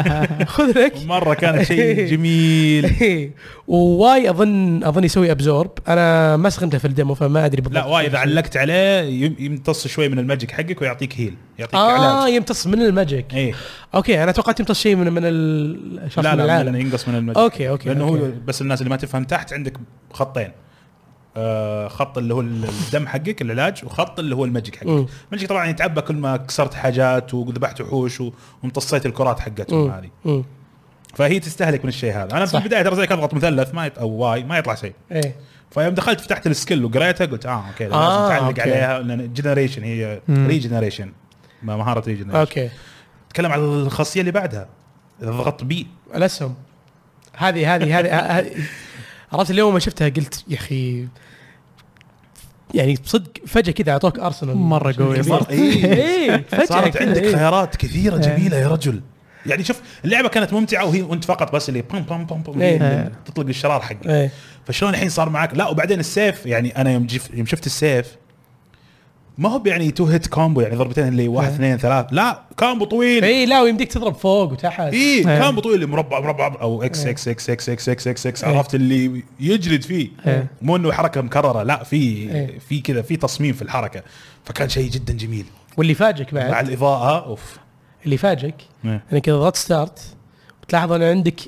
C: خذ لك
A: مره كان شيء جميل
C: إيه. وواي اظن اظن يسوي ابزورب انا ما استخدمته في الديمو فما ادري بالضبط
A: لا واي اذا علقت عليه يم- يمتص شوي من الماجيك حقك ويعطيك هيل يعطيك
C: اه
A: علاج
C: يمتص من الماجيك
A: ايه
C: اوكي انا توقعت يمتص شيء من من ال
A: لا
C: من
A: لا,
C: العالم.
A: لا ينقص من الماجيك
C: اوكي اوكي
A: لانه
C: أوكي.
A: هو بس الناس اللي ما تفهم تحت عندك خطين آه خط اللي هو الدم حقك العلاج وخط اللي هو الماجيك
C: مم.
A: حقك الماجيك طبعا يتعبى كل ما كسرت حاجات وذبحت وحوش و- وامتصيت الكرات حقتهم
C: مم.
A: هذه
C: مم.
A: فهي تستهلك من الشيء هذا انا في
C: صح.
A: البدايه ترى زي كان اضغط مثلث ما يط... او واي ما يطلع شيء
C: ايه
A: فيوم دخلت فتحت السكيل وقريتها قلت اه اوكي لازم
C: آه،
A: تعلق
C: أوكي.
A: عليها لان جنريشن هي
D: مم.
A: ريجنريشن مهاره ريجنريشن
C: اوكي
A: تكلم على الخاصيه اللي بعدها اذا ضغطت بي
C: الاسهم هذه هذه هذه ه- ه- عرفت اليوم ما شفتها قلت يا اخي يعني بصدق فجاه كذا اعطوك ارسنال
D: مرة قوي.
A: صارت-
C: اي فجاه
A: إيه، صارت عندك
C: كذا إيه.
A: خيارات كثيره
D: إيه.
A: جميله يا رجل يعني شوف اللعبه كانت ممتعه وهي وانت فقط بس اللي بام بام بام بام
C: إيه.
A: تطلق الشرار حقك
C: إيه.
A: فشلون الحين صار معك لا وبعدين السيف يعني انا يوم جيف- يوم شفت السيف ما هو يعني تو هيت كومبو يعني ضربتين اللي
C: إيه.
A: واحد اثنين ثلاث لا كومبو طويل
C: اي إيه، لا ويمديك تضرب فوق وتحت
A: اي
D: إيه.
A: كان بطول مربع مربع او اكس
C: إيه.
A: اكس اكس اكس اكس اكس اكس, اكس
C: إيه.
A: عرفت اللي يجلد فيه
D: إيه.
A: مو انه حركه مكرره لا في
C: إيه.
A: في كذا في تصميم في الحركه فكان شيء جدا جميل
C: واللي فاجئك
A: مع
C: بعد
A: الاضاءه اوف
C: اللي فاجئك
A: إيه.
C: انك اذا ضغطت ستارت بتلاحظ ان عندك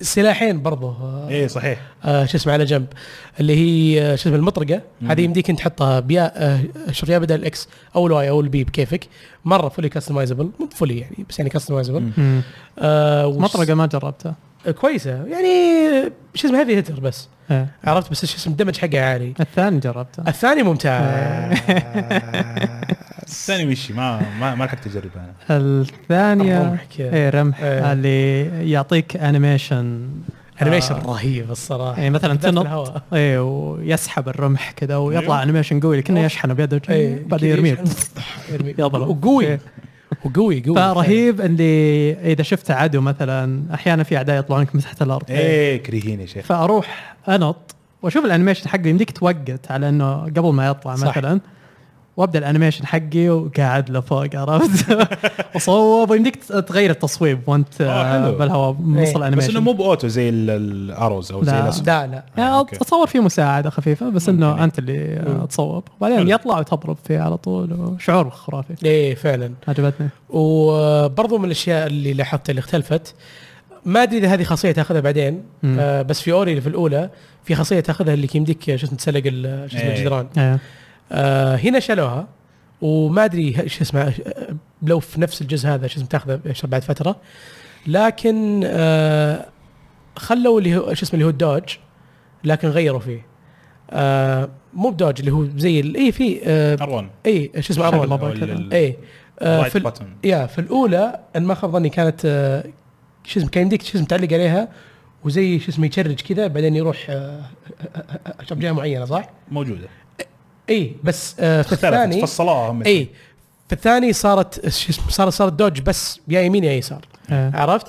C: سلاحين برضه آه،
A: ايه صحيح
C: آه، شو اسمه على جنب اللي هي آه، شو اسمه المطرقه
A: مم.
C: هذه يمديك انت تحطها بيا آه، شوف يا بدل الاكس او الواي او البي بكيفك مره فولي كاستمايزبل مو فولي يعني بس يعني كاستمايزبل
A: مم.
D: مم.
C: آه وس-
D: مطرقه ما جربتها
C: آه، كويسه يعني آه، شو اسمه هذه هيتر بس
D: إيه.
C: عرفت بس شو اسمه الدمج حقها عالي
D: الثاني جربته
C: الثاني ممتع
D: آه،
A: الثاني آه، وشي ما ما, ما لحقت اجربه انا
D: الثانيه
C: الرمح كذا.
D: اي رمح
C: إيه.
D: اللي يعطيك انيميشن
C: انيميشن
D: آه.
C: رهيب الصراحه
D: يعني مثلا
C: بالذات في
D: تنط
C: الهواء.
D: اي ويسحب الرمح كذا
A: أيوه.
D: ويطلع انيميشن قوي كأنه
C: أوف.
D: يشحنه بيده
C: إيه،
D: بعدين يرميه
C: يرميه.
D: يضرب.
C: وقوي
D: إيه.
C: وقوي قوي
D: فرهيب اللي اذا شفت عدو مثلا احيانا في اعداء يطلعون لك من تحت الارض
C: طيب. إيه.
A: ايه كرهين يا شيخ
D: فاروح انط واشوف الانيميشن حقه يمديك توقت على انه قبل ما يطلع
C: صح.
D: مثلا وابدا الانيميشن حقي وقاعد لفوق عرفت اصوب ويمديك تغير التصويب وانت
A: آه،
D: آه،
A: حلو.
D: بالهواء من
C: إيه.
D: وسط
A: بس انه
D: الانيميشن
A: مو باوتو زي ال- الاروز او زي
D: لا.
A: الأسهم.
C: لا لا
D: يعني
A: أوكي.
D: اتصور في مساعده خفيفه بس
A: ممكن.
D: انه انت اللي آه، تصوب وبعدين
A: حلو.
D: يطلع وتضرب فيه على طول وشعور خرافي
C: ايه فعلا
D: عجبتني
C: وبرضو من الاشياء اللي لاحظتها اللي اختلفت ما ادري اذا هذه خاصيه تاخذها بعدين
D: مم.
C: آه بس في اوري اللي في الاولى في خاصيه تاخذها اللي يمديك آه، شو اسمه تسلق ال- شو اسمه
A: إيه.
C: الجدران
D: إيه.
C: آه هنا شالوها وما ادري ه- شو اسمه آه، لو في نفس الجزء هذا شو اسمه تاخذه إيش بعد فتره لكن آه خلوا اللي هو شو اسمه اللي هو الدوج لكن غيروا فيه آه مو بدوج اللي هو زي ال- اي في آه
A: ارون
C: اي شو اسمه
D: شغلة
C: ارون
D: بابا كذا.
C: اي آه في
A: رايت
C: ال-
A: باتن
C: يا في الاولى ان ما خاب ظني كانت آه، شو اسمه كان يمديك شو اسمه تعلق عليها وزي شو اسمه يتشرج كذا بعدين يروح آه، آه، آه، آه، جهه معينه صح؟
A: موجوده
C: اي بس آه، في
A: اختلفت
C: الثاني إيه.
A: فصلوها هم
C: اي في الثاني صارت شو اسمه صارت صارت دوج بس يا يمين يا يسار
D: إيه.
C: عرفت؟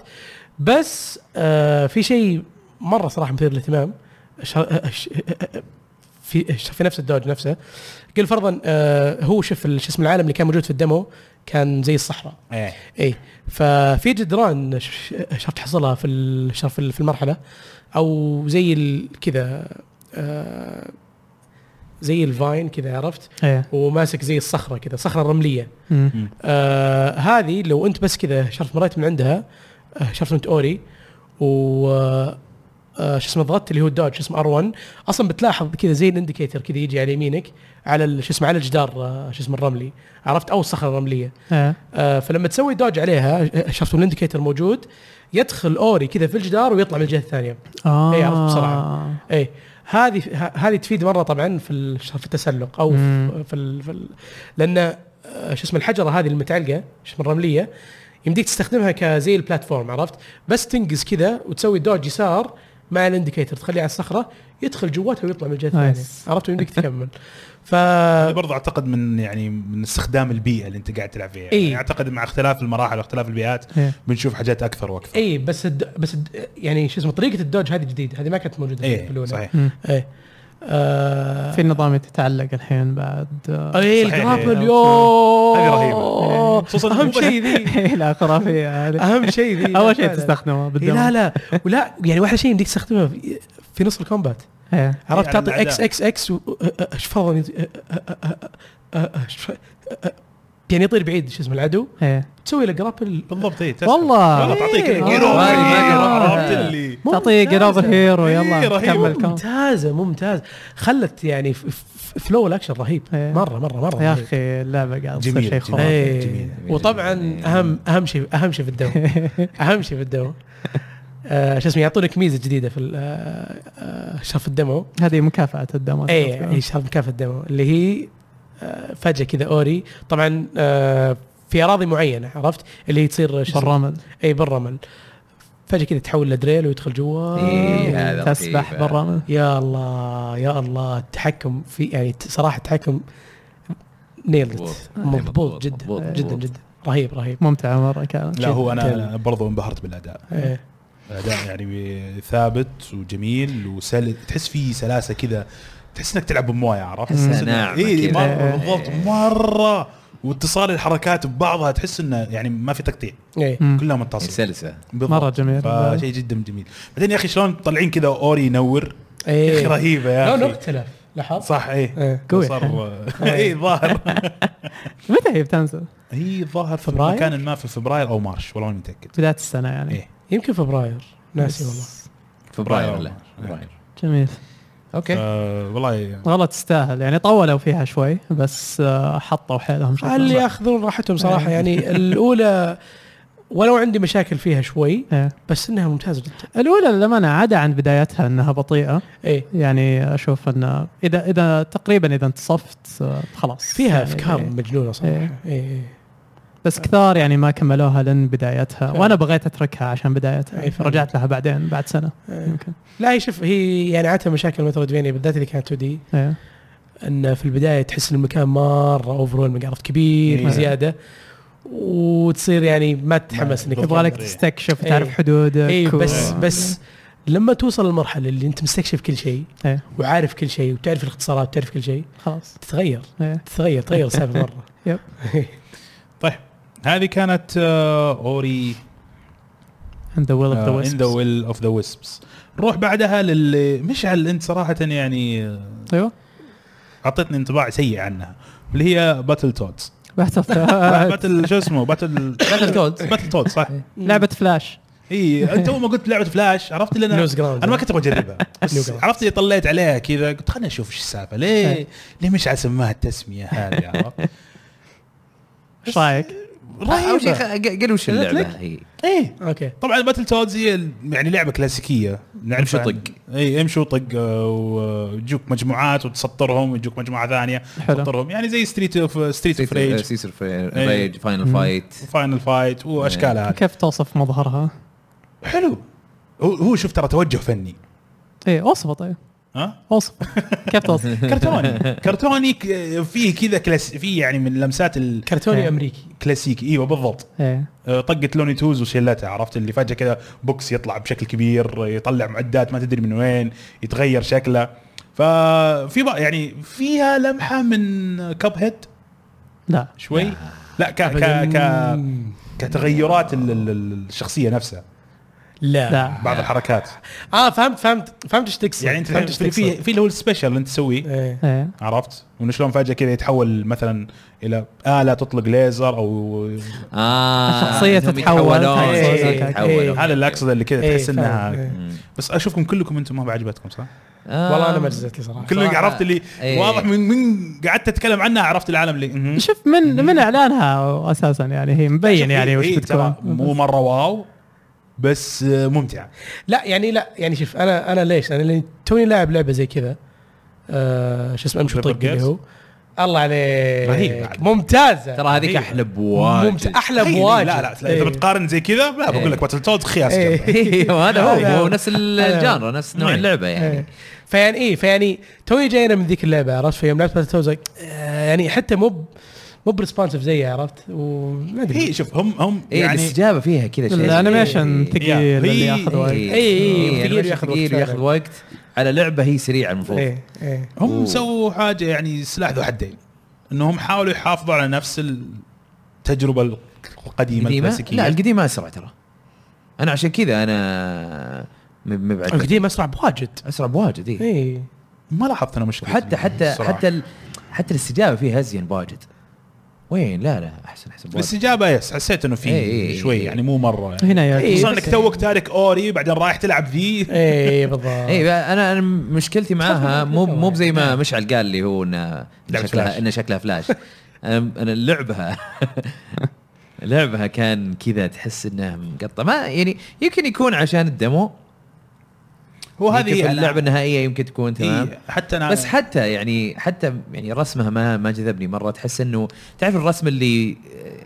C: بس آه، في شيء مره صراحه مثير للاهتمام ش- آه، ش- آه، آه، في ش- في نفس الدوج نفسه قل فرضا آه، هو شوف ال- شو اسمه العالم اللي كان موجود في الدمو كان زي الصحراء
A: ايه
C: اي ففي جدران ش- ش- شرط تحصلها في ال- شرط في ال- في المرحله او زي ال- كذا آه، زي الفاين كذا عرفت
D: ايه
C: وماسك زي الصخره كذا صخره رمليه
D: مم.
C: آه هذه لو انت بس كذا شرط مريت من عندها آه شرط انت اوري و آه، آه، شو اسمه ضغطت اللي هو الدوج شو اسمه ار 1 اصلا بتلاحظ كذا زي الانديكيتر كذا يجي على يمينك على ال- شو اسمه على الجدار آه، شو اسمه الرملي عرفت او الصخره الرمليه
D: ايه
C: آه، فلما تسوي دوج عليها آه، شفت الانديكيتر موجود يدخل اوري كذا في الجدار ويطلع من الجهه الثانيه
D: اه
C: إيه، عرفت بسرعة. اي هذه ه- هذه تفيد مره طبعا في ال- في التسلق او في
D: مم.
C: في, ال- في ال- لان آه، شو اسمه الحجره هذه المتعلقه شو اسمه الرمليه يمديك تستخدمها كزي البلاتفورم عرفت بس تنقز كذا وتسوي دوج يسار مع الانديكيتر تخليه على الصخره يدخل جواتها ويطلع من الجهه الثانيه
D: نايس.
C: عرفت ويمديك تكمل ف
A: هذا برضه اعتقد من يعني من استخدام البيئه اللي انت قاعد تلعب فيها
C: إيه.
A: يعني اعتقد مع اختلاف المراحل واختلاف البيئات
D: إيه.
A: بنشوف حاجات اكثر واكثر
C: اي إيه، بس الد... بس الد... يعني شو اسمه طريقه الدوج هذه جديده هذه ما كانت موجوده في
A: ايه
C: الاولى
A: صحيح
D: مم.
C: ايه آه...
D: في نظام يتعلق الحين بعد آه،
C: ايه
A: صحيح.
C: الجرابل
D: إيه.
C: يو
A: هذه رهيبة. خصوصاً
C: خصوصا اهم
A: الموبايل.
C: شيء ذي
D: إيه، لا خرافيه هذه
C: اهم شيء ذي
D: اول شيء
C: فعلاً.
D: تستخدمه
C: إيه لا
D: بالدم
C: لا ولا يعني واحلى شيء يمديك تستخدمه في- في نص الكومبات
D: ايه
C: عرفت
A: على
C: تعطي اكس
A: الأعداء.
C: اكس اكس ايش فرضا يعني يطير بعيد شو اسمه العدو
D: ايه
C: تسوي له جرابل
A: بالضبط اي
D: والله.
A: والله تعطيك
C: إيه.
A: الجيرو
C: ما
D: أدري، ما أدري.
A: عرفت اللي
D: تعطيه جراب
C: ممتازة.
D: هيرو
A: إيه،
D: يلا
A: رهيبة.
D: كمل كمل
C: ممتازه ممتاز خلت يعني ف- ف- فلو الاكشن رهيب
D: إيه.
C: مره مره مره
D: يا
C: رهيب.
D: اخي اللعبه قاعده تصير
A: جميل،
D: شيء
A: جميل.
D: خرافي
C: إيه.
A: جميل، جميل،
C: وطبعا
B: جميل.
C: اهم اهم شيء اهم شيء في الدو اهم شيء في الدو آه، شو اسمه يعطونك ميزه جديده في ال- آه، آه، شرف الدمو
D: هذه مكافاه الدم
C: اي اي شرف مكافاه الدمو اللي هي آه، فجاه كذا اوري طبعا آه، في اراضي معينه عرفت اللي هي تصير شو اسمه؟
D: بالرمل
C: اي بالرمل فجاه كذا تحول لدريل ويدخل جوا
B: إيه. هذا
D: تسبح
B: لطيفة.
D: بالرمل
C: يا الله يا الله التحكم في يعني صراحه التحكم نيلت
B: مضبوط.
C: مضبوط
B: مضبوط،
C: جدا
B: مضبوط،
C: جدا
B: مضبوط.
C: جدا رهيب رهيب
D: ممتعه مره كانت
A: لا هو انا
C: جداً.
A: أنا برضو انبهرت بالاداء
C: إيه.
A: اداء يعني ثابت وجميل وسل تحس فيه سلاسه كذا تحس انك تلعب بمويه عرفت؟
B: تحس
A: تحس إنه-
B: ناعمة
A: إيه،
B: كذا.
A: مره
D: إيه.
A: بالضبط مره واتصال الحركات ببعضها تحس انه يعني ما في تقطيع
C: ايه
D: مم.
A: كلها
B: يعني
A: متصله
B: سلسه
A: بالضبط.
D: مرة جميل.
A: فشيء جدا جميل بعدين يا اخي شلون طالعين كذا اوري ينور يا
D: إيه.
A: اخي
C: ايه
A: رهيبه يا
C: لونه
A: اخي
C: اختلف لاحظت
A: صح ايه
C: ايه
D: قوي. إيه.
A: صار اي ظاهر
D: متى هي بتنزل؟
A: هي ظاهر في
C: فبراير؟
A: مكان ما في فبراير او مارش والله ماني متاكد
D: بدايه السنه يعني
A: إيه.
C: يمكن فبراير ناسي
D: بس-
C: والله
B: فبراير
A: فبراير.
B: ولا فبراير
D: جميل
B: اوكي
A: آه، والله
D: والله تستاهل يعني طولوا فيها شوي بس آه، حطوا حيلهم شكلاً.
C: هل ياخذون راحتهم صراحه
D: إيه.
C: يعني الاولى ولو عندي مشاكل فيها شوي
D: إيه.
C: بس انها ممتازه جدا
D: الاولى للامانه عدا عن بدايتها انها بطيئه
C: ايه
D: يعني اشوف ان اذا اذا تقريبا اذا انتصفت آه، خلاص
C: فيها
D: يعني
C: افكار
D: إيه.
C: مجنونه صراحه
D: إيه.
C: ايه
D: بس كثار يعني ما كملوها لين بدايتها
C: فعلا.
D: وانا بغيت اتركها عشان بدايتها
C: إيه،
D: يعني
C: فعلا.
D: رجعت لها بعدين بعد سنه
C: إيه.
D: يمكن
C: لا هي شوف هي يعني عادة مشاكل مترويدفينيا بالذات اللي كانت 2 دي
D: إيه.
C: ان في البدايه تحس إن المكان مره اوفر عرفت كبير
A: إيه.
C: بزياده وتصير يعني ما تتحمس انك
A: بالضبط.
D: يبغى لك
A: إيه.
D: تستكشف
C: إيه.
D: وتعرف حدودك
C: اي
D: و-
C: بس بس لما توصل المرحله اللي انت مستكشف كل شيء
D: إيه.
C: وعارف كل شيء وتعرف الاختصارات وتعرف كل شيء
D: خلاص
C: تتغير
D: إيه.
C: تتغير تغير السالفه مره
D: يب.
A: طيب هذه كانت آه، اوري
D: and the will of Uh, the
A: ان ذا
D: wisps
A: ويل اوف ذا ويسبس نروح بعدها للي مشعل انت صراحه يعني آه،
D: ايوه
A: اعطيتني انطباع سيء عنها اللي هي باتل تودز
D: بحث آه،
A: باتل شو اسمه باتل باتل تودز باتل تودز صح
D: لعبه فلاش إيه.
A: اي انت اول ما قلت لعبه فلاش عرفت اللي انا
C: نوز جراوند
A: انا ما كنت ابغى اجربها بس
C: New Grounds.
A: عرفت اللي طليت عليها كذا قلت خليني اشوف ايش السالفه ليه
D: إيه.
A: ليه مش على سماها التسميه هذه عرفت
D: ايش رايك؟
B: اول شيء
A: رهيبه
B: خ- قل وش
A: قلت لك؟
B: اللعبه هي
A: ايه
C: اوكي
A: طبعا باتل تودز هي يعني لعبه كلاسيكيه نعرف
B: امشي
A: عن-
B: وطق.
A: اي امشي وطق آه، ويجوك مجموعات وتسطرهم ويجوك مجموعه ثانيه
D: حلو
A: تسطرهم يعني زي ستريت اوف ستريت اوف ريج
B: سيسر
A: إيه.
B: ريج فاينل
D: مم.
B: فايت
A: وفاينل فايت واشكالها هذه
D: كيف توصف مظهرها؟
A: حلو هو هو شوف ترى توجه فني
D: ايه اوصفه طيب
A: ها
D: اوصفه كيف توصف؟
A: كرتوني كرتوني ك- فيه كذا كلاس فيه يعني من لمسات
C: كرتوني
D: إيه.
C: امريكي
A: الكلاسيكي ايوه بالضبط
D: ايه
A: آه، طقت لوني توز وشلتها عرفت اللي فجاه كذا بوكس يطلع بشكل كبير يطلع معدات ما تدري من وين يتغير شكله ففي بقى يعني فيها لمحه من كاب هيد
D: لا
A: شوي لا ك ك ك
C: أبداً.
A: كتغيرات ال- ال- ال- الشخصيه نفسها
C: لا
D: لا
A: بعض الحركات
C: اه فهمت فهمت فهمت ايش تقصد
A: يعني انت
C: فهمت ايش
A: في في
C: تقصد
A: في اللي هو السبيشل اللي انت تسويه
C: إيه.
D: ايه
A: عرفت وانه شلون فجاه كذا يتحول مثلا الى اله تطلق ليزر او
B: اه
D: الشخصية
B: هم
D: تتحول.
B: يتحولون.
C: إيه.
B: إيه. يتحولون.
A: هذا اللي اقصده اللي كذا تحس
C: إيه، فاهم.
A: انها
C: إيه.
B: مم.
A: بس اشوفكم كلكم انتم ما عجبتكم صح؟
B: آه.
C: والله انا ما جزيت لي صراحه
A: كل اللي
B: صراحة.
A: عرفت اللي
B: إيه.
A: واضح من من قعدت تتكلم عنها عرفت العالم اللي مهم.
D: شوف من من اعلانها اساسا يعني هي مبين يعني
A: إيه،
D: وش
A: إيه، ترى مو
D: بتكون
A: مره واو بس آه، ممتعه
C: لا يعني لا يعني شوف انا انا ليش؟ انا لأن توني لاعب لعبه زي كذا آه شو اسمه امشي
A: River
C: طق اللي
A: Gates.
C: هو الله عليك
A: رهيب بعد.
C: ممتازه
B: ترى هذيك
A: إيه.
B: احلى
C: ممت...
B: بواجد
C: احلى
A: إيه،
C: بواجد
A: لا لا اذا
C: إيه.
A: بتقارن زي كذا لا بقول لك باتل تودز خياس
C: إيه.
A: جنبه.
B: ايوه هذا
C: هذا
B: هو
C: هو.
B: هو نفس الجانر نفس نوع
A: إيه.
B: اللعبه يعني
C: إيه. فيعني ايه فيعني توي جاينا من ذيك اللعبه عرفت فيوم لعبت باتل توز يعني حتى مو ب- مو بريسبونسف زيها عرفت وما
A: هي
C: ادري
A: شوف هم هم
B: ايه
A: يعني
B: الاستجابه فيها كذا شيء
D: الانيميشن
B: إيه.
D: ثقيل
A: هي-
D: اللي ياخذ
B: إيه.
D: وقت
B: إيه.
C: إيه.
B: إيه.
C: ثقيل وياخذ
B: ثقيل
C: وقت
B: وياخذ
C: فعلاً.
B: وقت على لعبه هي سريعه المفروض
C: ايه ايه
A: هم
B: أوه.
A: سووا حاجه يعني سلاح ذو حدين انهم حاولوا يحافظوا على نفس التجربه القديمه
B: قديمه لا
A: الكلاسيكيه
B: القديمه اسرع ترى انا عشان كذا انا م- مبعد
C: القديم اسرع بواجد
B: اسرع بواجد إيه.
C: ايه
A: ما لاحظت يعني انا مشكله
B: وحتى حتى
A: الصراحة.
B: حتى ال... حتى الاستجابه فيها ازين بواجد وين لا لا احسن احسن بواجد
A: الاستجابه يس حسيت انه
B: إيه،
A: في
B: إيه،
A: شوي
B: إيه.
A: يعني مو مره يعني
D: هنا يا
C: إيه.
A: خصوصا
C: بس-
A: انك توك تارك اوري بعدين رايح تلعب إيه، ذي
C: ايه بالضبط
B: اي انا انا مشكلتي معاها مو مو زي ما مشعل قال لي هو انه
A: نعم. لعبة فلاش.
B: شكلها انه شكلها فلاش انا انا لعبها لعبها كان كذا تحس انها مقطع ما يعني يمكن يكون عشان الدمو
A: هو
B: يمكن في
A: هذه
B: اللعبه النهائيه يمكن تكون تمام
A: إيه حتى انا
B: بس حتى يعني حتى يعني رسمها ما ما جذبني مره تحس انه تعرف الرسم اللي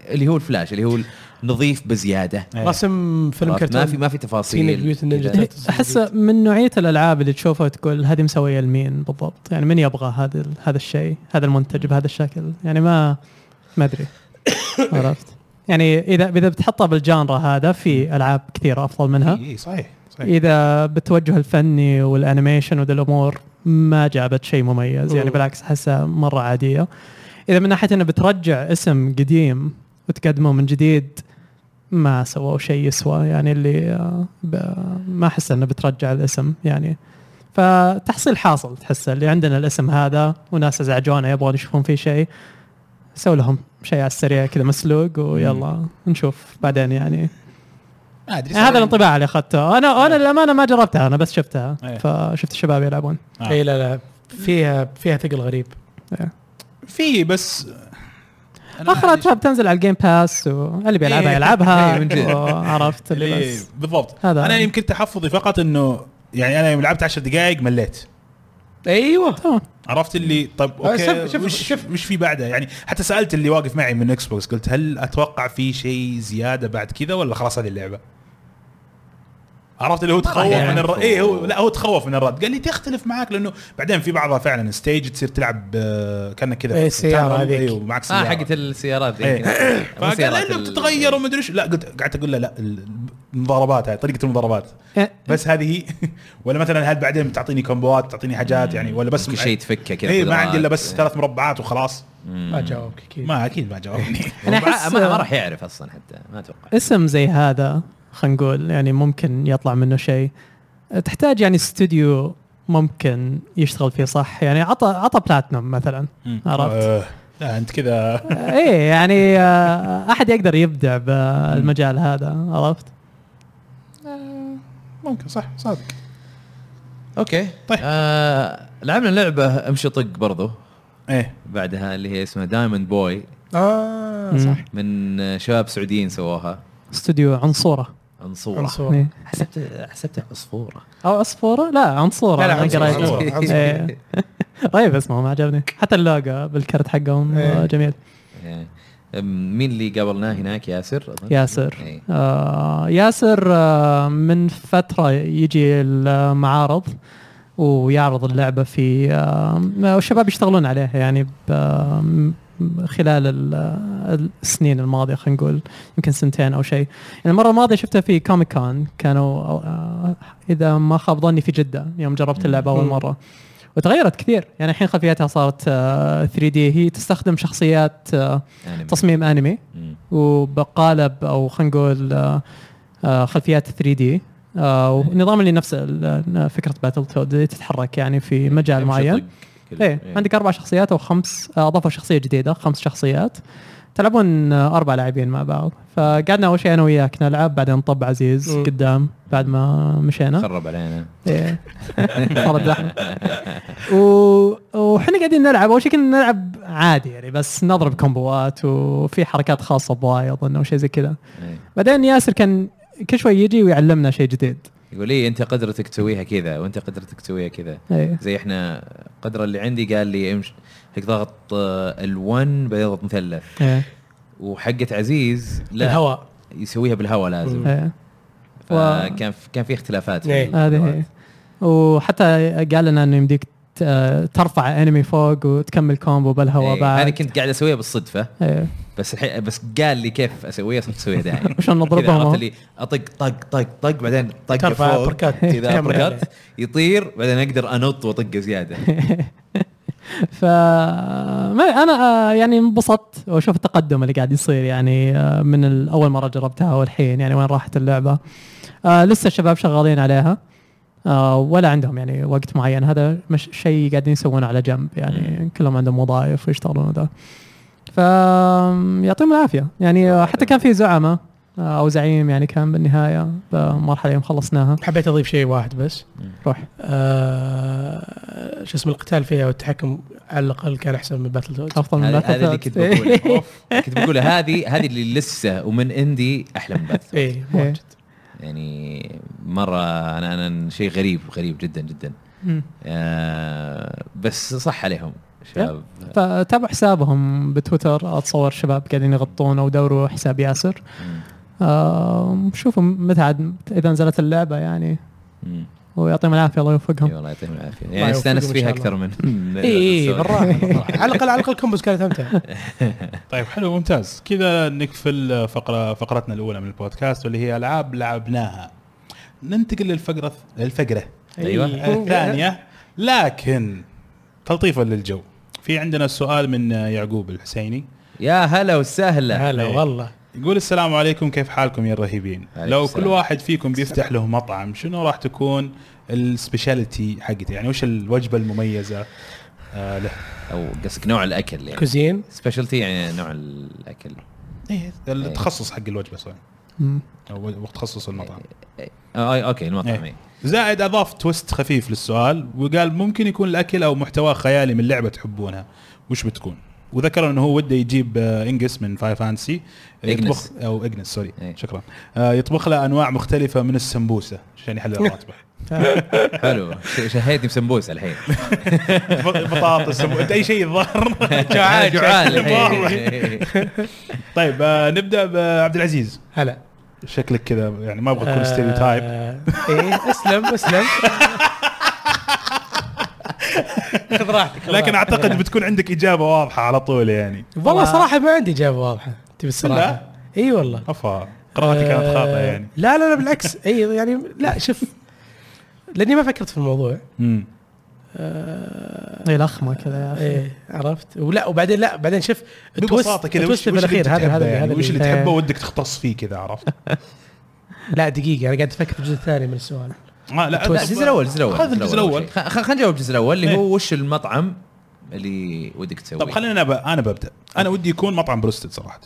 B: اللي هو الفلاش اللي هو نظيف بزياده
A: إيه.
C: رسم فيلم
B: عرفت؟ ما
C: كرتون
B: في ما في
C: تينيج
B: تفاصيل
C: Mutant Ninja
B: كذا.
C: Turtles.
D: احس من نوعيه الالعاب اللي تشوفها تقول هذه مسويه لمين بالضبط يعني من يبغى هذا ال- هذا الشيء هذا المنتج بهذا الشكل يعني ما ما ادري عرفت يعني اذا اذا بتحطها بالجانرا هذا في العاب كثيره افضل منها
A: اي إيه، صحيح
D: إيه.
A: صحيح
D: اذا بالتوجه الفني والانيميشن وذا الامور ما جابت شيء مميز يعني
C: مم.
D: بالعكس احسها مره عاديه اذا من ناحيه انها بترجع اسم قديم وتقدمه من جديد ما سووا شيء يسوى يعني اللي آه، ب- ما احس انه بترجع الاسم يعني فتحصيل حاصل تحس اللي عندنا الاسم هذا وناس ازعجونا يبغون يشوفون فيه شيء سووا لهم شيء على السريع كذا مسلوق ويلا نشوف بعدين يعني
A: ما ادري
D: إيه، هذا
A: صراحة.
D: الانطباع اللي اخذته انا انا للامانه ما جربتها انا بس شفتها
A: إيه.
D: فشفت الشباب يلعبون
A: آه.
C: ايه لا لا فيها فيها ثقل غريب
D: إيه.
A: في بس أنا
D: اخرتها بتنزل على الجيم باس واللي بيلعبها
A: إيه.
D: يلعبها
A: إيه، من جد.
D: عرفت اللي
A: اللي
D: بس
A: إيه، بالضبط
D: هذا.
A: انا يمكن تحفظي فقط انه يعني انا يوم لعبت 10 دقائق مليت أيوة.
C: ايوه
D: تمام
A: عرفت اللي طب
C: آه،
A: اوكي
C: شوف- شوف-
A: وش
C: شوف.
A: مش في بعدها يعني حتى سالت اللي واقف معي من اكس بوكس قلت هل اتوقع في شيء زياده بعد كذا ولا خلاص هذه اللعبه؟ عرفت اللي هو تخوف
B: يعني
A: من الر...
B: خوف.
A: ايه هو لا هو تخوف من الرد قال لي تختلف معك لانه بعدين في بعضها فعلا ستيج تصير تلعب آه، كانك كذا
C: إيه، السيارة
A: تعمل-
C: هذيك.
A: ايوه معك
B: اه
A: سياره
B: حقت السيارات ذيك
A: إيه.
B: مو
A: فقال
B: سيارات
A: انه
B: ال-
A: بتتغير وما ادري ايش لا قلت قعدت اقول له لا المضاربات هاي طريقه المضاربات
D: إيه،
A: بس هذه هي ولا مثلا هل بعدين بتعطيني كومبوات تعطيني حاجات يعني ولا بس
B: كل شيء تفكه كذا يعني
A: اي إيه، ما
B: قدرات.
A: عندي الا بس ثلاث مربعات وخلاص
C: ما جاوبك اكيد
A: ما اكيد ما جاوبني
D: أنا
B: وبع-
D: أحس-
B: ما ما راح يعرف اصلا حتى ما اتوقع
D: اسم زي هذا خلينا نقول يعني ممكن يطلع منه شيء تحتاج يعني استوديو ممكن يشتغل فيه صح يعني عطى عطى بلاتنم مثلا عرفت
A: آه، لا انت كذا
D: ايه يعني آه، احد يقدر يبدع بالمجال هذا عرفت
A: ممكن صح صادق
B: اوكي
A: طيب.
B: آه لعبنا لعبه امشي طق برضو
A: ايه
B: بعدها اللي هي اسمها دايموند بوي
C: اه
D: مم.
C: صح
B: من آه، شباب سعوديين سووها
D: استوديو عنصوره
B: عنصوره
C: عنصر
D: إيه.
B: حسبت حسبتها عصفوره
D: او عصفوره لا عنصوره
A: لا، لا،
D: أنا
A: عنصورة،
D: قريت.
A: عنصورة، عنصورة.
D: إيه. طيب اسمه ما عجبني حتى اللوجو بالكرت حقهم
C: إيه.
D: آه، جميل
B: إيه. أم، مين اللي قابلناه هناك ياسر أظن؟
D: ياسر
B: إيه.
D: آه ياسر آه من فترة يجي المعارض ويعرض اللعبة في آه والشباب يشتغلون عليها يعني ب- آه، م- خلال ال- آه، السنين الماضية خلينا نقول يمكن سنتين أو شيء يعني المرة الماضية شفتها في كوميك كون كانوا آه إذا ما خاب ظني في جدة يوم جربت اللعبة أول
C: مم.
D: مرة وتغيرت كثير يعني الحين خلفياتها صارت آه 3D هي تستخدم شخصيات آه
B: أنمي.
D: تصميم أنمي
B: مم.
D: وبقالب او خلينا نقول آه، آه، خلفيات 3 دي آه، ونظام اللي نفس ال- آه، فكره باتل تود تتحرك يعني في مجال
B: أمشي
D: معين
B: طق كل-
D: ايه
B: إيه.
D: عندك اربع شخصيات او خمس آه، اضافوا شخصيه جديده خمس شخصيات تلعبون آه، اربع لاعبين مع بعض فقعدنا اول شيء انا وياك نلعب بعدين طب عزيز
C: مم.
D: قدام بعد ما مشينا
B: خرب علينا
D: ايه مرة زحمة و- وحنا قاعدين نلعب اول شيء كنا نلعب عادي يعني بس نضرب كومبوات وفي حركات خاصه بواي اظن او شيء زي كذا
B: إيه.
D: بعدين ياسر كان كل شوي يجي ويعلمنا شيء جديد
B: يقول لي انت قدرتك تسويها كذا وانت قدرتك تسويها كذا
D: ايه
B: زي احنا قدره اللي عندي قال لي امشي هيك ضغط ال1 بعدين ضغط مثلث
D: ايه
B: وحقت عزيز لا
C: الهواء
B: يسويها بالهواء لازم
D: ايه
B: فكان كان في اختلافات يعني. في
C: إيه.
B: القدرات.
D: هذه هي وحتى قال لنا انه يمديك ت- آه، ترفع انمي فوق وتكمل كومبو بالهواء
B: إيه. هذه
D: بعد
B: كنت قاعد اسويها بالصدفه
D: ايه
B: بس الحين بس قال لي كيف اسويها صرت اسويها داعي
D: وشلون
B: كذا
D: نضربها
B: عرفت
D: مو-
B: اللي اطق طق طق طق بعدين طق
C: ترفع
B: فوق
C: أبركات.
B: كذا
C: تعمل
B: أبركات، يطير بعدين اقدر انط واطق زياده
D: ف ما انا آه، يعني انبسطت واشوف التقدم اللي قاعد يصير يعني آه، من ال- اول مره جربتها والحين يعني وين راحت اللعبه آه، لسه الشباب شغالين عليها آه، ولا عندهم يعني وقت معين هذا مش شيء قاعدين يسوونه على جنب يعني كلهم عندهم وظائف ويشتغلون وذا ف يعطيهم العافيه يعني آه، حتى كان في زعماء آه، او زعيم يعني كان بالنهايه مرحله يوم خلصناها
C: حبيت اضيف شيء واحد بس
D: روح
C: آه شو اسمه القتال فيها والتحكم على الاقل كان احسن من باتل تود
D: افضل من إيه.
B: هذا
D: Battlefield.
B: هذا اللي كنت بقوله أوف. كنت بقوله هذه هذه اللي لسه ومن عندي احلى من باتل
C: اي إيه، واجد
B: يعني مره انا انا شيء غريب غريب جدا جدا
D: مم.
B: آه بس صح عليهم شباب
D: فتابعوا حسابهم بتويتر اتصور شباب قاعدين يغطون او دوروا حساب ياسر
B: مم.
D: آم، شوفوا متى عاد اذا نزلت اللعبه يعني
B: مم.
D: ويعطيهم العافيه الله
B: اي
D: يوفقهم
B: والله يعطيهم العافيه
C: الله
B: يعني
C: يوفقهم
B: استانست
C: إن
B: فيها
C: شاء الله. إيه،
B: اكثر من إيه،
C: اي اي
B: سوري.
C: بالراحه
D: إيه.
C: بالراحه. على الاقل على الاقل كومبوز كانت امتع
A: طيب حلو ممتاز كذا نقفل فقره فقرتنا الاولى من البودكاست واللي هي العاب لعبناها ننتقل للفقره الفقره
B: أيوة.
C: إي.
A: الثانيه لكن تلطيفا للجو في عندنا سؤال من يعقوب الحسيني
B: يا هلا وسهلا
C: هلا
A: إي.
C: والله
A: يقول السلام عليكم كيف حالكم يا الرهيبين
B: عليكم
A: لو
B: السلام.
A: كل واحد فيكم بيفتح له مطعم شنو راح تكون السبيشاليتي حقته يعني وش الوجبه المميزه آه له
B: او قصدك نوع الاكل يعني
C: كوزين
B: سبيشالتي يعني نوع الاكل
A: إيه، التخصص حق الوجبه صحيح
D: مم.
A: او تخصص المطعم
B: آه آه، اوكي المطعم
A: إيه.
B: إيه.
A: زائد اضاف تويست خفيف للسؤال وقال ممكن يكون الاكل او محتواه خيالي من لعبه تحبونها وش بتكون؟ وذكر انه هو وده يجيب آه، انجس من فايف فانسي يطبخ
B: إجنس.
A: او اجنس سوري
B: إيه.
A: شكرا آه، يطبخ له انواع مختلفه من السمبوسه عشان يحل الراتبه
B: حلو ش- شهيتني بسمبوسه الحين
A: بطاطس سمبو- اي شيء الظاهر
B: جوعان
C: إيه،
A: طيب آه، نبدا بعبد العزيز
C: هلا
A: شكلك كذا يعني ما ابغى اكون ستيريو تايب
C: آه،
B: ايه اسلم اسلم
C: خذ راحتك خذ
A: لكن
C: راحتك.
A: اعتقد بتكون عندك اجابه واضحه على طول يعني
C: والله
B: آه.
C: صراحه ما عندي اجابه واضحه تبي الصراحه
A: لا.
C: اي والله
A: افا قراءتي كانت
C: آه،
A: خاطئه يعني
C: لا لا لا بالعكس اي يعني لا شوف لاني ما فكرت في الموضوع
A: مم.
C: آه،
D: زي الاخمه إيه، كذا يا اخي
C: ايه عرفت ولا وبعدين لا بعدين شوف
A: ببساطه كذا وش,
C: التويست
A: وش اللي
C: بالاخير
A: تحبه
C: هذا هذا
A: يعني
C: هذا
A: وش اللي
C: اللي-
D: اللي-
A: تحبه ودك تختص فيه كذا عرفت؟
C: لا دقيقه انا قاعد افكر في الجزء الثاني من السؤال
A: آه لا
B: لا الجزء الاول الجزء الاول
A: خذ الجزء الأول.
B: أول شيء. خ- خ- خلينا نجاوب الجزء الاول اللي
A: إيه.
B: هو وش المطعم اللي ودك تسويه
A: طب طيب، خلينا انا ب... انا ببدا انا ودي يكون مطعم بروستد صراحه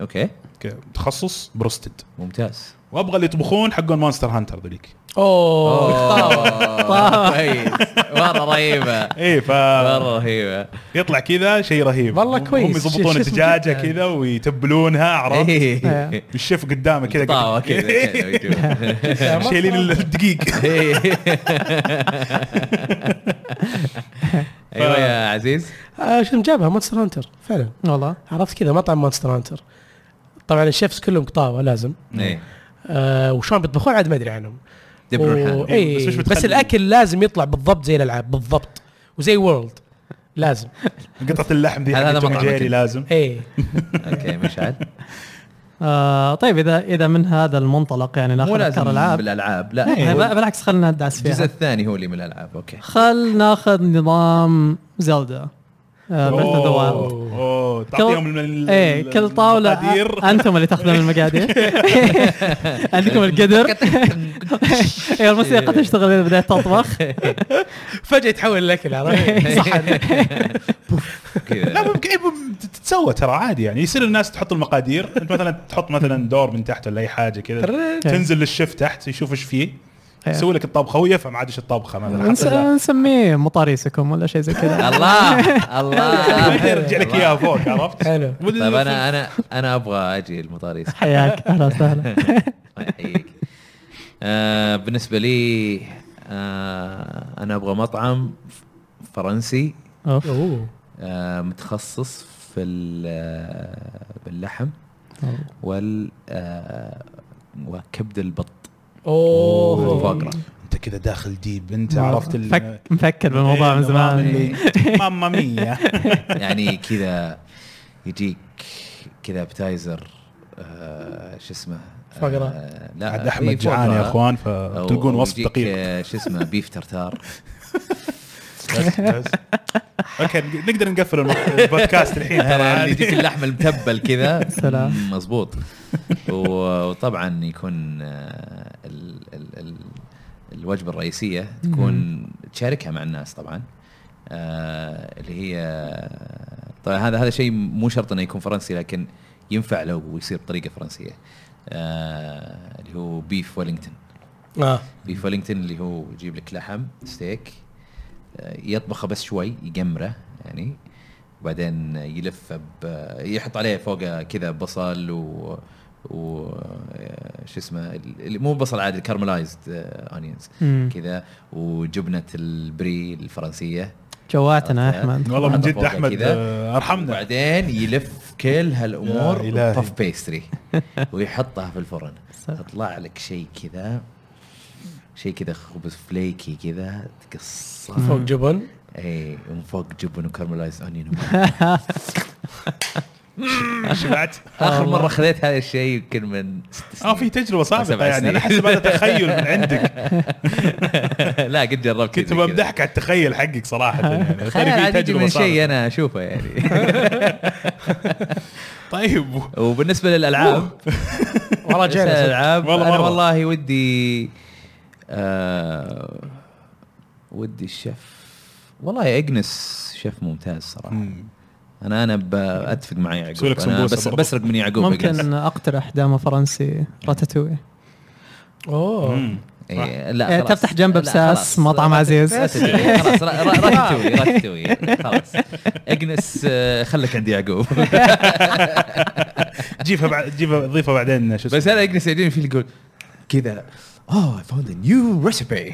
B: اوكي
A: ك- تخصص بروستد
B: ممتاز
A: وابغى اللي يطبخون حقون مونستر هانتر ذوليك
C: اوه
B: اوه كويس مره رهيبه
A: اي
B: مره رهيبه
A: فيطلع كذا شيء رهيب
C: والله
A: هم-
C: كويس.
A: هم يضبطون
C: شو اسمه
A: الدجاجه
C: كذا؟
A: كذا ويتبلونها عرفت
B: إيه.
A: الشيف قدامه كذا
B: طاوة
A: قاعد-
B: كذا كذا.
A: شايلين الدقيق
B: ايوه يا عزيز
C: آه، شو جابها مونستر هانتر فعلا
D: والله
C: عرفت كذا مطعم مونستر هانتر طبعا الشيفs كلهم قطاوه لازم
B: إيه.
C: آه وشلون بيطبخون عاد ما ادري عنهم
B: دبروا
C: و...
B: حالهم.
A: بس
C: إيه
A: مش
C: بس,
A: بتخلي-
C: بس الاكل لازم يطلع بالضبط زي الالعاب بالضبط وزي وورلد لازم
A: قطعه اللحم دي
B: هذا-
A: حق
B: هذا
A: توم
B: مطعم
A: جيري
B: أكل.
A: لازم
C: ايه
B: اوكي مشعل
D: آه طيب اذا اذا من هذا المنطلق يعني
B: مو
D: ناخذ
B: لازم
D: افكار العاب
B: بالالعاب لا
D: إيه،
B: هو
D: بل- بالعكس خلينا ندعس
B: الجزء
D: فيها
B: الثاني هو اللي من الالعاب اوكي
D: خل ناخذ نظام زلدا آه
A: اوه أوه. تعطيهم ال- ال-
D: ايه
A: ال-
D: كل طاولة آه.
A: المقادير.
D: انتم اللي تاخذون المقادير عندكم القدر ايه الموسيقى تشتغل اذا بدأت تطبخ
C: فجاه يتحول الاكل عرفت
A: إيه.
D: صح
A: لا
B: كذا
A: ممكن إيه، مم- تتسوى ترى عادي يعني يصير الناس تحط المقادير انت مثلا تحط مثلا دور من تحت ولا اي حاجه كذا تنزل للشيف تحت يشوف ايش فيه
D: إيه.
A: يسوي لك الطبخه هو يفهم عاد ايش الطبخه مثلا
D: نس-
A: حتى لا-
D: نسميه مطاريسكم ولا شيء زي كذا
B: الله
A: ما
B: الله
A: يرجع لك اياها فوق عرفت؟
C: حلو
A: وال-
B: طيب انا انا انا ابغى اجي المطاريس
D: حياك اهلا وسهلا
B: الله يحييك آه، بالنسبه لي آه، انا ابغى مطعم فرنسي
D: اوف
C: اوه
B: آه، متخصص في ال- آه، باللحم وال آه، وكبد البط
C: اوه
B: والفقرة.
A: انت كذا داخل ديب انت
D: ما-
A: عرفت ال-
D: فك مفكر بالموضوع من
A: إيه، النظام
D: زمان
A: اللي- ماما ميا
B: يعني كذا يجيك كذا ابتايزر آه، شو اسمه آه،
C: فقرة.
B: لا
A: عاد
B: إيه،
A: احمد جعان
B: فقرة.
A: يا اخوان
B: أو-
A: فتلقون وصف
B: ويجيك،
A: دقيق
B: آه، شو اسمه بيف ترتار
A: بس- بس. اوكي نقدر نقفل الم- البودكاست الحين ترى
B: ترى اللي
A: عادي.
B: يجيك يعني اللحم المتبل كذا
D: سلام.
B: مم، مزبوط و- وطبعا يكون آه، ال ال ال الوجبه الرئيسيه تكون تشاركها مع الناس طبعا آه، اللي هي طبعا هذا هذا شيء مو شرط انه يكون فرنسي لكن ينفع لو يصير بطريقه فرنسيه آه، اللي هو بيف ويلينغتون
C: اه
B: بيف ويلينغتون اللي هو يجيب لك لحم ستيك آه، يطبخه بس شوي يقمره يعني وبعدين يلفه ب- يحط عليه فوقه كذا بصل و و آه، شو اسمه ال- ال- مو بصل عادي كارملايزد اونيونز
D: مم.
B: كذا وجبنه البري الفرنسيه
D: جواتنا يا احمد
A: والله من
B: حطه
A: جد
B: فوقه
A: احمد
B: كذا.
A: آه، ارحمنا
B: وبعدين يلف كل
A: يا
B: هالامور
A: إلهي.
B: طف بيستري ويحطها في الفرن تطلع لك شيء كذا شيء كذا خبز فليكي كذا تقصه
C: فوق جبن
B: اي من فوق جبن وكارملايز اونيون
A: شبعت
B: اخر مره خذيت هذا الشيء يمكن من ست
A: اه في
B: سنين
A: تجربه سابقه
B: سبع
A: يعني
B: سنين.
A: انا احسب هذا تخيل من عندك
B: لا قد جربت
A: كنت
B: زي كذا.
A: بمدحك على التخيل حقك صراحه يعني ترى
B: خيال
A: في
B: عاد يجي
A: تجربه
B: من شيء
A: سابقه
B: انا اشوفه يعني
A: طيب و-
B: وبالنسبه للالعاب بالنسبة
C: والله جعل
B: للالعاب
A: والله
B: انا
A: مرة.
B: والله ودي آه ودي الشيف والله اجنس شيف ممتاز صراحه
A: مم.
B: انا انا باتفق مع يعقوب
A: سوي لك
B: انا
A: سمبوسة
B: بس
A: برضه.
B: بسرق من يعقوب إجنس.
D: ممكن اقترح دامه فرنسي راتاتوي
C: اوه
A: مم.
B: إيه، لا
D: إيه،
B: خلاص.
D: تفتح جنب
B: لا،
D: بساس،
B: خلاص.
D: مطعم
B: لا،
D: عزيز.
B: لا تدري. خلاص را- را- راح توي راح توي خلاص اجنس آه، خلك عند يعقوب
A: جيبها بعد جيبها ضيفها بعدين شو
B: بس
A: اسمه
B: هذا اجنس يجيني فيه يقول كذا "Oh, اوه اي فاوند نيو ريسبي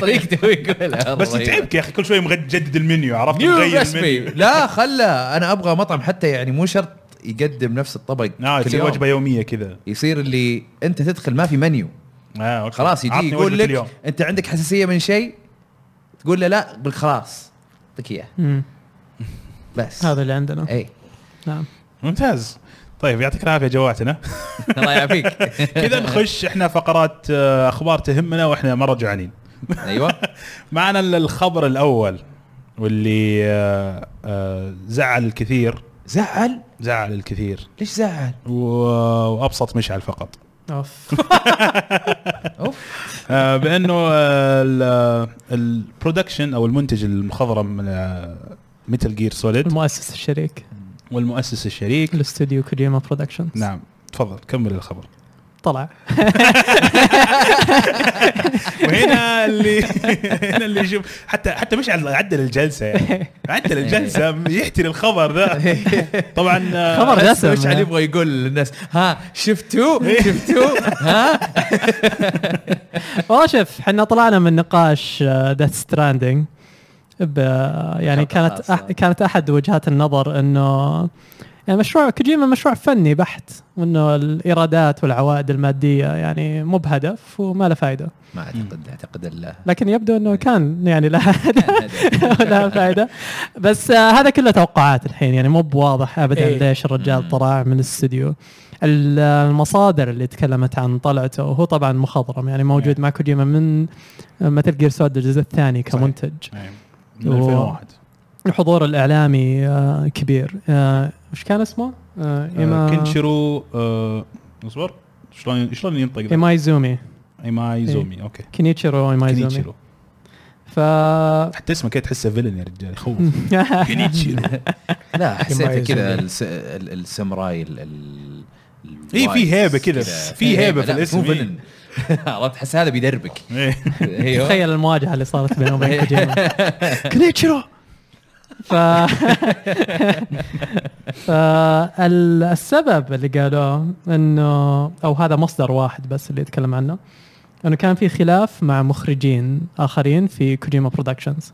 B: طريقته يقولها
A: بس
B: رهيبة.
A: يتعبك يا اخي كل شوي مجدد المنيو عرفت
B: نيو
A: تغير
B: ريسبي
A: المنيو
B: لا خله انا ابغى مطعم حتى يعني مو شرط يقدم نفس الطبق
A: آه
B: كل
A: تصير
B: يوم.
A: وجبه يوميه كذا
B: يصير اللي انت تدخل ما في منيو
A: آه أوكي.
B: خلاص يجي
A: عطني
B: يقول
A: وجبة اليوم.
B: لك انت عندك حساسيه من شيء تقول له لا بال- خلاص اعطيك اياه
D: مم.
B: بس إيه.
D: هذا اللي
A: إيه.
D: عندنا
B: اي
D: نعم
A: ممتاز طيب يعطيك العافيه جواتنا
B: الله يعافيك
A: كذا نخش احنا فقرات آه، اخبار تهمنا واحنا مره جوعانين
B: ايوه
A: معنا ال- الخبر الاول واللي آه، آه، زعل الكثير
B: زعل
A: زعل الكثير
B: ليش زعل
A: و- وابسط مشعل فقط
D: اوف
B: اوف
A: آه، بانه آه، ال- البرودكشن او المنتج المخضرم آه، من ميتال جير سوليد
D: المؤسس الشريك
A: والمؤسس الشريك
D: الاستوديو كوجيما برودكشنز
A: نعم تفضل كمل الخبر
D: طلع
A: وهنا اللي هنا اللي يشوف حتى حتى مش عل- عدل الجلسه يعني عدل الجلسه يحتري الخبر ذا طبعا آه،
D: إيه. خبر يعني.
B: بس
D: دسم
B: مش علي يبغى يقول للناس ها
A: إيه.
B: شفتوا شفتوا ها
D: والله شوف احنا طلعنا من نقاش آه، ذات ستراندنج يعني
B: خطأ
D: كانت
B: خاصة.
D: أح كانت احد وجهات النظر انه يعني مشروع كوجيما مشروع فني بحت وانه الايرادات والعوائد الماديه يعني مو بهدف وما له فائده
B: ما اعتقد اعتقد الله
D: لكن يبدو انه كان يعني لها لها فائده بس آه هذا كله توقعات الحين يعني مو بواضح ابدا
C: إيه.
D: ليش الرجال طلع من الاستوديو ال- المصادر اللي تكلمت عن طلعته هو طبعا مخضرم يعني موجود مع كوجيما من آه، مثل جير سود الجزء الثاني كمنتج
A: نعم. من آه، 2001
D: الحضور الاعلامي آه كبير آه، وش كان اسمه؟ آه،
A: آه،
D: إيما-
A: كنشيرو آه، اصبر شلون شلون ينطق ذا؟
D: ايمايزومي إيه.
A: ايماي زومي اوكي
D: كينيتشيرو ايمايزومي
A: كينيتشيرو
D: ف
A: حتى اسمه كده تحسه فيلن يا رجال يخوف كينيتشيرو
B: لا
C: يميز
B: حسيت كذا
C: البيت.
B: الس- ال- السمراي ال- ال- ال-
A: إيه، في هيبة كذا. في
B: إيه،
A: هيبة في
B: لا، مو
A: الاسم، إيه.
B: villain. عرفت حس هذا بيدربك
A: إيه.
B: ايوه
D: تخيل المواجهه اللي صارت بينهم وبين كوجيما كنيتشيرو ف فالسبب اللي قالوه انه او هذا مصدر واحد بس اللي يتكلم عنه انه كان في خلاف مع مخرجين اخرين في كوجيما برودكشنز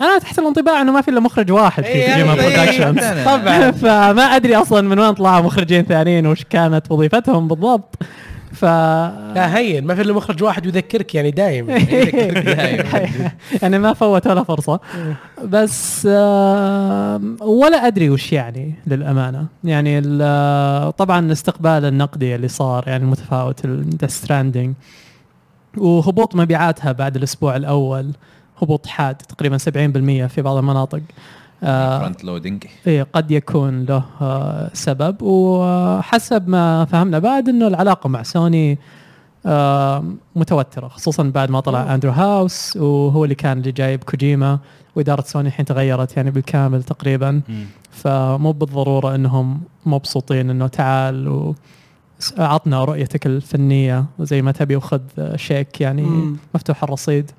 D: انا تحت الانطباع انه ما في الا مخرج واحد في
B: إيه،
D: كوجيما
B: إيه،
D: برودكشنز
B: إيه،
D: طبعا فما ادري اصلا من وين طلعوا مخرجين ثانيين وش كانت وظيفتهم بالضبط ف
C: لا هين ما في الا مخرج واحد يذكرك يعني دايم
D: يعني ما فوت ولا فرصه بس آم، ولا ادري وش يعني للامانه يعني ال- طبعا الاستقبال النقدي اللي صار يعني متفاوت ذا ستراندنج وهبوط مبيعاتها بعد الاسبوع الاول هبوط حاد تقريبا 70% في بعض المناطق آه،
B: فرونت لودنج
D: إيه قد يكون له آه، سبب وحسب ما فهمنا بعد انه العلاقه مع سوني آه، متوتره خصوصا بعد ما طلع اندرو هاوس وهو اللي كان اللي جايب كوجيما واداره سوني الحين تغيرت يعني بالكامل تقريبا فمو بالضروره انهم مبسوطين انه تعال و س- عطنا رؤيتك الفنيه وزي ما تبي وخذ آه، شيك يعني
C: مم.
D: مفتوح الرصيد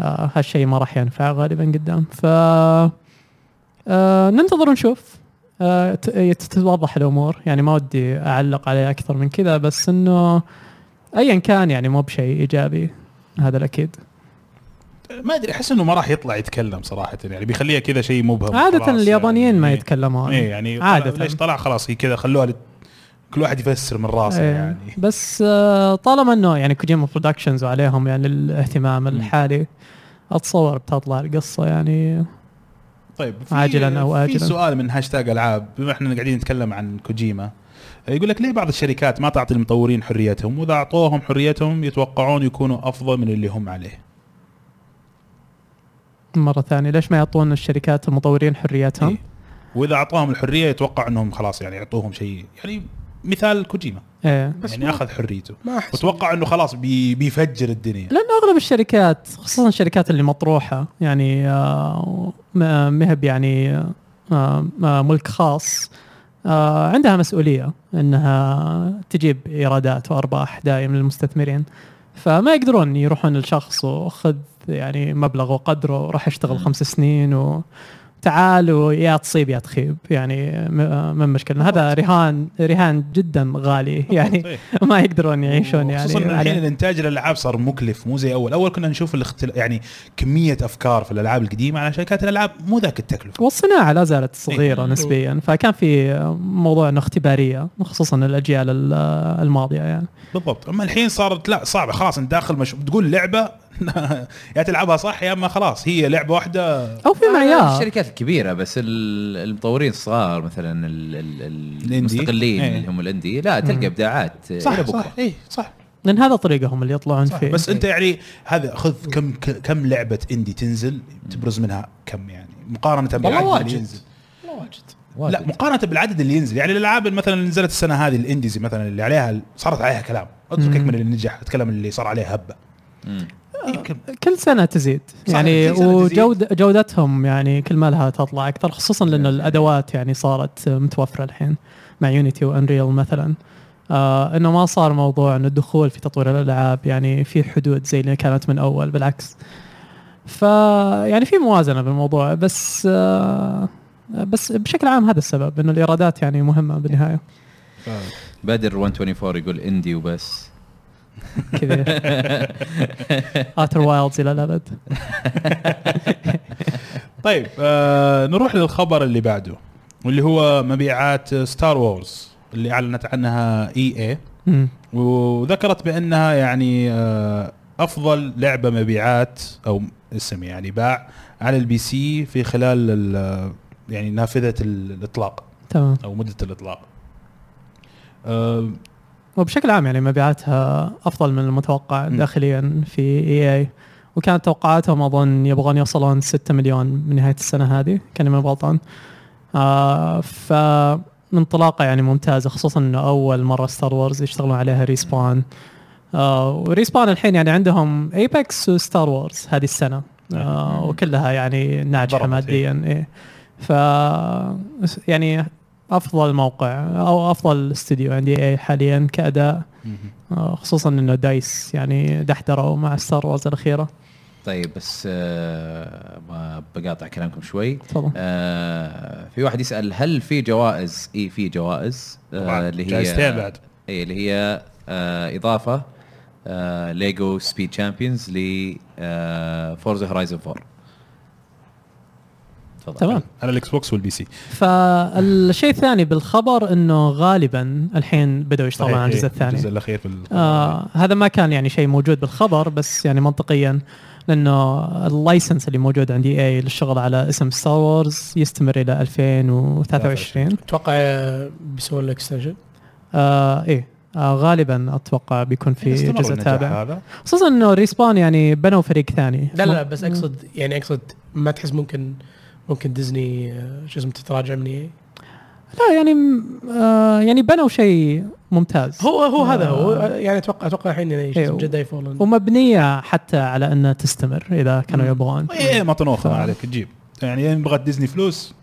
D: آه، هالشيء ما راح ينفع غالبا قدام ف آه، ننتظر ونشوف آه، ت- يت- تتوضح الامور يعني ما ودي اعلق عليه اكثر من كذا بس انه ايا كان يعني مو بشيء ايجابي هذا الاكيد
A: ما ادري احس انه ما راح يطلع يتكلم صراحه يعني بيخليها كذا شيء مبهم
D: عاده
A: خلاص
D: اليابانيين
A: يعني.
D: ما
A: إيه.
D: يتكلمون
A: ايه يعني
D: عادة.
A: عادة ليش طلع خلاص هي كذا خلوها لت- كل واحد يفسر من راسه
D: إيه.
A: يعني
D: بس آه، طالما انه يعني كوجيما برودكشنز وعليهم يعني الاهتمام الحالي اتصور بتطلع القصه يعني
A: طيب في
D: عاجلاً أو آجلاً.
A: في سؤال من هاشتاج العاب بما احنا قاعدين نتكلم عن كوجيما يقول لك ليه بعض الشركات ما تعطي المطورين حريتهم واذا اعطوهم حريتهم يتوقعون يكونوا افضل من اللي هم عليه
D: مره ثانيه ليش ما يعطون الشركات المطورين حريتهم؟
A: إيه. واذا اعطاهم الحريه يتوقع انهم خلاص يعني يعطوهم شيء يعني مثال كوجيما
D: إيه.
A: يعني اخذ حريته
C: ما احس
A: وتوقع انه خلاص بي بيفجر الدنيا
D: لان اغلب الشركات خصوصا الشركات اللي مطروحه يعني آه، ما- مهب يعني آه، آه، ملك خاص آه، عندها مسؤوليه انها تجيب ايرادات وارباح دائم للمستثمرين فما يقدرون يروحون لشخص وخذ يعني مبلغ وقدره وراح اشتغل خمس سنين تعال ويا تصيب يا تخيب يعني م- من مشكلة هذا رهان رهان جدا غالي يعني
A: إيه.
D: ما يقدرون يعيشون
A: خصوصا
D: يعني
A: إن الحين
D: عليه.
A: الانتاج الالعاب صار مكلف مو زي اول اول كنا نشوف الاختل... يعني كميه افكار في الالعاب القديمه على شركات الالعاب مو ذاك التكلفه
D: والصناعة لا زالت صغيرة
C: إيه.
D: نسبيا فكان في موضوع انه اختبارية خصوصا الاجيال ال- الماضية يعني
A: بالضبط اما الحين صارت لا صعبه خلاص انت داخل مش... تقول لعبه يا تلعبها صح يا اما خلاص هي لعبه واحده
D: او
B: آه،
D: في معيار
B: الشركات الكبيره بس ال- المطورين الصغار مثلا ال- ال- ال-
A: الاندي.
B: المستقلين
A: إيه.
B: اللي هم الاندي لا تلقى ابداعات
A: صح
B: إيه، إلى بكرة. إيه،
A: صح اي صح
D: لان هذا طريقهم اللي يطلعون
A: صح
D: فيه
A: بس انت يعني هذا خذ كم ك- كم لعبه اندي تنزل تبرز منها كم يعني مقارنه بالعدد اللي ينزل
C: والله واجد
B: واجد.
A: لا مقارنه بالعدد اللي ينزل يعني الالعاب اللي مثلا نزلت السنه هذه الانديزي مثلا اللي عليها صارت عليها كلام اتركك
D: مم.
A: من اللي نجح اتكلم اللي صار عليه هبه
B: مم.
A: يمكن
D: كل سنه تزيد
A: صحيح،
D: يعني
A: كل سنة تزيد.
D: وجودتهم يعني كل ما لها تطلع اكثر خصوصا لان الادوات يعني صارت متوفره الحين مع يونيتي وانريل مثلا آه انه ما صار موضوع انه الدخول في تطوير الالعاب يعني في حدود زي اللي كانت من اول بالعكس ف يعني في موازنه بالموضوع بس آه بس بشكل عام هذا السبب انه الايرادات يعني مهمه بالنهايه
B: بدر 124 يقول اندي وبس
D: كذا اتر وايلدز الى الابد
A: طيب آه نروح للخبر اللي بعده واللي هو مبيعات ستار وورز اللي اعلنت عنها اي اي
D: مم.
A: وذكرت بانها يعني آه، افضل لعبه مبيعات او اسم يعني باع على البي سي في خلال ال- يعني نافذه ال- الاطلاق
D: تمام
A: او مده الاطلاق آه،
D: وبشكل عام يعني مبيعاتها افضل من المتوقع
A: م.
D: داخليا في اي اي وكانت توقعاتهم اظن يبغون يوصلون 6 مليون من نهايه السنه هذه كان ما غلطان آه ف انطلاقه يعني ممتازه خصوصا انه اول مره ستار وورز يشتغلون عليها ريسبان آه وريسبان الحين يعني عندهم ايباكس وستار وورز هذه السنه آه وكلها يعني ناجحه
A: ضربت،
D: ماديا إيه. ف يعني افضل موقع او افضل استوديو عندي إيه حاليا كاداء آه، خصوصا انه دايس يعني دحدروا مع ستار وورز الاخيره
B: طيب بس آه ما بقاطع كلامكم شوي
D: تفضل
B: آه في واحد يسال هل في جوائز؟ اي في جوائز
A: طبعاً،
B: آه اللي
A: جائزتين
B: هي
A: بعد
B: اي اللي هي آه اضافه آه ليجو سبيد تشامبيونز ل آه فورز هورايزن 4 تفضل
D: تمام
A: على الاكس بوكس والبي سي
D: طيب. فالشيء الثاني بالخبر انه غالبا الحين بدأوا يشتغلون على الجزء
A: صحيح، إيه،
D: الثاني
A: الجزء الاخير في ال-
D: آه هذا ما كان يعني شيء موجود بالخبر بس يعني منطقيا لانه اللايسنس اللي موجود عند اي اي للشغل على اسم ستار وورز يستمر الى 2023
C: اتوقع آه، بيسوون لك اكستنشن
D: آه ايه آه غالبا اتوقع بيكون في
A: استمروا
D: جزء
A: النجاح
D: تابع
A: هذا
D: خصوصا انه ريسبان يعني بنوا فريق ثاني
C: لا لا بس اقصد يعني اقصد ما تحس ممكن ممكن ديزني آه، شو اسمه تتراجع من إيه؟
D: لا يعني م- آه يعني بنوا شيء ممتاز
C: هو هو هذا هو
D: آه.
C: يعني اتوقع اتوقع الحين يعني شو
D: إيه،
C: اسمه
D: و-
C: جداي فولن
D: ومبنيه حتى على انها تستمر اذا كانوا
C: مم.
D: يبغون
A: ايه مطنوخه ما
D: ف-
A: عليك تجيب يعني يعني بغت ديزني فلوس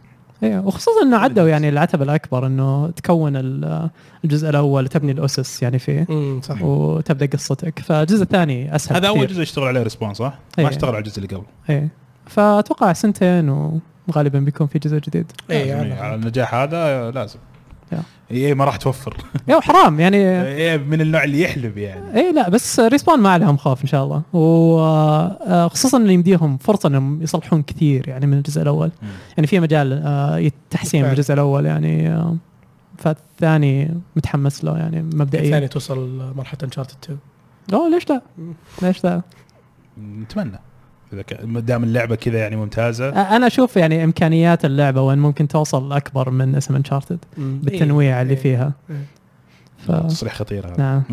D: ايه وخصوصا انه عدوا يعني العتبه الاكبر انه تكون ال- الجزء الاول تبني الاسس يعني فيه
C: امم صح
D: وتبدا قصتك فالجزء الثاني اسهل
A: هذا اول
D: كثير.
A: جزء اشتغل عليه ريسبون صح؟
D: إيه.
A: ما اشتغل على الجزء اللي قبله
D: ايه فاتوقع سنتين وغالبا بيكون في جزء جديد
C: اي
A: لازم
C: على-
A: على النجاح هذا لازم
D: إيه، يا.
A: ايه ما راح توفر
D: يا وحرام يعني
A: ايه من النوع اللي يحلب يعني
D: اي إيه، لا بس ريسبون ما عليهم خوف ان شاء الله وخصوصا انه يمديهم فرصه انهم يصلحون كثير يعني من الجزء الاول
A: مم.
D: يعني في مجال آه، التحسين من
C: فعلا.
D: الجزء الاول يعني آه، فالثاني متحمس له يعني مبدئيا
C: ثاني توصل مرحله انشارتد 2
D: لا ليش لا؟ ليش لا؟
A: نتمنى اذا كان- ما دام اللعبه كذا يعني ممتازه
D: آه، انا اشوف يعني امكانيات اللعبه وين ممكن توصل اكبر من اسم انشارتد بالتنويع اللي فيها
C: إيه.
D: ف...
A: تصريح خطير هذا
D: نعم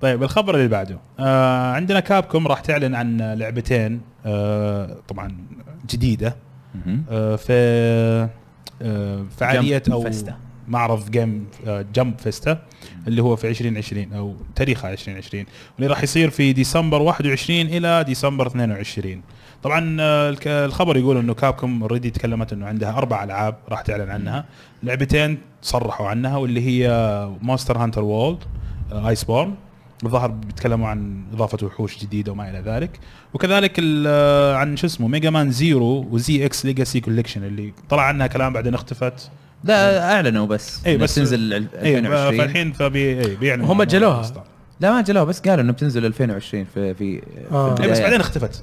A: طيب الخبر اللي بعده آه عندنا كابكوم راح تعلن عن لعبتين آه طبعا جديده
B: مهم.
A: آه في آه فعاليه
B: جمب
A: او
B: فيستا.
A: معرض جيم آه جمب فيستا اللي هو في 2020 او تاريخها 2020 واللي راح يصير في ديسمبر 21 الى ديسمبر 22 طبعا آه، الك- الخبر يقول انه كابكوم اوريدي تكلمت انه عندها اربع العاب راح تعلن عنها لعبتين صرحوا عنها واللي هي مونستر هانتر وولد ايس بورن آه، الظاهر بيتكلموا عن اضافه وحوش جديده وما الى ذلك وكذلك ال- عن شو اسمه ميجا مان زيرو وزي اكس ليجاسي كوليكشن اللي طلع عنها كلام بعدين اختفت
B: لا اعلنوا بس
A: إيه،
B: إنها
A: بس-
B: بتنزل ال-
A: اي
B: 2020
A: فالحين فبي اي بيعلنوا
C: هم
A: عن
C: أجلوها.
A: الإصدار.
B: لا ما جلوه بس قالوا انه بتنزل 2020 في في, في
C: آه.
A: اي إيه، بس
B: البدايات.
A: بعدين اختفت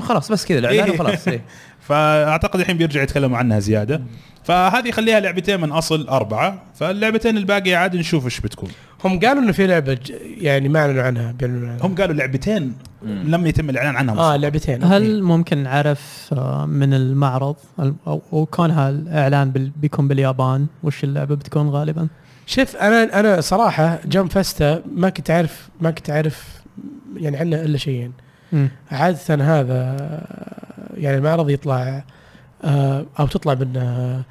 B: خلاص بس كذا
A: إيه.
B: الاعلان وخلاص إيه.
A: فاعتقد الحين بيرجع يتكلم عنها زياده فهذه خليها لعبتين من اصل اربعه فاللعبتين الباقيه عاد نشوف ايش بتكون
C: هم قالوا انه في لعبه ج- يعني ما اعلنوا عنها بيعلنوا عنها
A: هم قالوا لعبتين لم يتم الاعلان عنها
C: اه
A: آه
C: لعبتين
D: هل ممكن نعرف آه، من المعرض الم- او أو كونها الاعلان بال- بيكون باليابان وش اللعبه بتكون غالبا؟
C: شوف انا انا صراحه جام فاستا ما كنت اعرف ما كنت اعرف يعني عنه الا شيئين
D: مم.
C: عاده هذا آه، يعني المعرض يطلع آه، او تطلع منه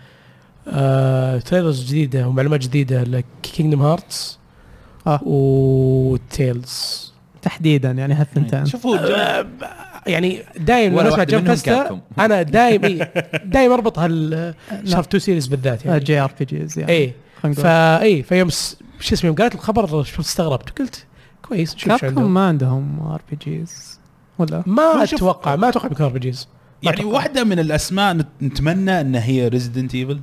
C: آه، تريلرز جديده ومعلومات جديده لكينجدم هارتس
D: آه.
C: وتيلز
D: تحديدا يعني هالثنتين
A: شوفوا جا-
C: يعني دايم
B: ولا
C: لما اسمع
B: واحدة
C: جام
B: منهم
C: فاستا
B: كابكوم.
C: انا دايم إيه، دايم اربط هال شهر 2 سيريز بالذات يعني
D: آه، جي ار بي جيز يعني
C: ايه
D: خلينا نقول.
C: فا اي فيوم س- شو اسمه يوم قالت الخبر شو استغربت قلت كويس نشوف شو
D: كابكم
C: عندهم
D: ما عندهم ار بي جيز ولا
C: ما
A: ما شوف-
C: اتوقع ما اتوقع بيكون ار بي جيز
A: يعني واحده من الاسماء نت- نتمنى انها هي ريزدنت ايفل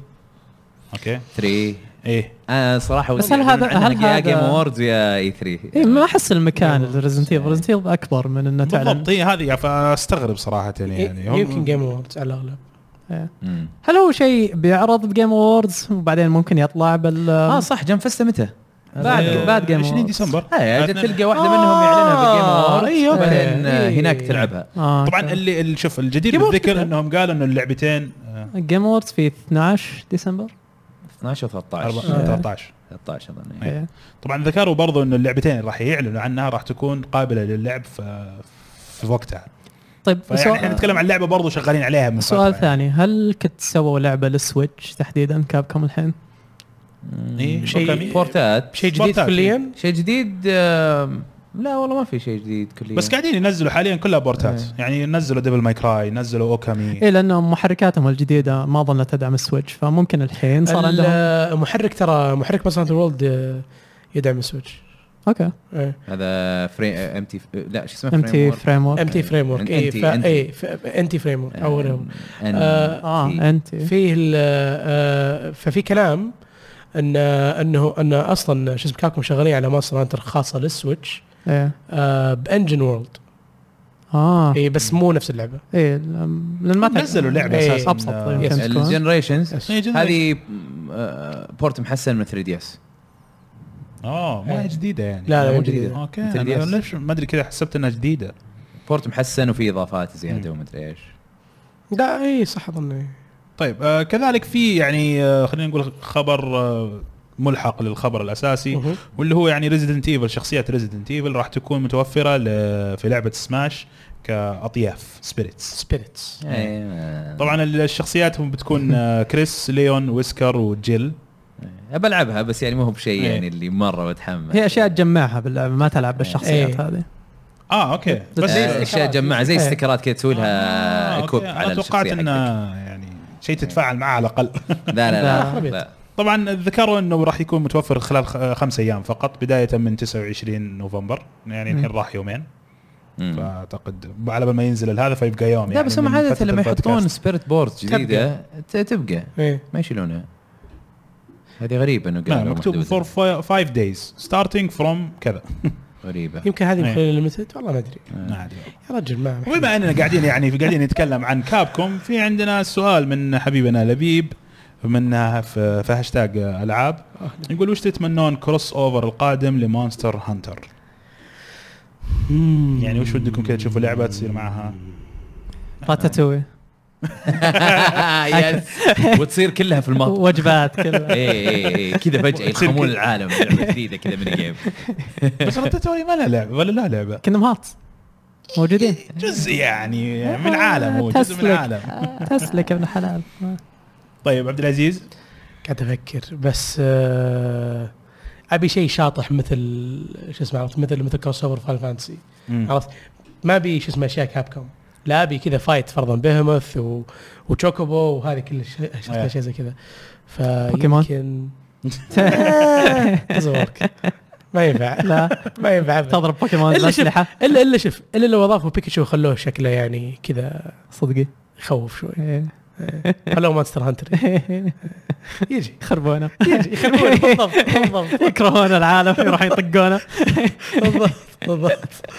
A: اوكي
B: 3
A: ايه
B: انا صراحه
D: بس هل هذا- هل
B: يا
D: هذا-
B: جيم اووردز يا E اي
D: إيه
B: 3
D: ما احس المكان الريزنت ايفل ريزنت ايفل اكبر من انه تعلن
A: بالضبط إيه هذه فاستغرب صراحه يعني هم-
C: يمكن جيم اووردز على الاغلب
B: مم.
D: هل هو شيء بيعرض بجيم اووردز وبعدين ممكن يطلع بال
B: اه صح جم فستا متى؟
D: بعد-
A: آه،
D: بعد Game آه، يعني
A: 20
D: Awards.
A: ديسمبر
B: ايه
A: اثنين-
B: تلقى واحده منهم يعلنها بالجيم
C: آه،
B: اووردز
C: إيه،
B: ايوه
C: أوكي.
B: بعدين آه،
C: إيه.
B: هناك تلعبها
D: آه
A: طبعا اللي اللي- شوف الجديد
C: Game Awards
A: بالذكر
C: كده.
A: انهم قالوا انه اللعبتين آه،
D: جيم اووردز في 12 ديسمبر
B: 12 و 13
A: أربعة-
B: آه،
A: 13
B: 13 اظن إيه.
D: إيه.
A: طبعا ذكروا برضو انه اللعبتين اللي راح يعلنوا عنها راح تكون قابله للعب في في وقتها
D: طيب
A: فيعني احنا
D: سؤال,
A: نتكلم عن لعبه برضو شغالين عليها من فترة
D: سؤال
A: يعني.
D: ثاني هل كنت سووا لعبه للسويتش تحديدا كابكم الحين؟
A: إيه،
B: شيء
A: أوكي.
B: بورتات
C: شيء جديد
A: سبورتات.
C: كليا
B: شيء جديد آم، لا والله ما في شيء جديد كليا
A: بس قاعدين ينزلوا حاليا كلها بورتات
B: إيه.
A: يعني نزلوا ديفل ماي كراي نزلوا اوكامي
D: اي لانه إيه، محركاتهم الجديده ما ظنت تدعم السويتش فممكن الحين صار عندهم
C: المحرك ترى محرك مثلا وورلد يدعم السويتش آه،
D: اوكي
B: هذا آه، فري ام تي لا شو اسمه
D: ام تي
B: فريم
D: فريم ورك
C: ام تي فريم ورك اي
B: NT.
C: اي انتي فريم
B: آه.
C: ورك او غيرهم
D: اه
B: اه
D: انت
C: فيه ال- آه، ففي كلام آه، ان انه ان اصلا شو اسمه كابكم شغالين على ماستر هانتر خاصه للسويتش
D: ايه
C: آه، بانجن وورلد
D: اه
C: اي بس مو نفس اللعبه
D: ايه لأن ما تعرف-
A: إيه. نزلوا لعبه
C: إيه.
A: اساسا
D: أبسط
A: آه،
D: يمكن.
C: يس.
B: الجنريشنز
C: يس.
B: هذه آه، بورت محسن من 3 دي اس
A: اه ما هي جديده يعني
C: لا، لا،
A: مو
C: مو جديدة.
A: اوكي
B: مثل
A: أنا
B: DS.
A: ليش ما ادري كذا حسبت انها جديده
B: بورت محسن وفي اضافات زياده ومدري ايش
C: لا اي صح إيه. اظن
A: طيب آه كذلك في يعني آه خلينا نقول خبر آه ملحق للخبر الاساسي
C: مهم.
A: واللي هو يعني ريزيدنت ايفل شخصيه ريزيدنت ايفل راح تكون متوفره ل- في لعبه سماش كاطياف سبيريتس
C: سبيريتس
B: إيه، ما-
A: طبعا الشخصيات هم بتكون آه، كريس ليون ويسكر وجيل
B: إيه، بلعبها بس يعني ما هو بشيء
A: إيه.
B: يعني اللي مره متحمس
D: هي اشياء تجمعها باللعبه ما تلعب بالشخصيات
C: إيه.
D: هذه
A: اه اوكي
D: بس
B: آه،
D: زي
B: اشياء تجمعها زي
C: إيه.
B: استكرات كذا تسوي
A: آه،
B: لها
A: أوكي.
B: كوب إيه، على
A: انا توقعت
B: الشخصية
A: انه يعني شيء تتفاعل معه على الاقل
B: حقتك. لا لا لا,
C: خربيط.
B: لا.
A: طبعا ذكروا انه راح يكون متوفر خلال خ- خمس ايام فقط بدايه من 29 نوفمبر يعني الحين راح يومين
B: مم.
A: فاعتقد على بال ما ينزل هذا فيبقى يوم
B: لا
A: يعني
B: بس هم
A: من
B: عاده
A: فترة
B: لما
A: البودكاست.
B: يحطون سبيرت بورد جديده ت- تبقى
C: ايه
B: ما يشيلونها هذه غريبه انه
A: لا
B: قالوا
A: مكتوب
B: محدودة.
A: فور 5 دايز ستارتنج فروم كذا
B: غريبه
C: يمكن هذه
A: إيه.
C: مخليه ليمتد والله ما ادري
A: ما ادري
C: يا رجل ما
A: وبما اننا قاعدين يعني قاعدين نتكلم عن كابكم في عندنا سؤال من حبيبنا لبيب منها في, في هاشتاج العاب يقول وش تتمنون كروس اوفر القادم لمونستر هانتر
C: مم.
A: يعني وش ودكم كذا تشوفوا لعبه تصير معها
D: راتاتوي
B: يس وتصير كلها في المطبخ
D: وجبات كلها
A: إيه.
B: اي اي اي إيه، كذا فجاه
A: تصير
B: يلخمون
A: كذا.
B: العالم لعبه جديده كذا من جيم
A: بس رتاتوري ما لها لعبه ولا لها لعبه
D: كندم هارتس موجودين
A: جزء يعني من عالم هو جزء من
D: تسلك.
A: عالم
D: تسلك يا ابن حلال
A: طيب عبد العزيز
C: قاعد افكر بس آه ابي شيء شاطح مثل شو اسمه عرفت مثل مثل كروس اوفر فاين فانتسي عرفت ما ابي شو اسمه اشياء كاب كوم لا ابي كذا فايت فرضا بيهمث و... وتشوكوبو وهذه كل شيء
A: إيه.
C: اشياء زي كذا
D: بوكيمون.
C: فيمكن ازورك ما ينفع
D: إيه. لا
C: ما ينفع أبداً.
D: تضرب بوكيمون
C: إلا شوف.
D: الاسلحه
C: الا الا شوف الا لو اضافوا بيكاتشو وخلوه شكله يعني كذا
D: صدقي
C: يخوف شوي
D: إيه.
C: خلوه مانستر هانتر يجي
D: يخربونه
C: يجي يخلوه بالضبط بالضبط
D: يكرهون العالم يروحون يطقونه
C: بالضبط بالضبط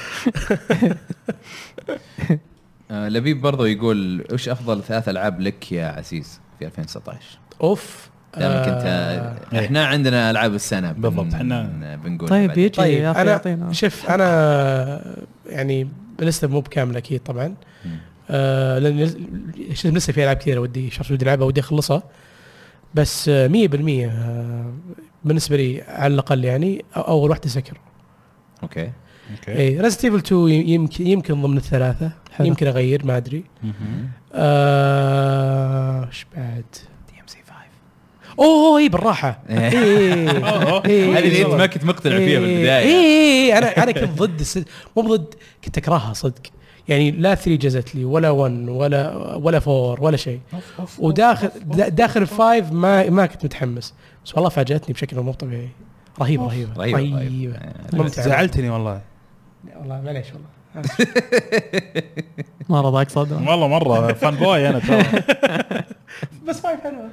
B: آه لبيب برضو يقول وش افضل ثلاث العاب لك يا عزيز في 2019
C: اوف
B: دامك انت
C: آه،
B: احنا عندنا العاب السنه بن-
A: بالضبط، إحنا-
B: بنقول
D: إيه. طيب يجي
C: طيب،
D: يا اخي
C: أنا-
D: يعطينا
C: شوف انا يعني لسه مو بكامله اكيد طبعا آه لان لس- شوف لسه في العاب كثيره ودي شخص ودي العبها ودي اخلصها بس آه، 100% آه بالنسبه لي على الاقل يعني أو- إيه، اول واحده سكر
B: اوكي
A: اوكي
C: اي ريزنت ايفل 2 يمكن يمكن ضمن الثلاثه
D: حلو.
C: يمكن اغير ما ادري
A: مهم.
C: آه، ايش بعد؟
B: دي ام سي 5
C: اوه اي بالراحه
B: إيه.
C: إي، إي، إي.
A: أوه،
D: إيه،
C: إي،
B: هذه اللي انت
C: إي.
B: ما كنت مقتنع فيها
C: إي،
B: بالبدايه
C: اي إي، انا انا إيه. كنت ضد السد... مو ضد كنت اكرهها صدق يعني لا 3 جازت لي ولا 1 ولا ولا 4 ولا شيء
A: أوف، أوف،
C: وداخل دا- داخل 5 ما ما كنت متحمس بس والله فاجاتني بشكل مو طبيعي رهيبه رهيبه
B: رهيبة،
D: طيب.
B: رهيبة.
A: أوف.
C: ممتعة.
A: زعلتني والله
C: والله معليش والله
D: ما رضاك صدر
A: والله مره فان بوي انا ترى
C: بس 5 حلوه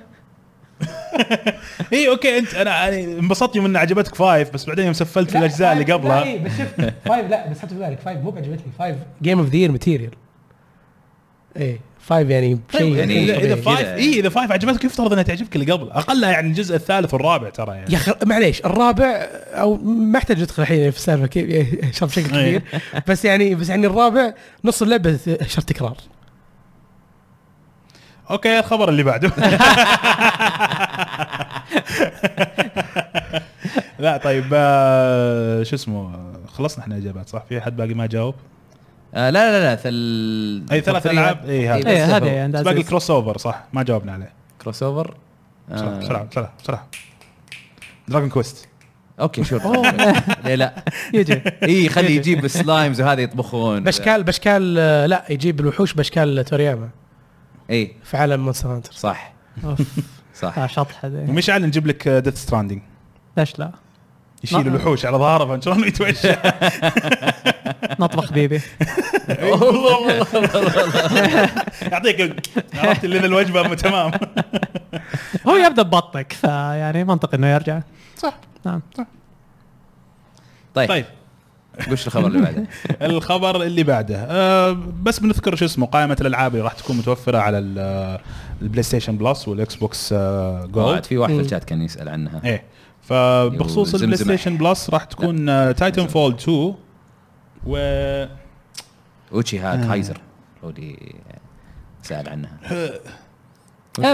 A: اي اوكي انت انا يعني انبسطت يوم ان عجبتك فايف بس بعدين يوم سفلت في الاجزاء اللي قبلها
C: إيه، بس شفت 5 لا بس حط في بالك 5 مو عجبتني 5 جيم اوف ذا يير ماتيريال ايه 5 يعني شيء
B: يعني
A: اذا
C: طبيعي.
A: اذا
B: كذا
A: طيب، فايف
B: يعني.
A: اي اذا فايف عجبتك يفترض انها تعجبك اللي قبل اقلها يعني الجزء الثالث والرابع ترى يعني
C: يا اخي معليش الرابع او ما احتاج ندخل الحين في السالفه كيف شرط بشكل
A: إيه.
C: كبير بس يعني بس يعني الرابع نص اللعبه شرط تكرار
A: إيه. اوكي الخبر اللي بعده لا طيب آه، شو اسمه خلصنا احنا اجابات صح في احد باقي ما جاوب
B: آه لا لا لا ثل... إيه،
A: أي ثلاث ألعاب، أي هذا.
B: بس
D: ايه هذا
B: هو.
D: يا عند
A: بس باقي
D: عزيز.
A: الكروس اوفر صح ما جاوبنا عليه
B: كروس اوفر
A: بسرعه
B: آه،
A: بسرعه بسرعه بسرعه دراجون كويست
B: اوكي شور ليه لا
D: يجي
B: اي خليه يجيب السلايمز وهذا يطبخون
C: باشكال باشكال آه، لا يجيب الوحوش باشكال تورياما
B: اي
C: في عالم مونستر هانتر
B: إيه، صح
D: أوف. آه،
B: صح
D: شطحه ذي.
A: ومشعل نجيب لك ديث ستراندنج
D: ليش لا
A: يشيل
D: ما-
A: الوحوش على ظهره فانشرون يتوشى
D: نطبخ بيبي
A: والله والله يعطيك عرفت لنا الوجبه مو تمام
D: هو يبدا ببطك فيعني منطقي انه يعني يرجع
A: صح
D: نعم
B: طيب
A: طيب
B: وش الخبر اللي بعده
A: الخبر اللي بعده أه بس بنذكر شو اسمه قائمه الالعاب اللي راح تكون متوفره على ال- البلاي ستيشن بلس والاكس بوكس آه،
B: قاعد
A: جولد
B: في واحد في
D: إيه.
C: مم.
B: الشات كان يسال عنها
A: ايه فبخصوص البلاي
B: زمزمة.
A: ستيشن بلس راح تكون آه، تايتن فول 2 و
B: اوتشي ها كايزر رودي سال آه، عنها
D: آه،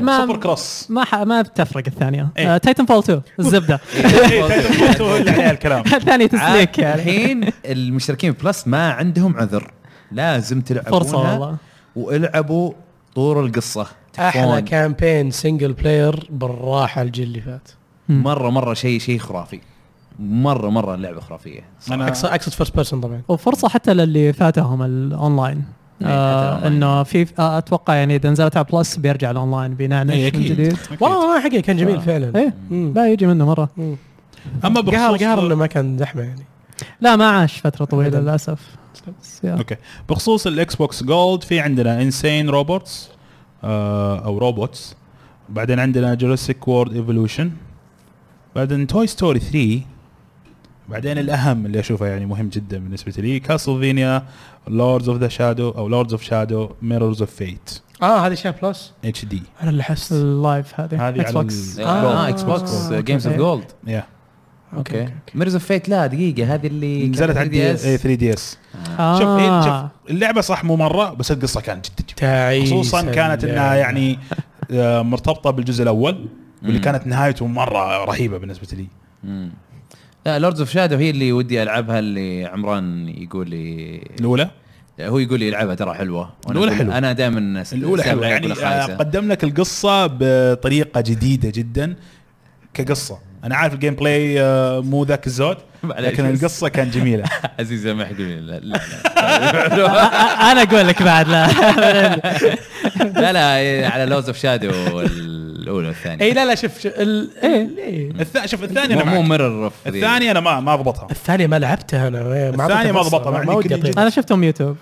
D: ما-
A: سوبر كروس
D: ما ح... ما بتفرق آه، الثانيه
A: إيه.
D: تايتن فول 2 الزبده
A: إيه، تايتن فول 2 هو اللي عليه الكلام
D: الثانيه تسليك
B: عاد
D: يعني
B: الحين المشتركين في بلس ما عندهم عذر لازم تلعبونها
D: فرصه والله
B: والعبوا طور القصه
C: احلى
B: تكفون.
C: كامبين سنجل بلاير بالراحه الجيل اللي فات
B: مره مره شيء شيء خرافي مره مره لعبه خرافيه
D: آه.
A: انا
C: اقصد اقصد فيرست بيرسون طبعا
D: وفرصه حتى للي فاتهم الاونلاين
B: إيه، حتى
D: آه
B: الأونلاين.
D: انه في آه اتوقع يعني اذا نزلت على بلس بيرجع الاونلاين بينعنش
A: إيه،
D: من
A: أكيد.
D: جديد
A: أكيد.
C: والله ما حقيقي كان
A: آه.
C: جميل فعلا
D: ايه
C: إيه، مم.
D: لا يجي منه مره
C: مم.
A: اما إيه.
C: قهر قهر
A: بخصوص
C: انه ما كان زحمه يعني
D: لا ما عاش فتره طويله
C: أبداً.
D: للاسف بس يا.
A: اوكي بخصوص الاكس بوكس جولد في عندنا انسين روبوتس او روبوتس بعدين عندنا جوراسيك وورد ايفولوشن بعدين توي ستوري 3 بعدين الاهم اللي اشوفه يعني مهم جدا بالنسبه لي كاسلفينيا لوردز اوف ذا شادو او لوردز اوف شادو ميرورز اوف فيت
C: اه هذه شاف بلس
A: اتش دي
C: انا اللي حست
D: اللايف هذه
A: هذه
D: اكس
A: على
D: بوكس
A: ال-
B: اه اكس بوكس
D: آه،
A: uh,
D: أوكي.
B: جيمز اوف جولد
C: إيه،
A: يا
B: اوكي ميرز اوف فيت لا دقيقه هذه اللي
A: نزلت على إيه،
D: إيه.
A: 3 دي اس شوف إيه،
C: آه.
D: آه.
A: شوف اللعبه صح مو مره بس القصه كانت جدا جميله
C: تعيس
A: خصوصا كانت انها يعني آه، مرتبطه بالجزء الاول واللي
B: مم.
A: كانت نهايته مره رهيبه بالنسبه لي
B: مم. لا لوردز اوف شادو هي اللي ودي العبها اللي عمران يقول لي
A: الاولى
B: هو يقول لي العبها ترى حلوه وأنا
A: الأولى
B: أقول-
A: حلوة.
B: انا دائما
A: الاولى حلوه يعني آه، قدم لك القصه بطريقه جديده جدا كقصه انا عارف الجيم بلاي آه، مو ذاك الزود
B: معليش
A: لكن
B: بس.
A: القصه كانت جميله
B: عزيزه ما يقول لا لا
D: آه، آه، انا اقول لك بعد لا
B: لا, لا على لوز اوف شادو الاولى والثانيه
C: اي إيه، لا لا شوف شوف، ال... ال- إيه.
A: الث... شوف الثاني
B: مو
A: انا
B: مو
A: معك
B: ميرور اوف
A: الثاني انا ما ما اضبطها
C: الثانية ما لعبتها انا إيه، ما
A: الثانية ما آه،
C: أعطيتها فرصة،
A: ضبطها، مع
C: ما
A: إني
C: ودي
A: كنت-
C: أعطيها.
D: انا شفتهم يوتيوب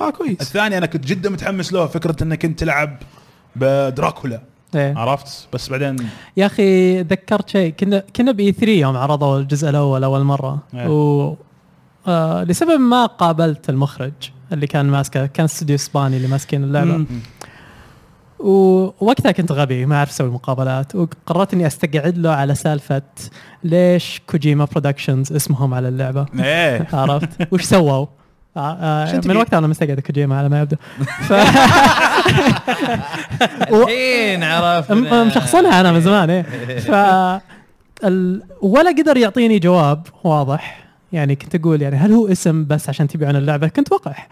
C: اه كويس
A: الثاني انا كنت جدا متحمس له فكره انك انت تلعب بدراكولا
D: ايه
A: عرفت بس بعدين
D: يا اخي ذكرت شيء كنا كنا باي 3 يوم عرضوا الجزء الاول اول مره
A: إيه.
D: و آه لسبب ما قابلت المخرج اللي كان ماسكه كان استوديو اسباني اللي ماسكين اللعبه
C: مم.
D: ووقتها كنت غبي ما اعرف اسوي المقابلات وقررت اني استقعد له على سالفه ليش كوجيما برودكشنز اسمهم على اللعبه
A: ايه
D: عرفت وش سووا آه، آه،
A: شنو
D: من
A: تبي؟
D: وقتها انا مستقعد كوجيما على ما يبدو ف
B: الحين عرفت
D: م- مشخصنها انا من زمان ايه ف ال- ولا قدر يعطيني جواب واضح يعني كنت اقول يعني هل هو اسم بس عشان تبيعون اللعبه كنت وقح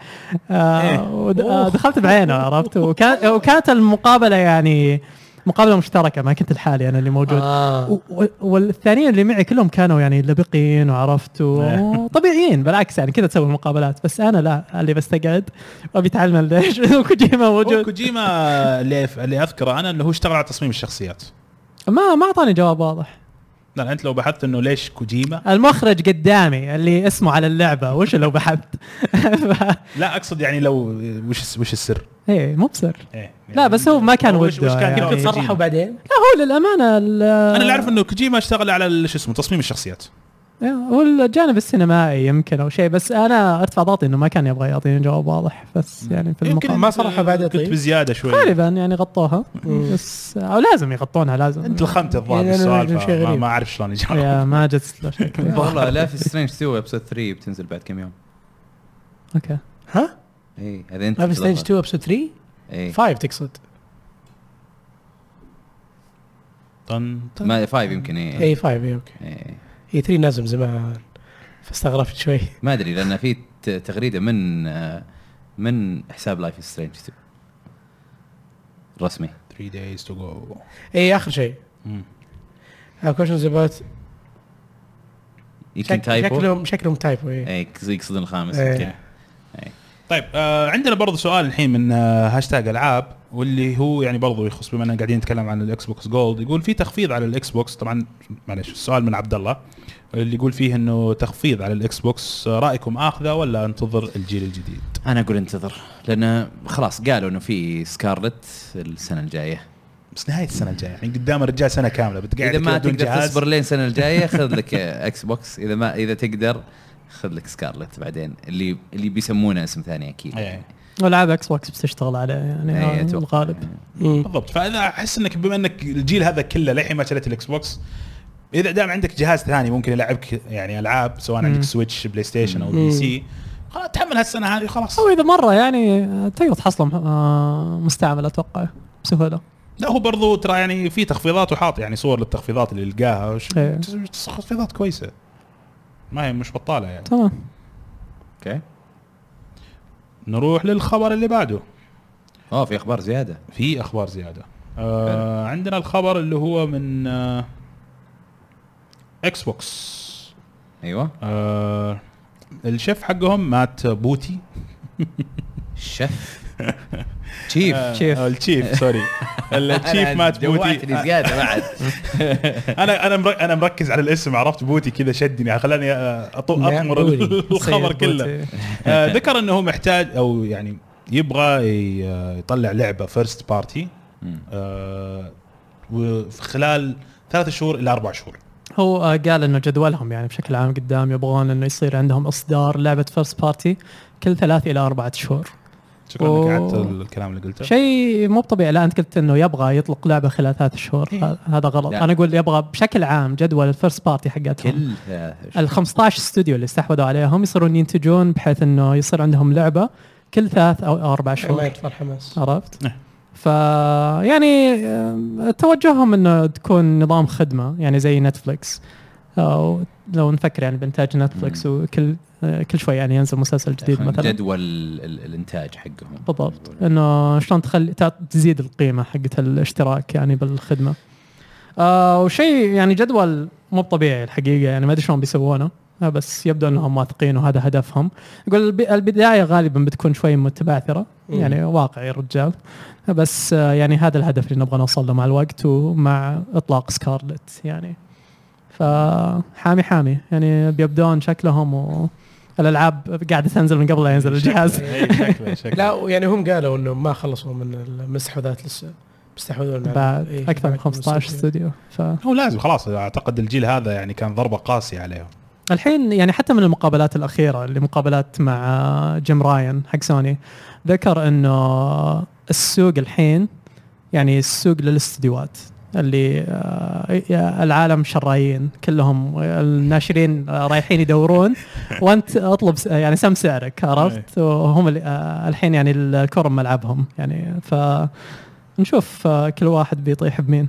D: آه ود- آه، دخلت بعينه عرفت وكان وكانت المقابله يعني مقابله مشتركه ما كنت لحالي انا اللي موجود
C: آه.
D: و- و- والثانيين اللي معي كلهم كانوا يعني لبقين وعرفت و- طبيعيين بالعكس يعني كذا تسوي المقابلات بس انا لا اللي بستقعد وابي اتعلم ليش كوجيما
A: هو
D: موجود
A: كوجيما اللي, اللي اذكره انا انه هو اشتغل على تصميم الشخصيات
D: ما ما اعطاني جواب واضح
A: لا انت لو بحثت انه ليش كوجيما
D: المخرج قدامي اللي اسمه على اللعبه وش لو بحثت ف-
A: لا اقصد يعني لو وش وش السر؟
D: ايه مو بسر
A: ايه
D: لا، بس هو ما كان
A: وش- وش
D: وده
A: كان
D: يعني.
A: قصد
C: كيف
A: كوجيما؟
C: تصرحوا بعدين؟
D: لا هو للامانه ال-
A: انا اللي اعرف انه كوجيما اشتغل على ال- شو اسمه تصميم الشخصيات
D: إيه، هو الجانب السينمائي يمكن او شيء بس انا ارتفع ضغطي انه ما كان يبغى يعطيني جواب واضح بس يعني في
A: يمكن
D: المقام
C: ما صرحوا بعدها
A: كنت
C: طيب؟
A: بزياده شوي
D: غالبا يعني غطوها بس او لازم يغطونها لازم
A: انت لخمت الظاهر
C: يعني أنا
A: بالسؤال
C: شيء
A: فما-
C: غريب.
A: ما اعرف شلون اجاوب
D: يا ما جت له شكلي.
B: والله لا في سترينج 2 ابسود 3 بتنزل بعد كم يوم إيه،
D: اوكي
C: ها؟
B: اي هذا
A: إيه،
B: انت
C: ما في ستيج
B: تتلخبط.
C: 2 ابسود 3
B: اي
C: 5 تقصد
A: طن طن
B: ما 5 يمكن إيه. اي
A: إيه.
C: اي 5 اي اوكي
B: إي.
C: اي 3 نازل من إيه، زمان فاستغربت شوي
B: ما ادري لان في ت- تغريده من آه، من حساب لايف سترينج 2 رسمي
A: 3 days to go
C: اي اخر إيه، شيء Uh,
A: مم.
C: كويشنز اباوت
B: يمكن تايبو
C: شكلهم شكلهم إيه. تايبو
A: إيه.
C: اي
B: اي يقصدون الخامس
C: إيه.
B: يمكن
A: طيب آه عندنا برضه سؤال الحين من آه هاشتاج العاب واللي هو يعني برضه يخص بما اننا قاعدين نتكلم عن الاكس بوكس جولد يقول في تخفيض على الاكس بوكس طبعا معلش السؤال من عبد الله اللي يقول فيه انه تخفيض على الاكس بوكس آه، رايكم اخذه ولا انتظر الجيل الجديد؟
B: انا اقول انتظر لان خلاص قالوا انه في سكارلت السنه الجايه
A: بس نهايه السنه الجايه يعني قدام الرجال سنه كامله بتقعد
B: اذا
A: كذا
B: ما
A: بدون
B: تقدر
A: جهاز
B: تصبر لين السنه الجايه خذ لك آه، اكس بوكس اذا ما اذا تقدر خذ لك سكارلت بعدين اللي اللي بيسمونه اسم ثاني اكيد
A: إيه.
D: والعاب اكس بوكس بتشتغل عليه يعني
B: إيه،
D: آه،
B: أتوقع.
D: الغالب
A: بالضبط فانا احس انك بما انك الجيل هذا كله للحين ما شريت الاكس بوكس اذا دام عندك جهاز ثاني ممكن يلعبك يعني العاب سواء عندك
D: مم.
A: سويتش بلاي ستيشن او بي سي خلاص تحمل هالسنه هذه خلاص
D: او اذا مره يعني آه، تقدر تحصله مح- آه، مستعمل اتوقع بسهوله
A: لا هو برضو ترى يعني في تخفيضات وحاط يعني صور للتخفيضات اللي يلقاها وش-
D: إيه.
A: تس- تخفيضات كويسه ما هي مش بطاله يعني
D: تمام
B: اوكي
A: نروح للخبر اللي بعده
B: اوه في اخبار زياده
A: في اخبار زياده آه عندنا الخبر اللي هو من آه اكس بوكس
B: ايوه
A: آه الشيف حقهم مات بوتي
B: شف تشيف
A: آه،
D: شيف.
A: آه، الشيف سوري الشيف
B: أنا
A: مات بوتي
B: جوعتني
A: آه،
B: زياده بعد
A: انا انا مر- انا مركز على الاسم عرفت بوتي كذا شدني خلاني آه، أطو-
C: نعم،
A: اطمر
C: بوتي.
A: الخبر
D: صير
A: كله
D: بوتي.
A: آه، ذكر انه هو محتاج او يعني يبغى ي- آه، يطلع لعبه فيرست بارتي
B: مم.
A: آه، وخلال ثلاث شهور الى اربع شهور
D: هو آه، قال انه جدولهم يعني بشكل عام قدام يبغون انه يصير عندهم اصدار لعبه فيرست بارتي كل ثلاث الى اربعة شهور
A: شكرا انك
D: أوه.
A: قعدت الكلام اللي قلته
D: شيء مو طبيعي لا انت قلت انه يبغى يطلق لعبه خلال ثلاث شهور
A: إيه.
D: ه- هذا غلط
B: لا.
D: انا اقول يبغى بشكل عام جدول الفيرست بارتي حقتهم
B: كل
D: ال 15 استوديو اللي استحوذوا عليهم يصيرون ينتجون بحيث انه يصير عندهم لعبه كل ثلاث او اربع
C: ما
D: شهور
C: يطفى الحماس
D: عرفت؟
A: إيه.
D: ف يعني آم، توجههم انه تكون نظام خدمه يعني زي نتفلكس او لو نفكر يعني بانتاج نتفلكس وكل آه، كل شوي يعني ينزل مسلسل جديد مثلا
B: جدول ال- الانتاج حقهم
D: بالضبط انه شلون تخلي تع- تزيد القيمه حقت الاشتراك يعني بالخدمه آه وشيء يعني جدول مو طبيعي الحقيقه يعني ما ادري شلون بيسوونه آه، بس يبدو انهم واثقين وهذا هدفهم يقول الب- البدايه غالبا بتكون شوي متبعثره
C: مم.
D: يعني واقعي الرجال آه، بس آه، يعني هذا الهدف اللي نبغى نوصل له مع الوقت ومع اطلاق سكارلت يعني فحامي حامي يعني بيبدون شكلهم والالعاب قاعده تنزل من قبل لا ينزل الجهاز
A: إيه، شكله شكله
C: لا يعني هم قالوا انهم ما خلصوا من المستحوذات لسه مستحوذون على-
D: بعد
C: إيه،
D: اكثر من
C: بعد
D: 15 استوديو ف
A: هو لازم خلاص اعتقد الجيل هذا يعني كان ضربه قاسيه عليهم
D: الحين يعني حتى من المقابلات الاخيره اللي مقابلات مع جيم راين حق سوني ذكر انه السوق الحين يعني السوق للاستديوهات اللي آه، يا العالم شرايين كلهم الناشرين آه، رايحين يدورون وانت اطلب س- يعني سم سعرك عرفت وهم اللي آه، الحين يعني الكرم ملعبهم يعني فنشوف آه، كل واحد بيطيح بمين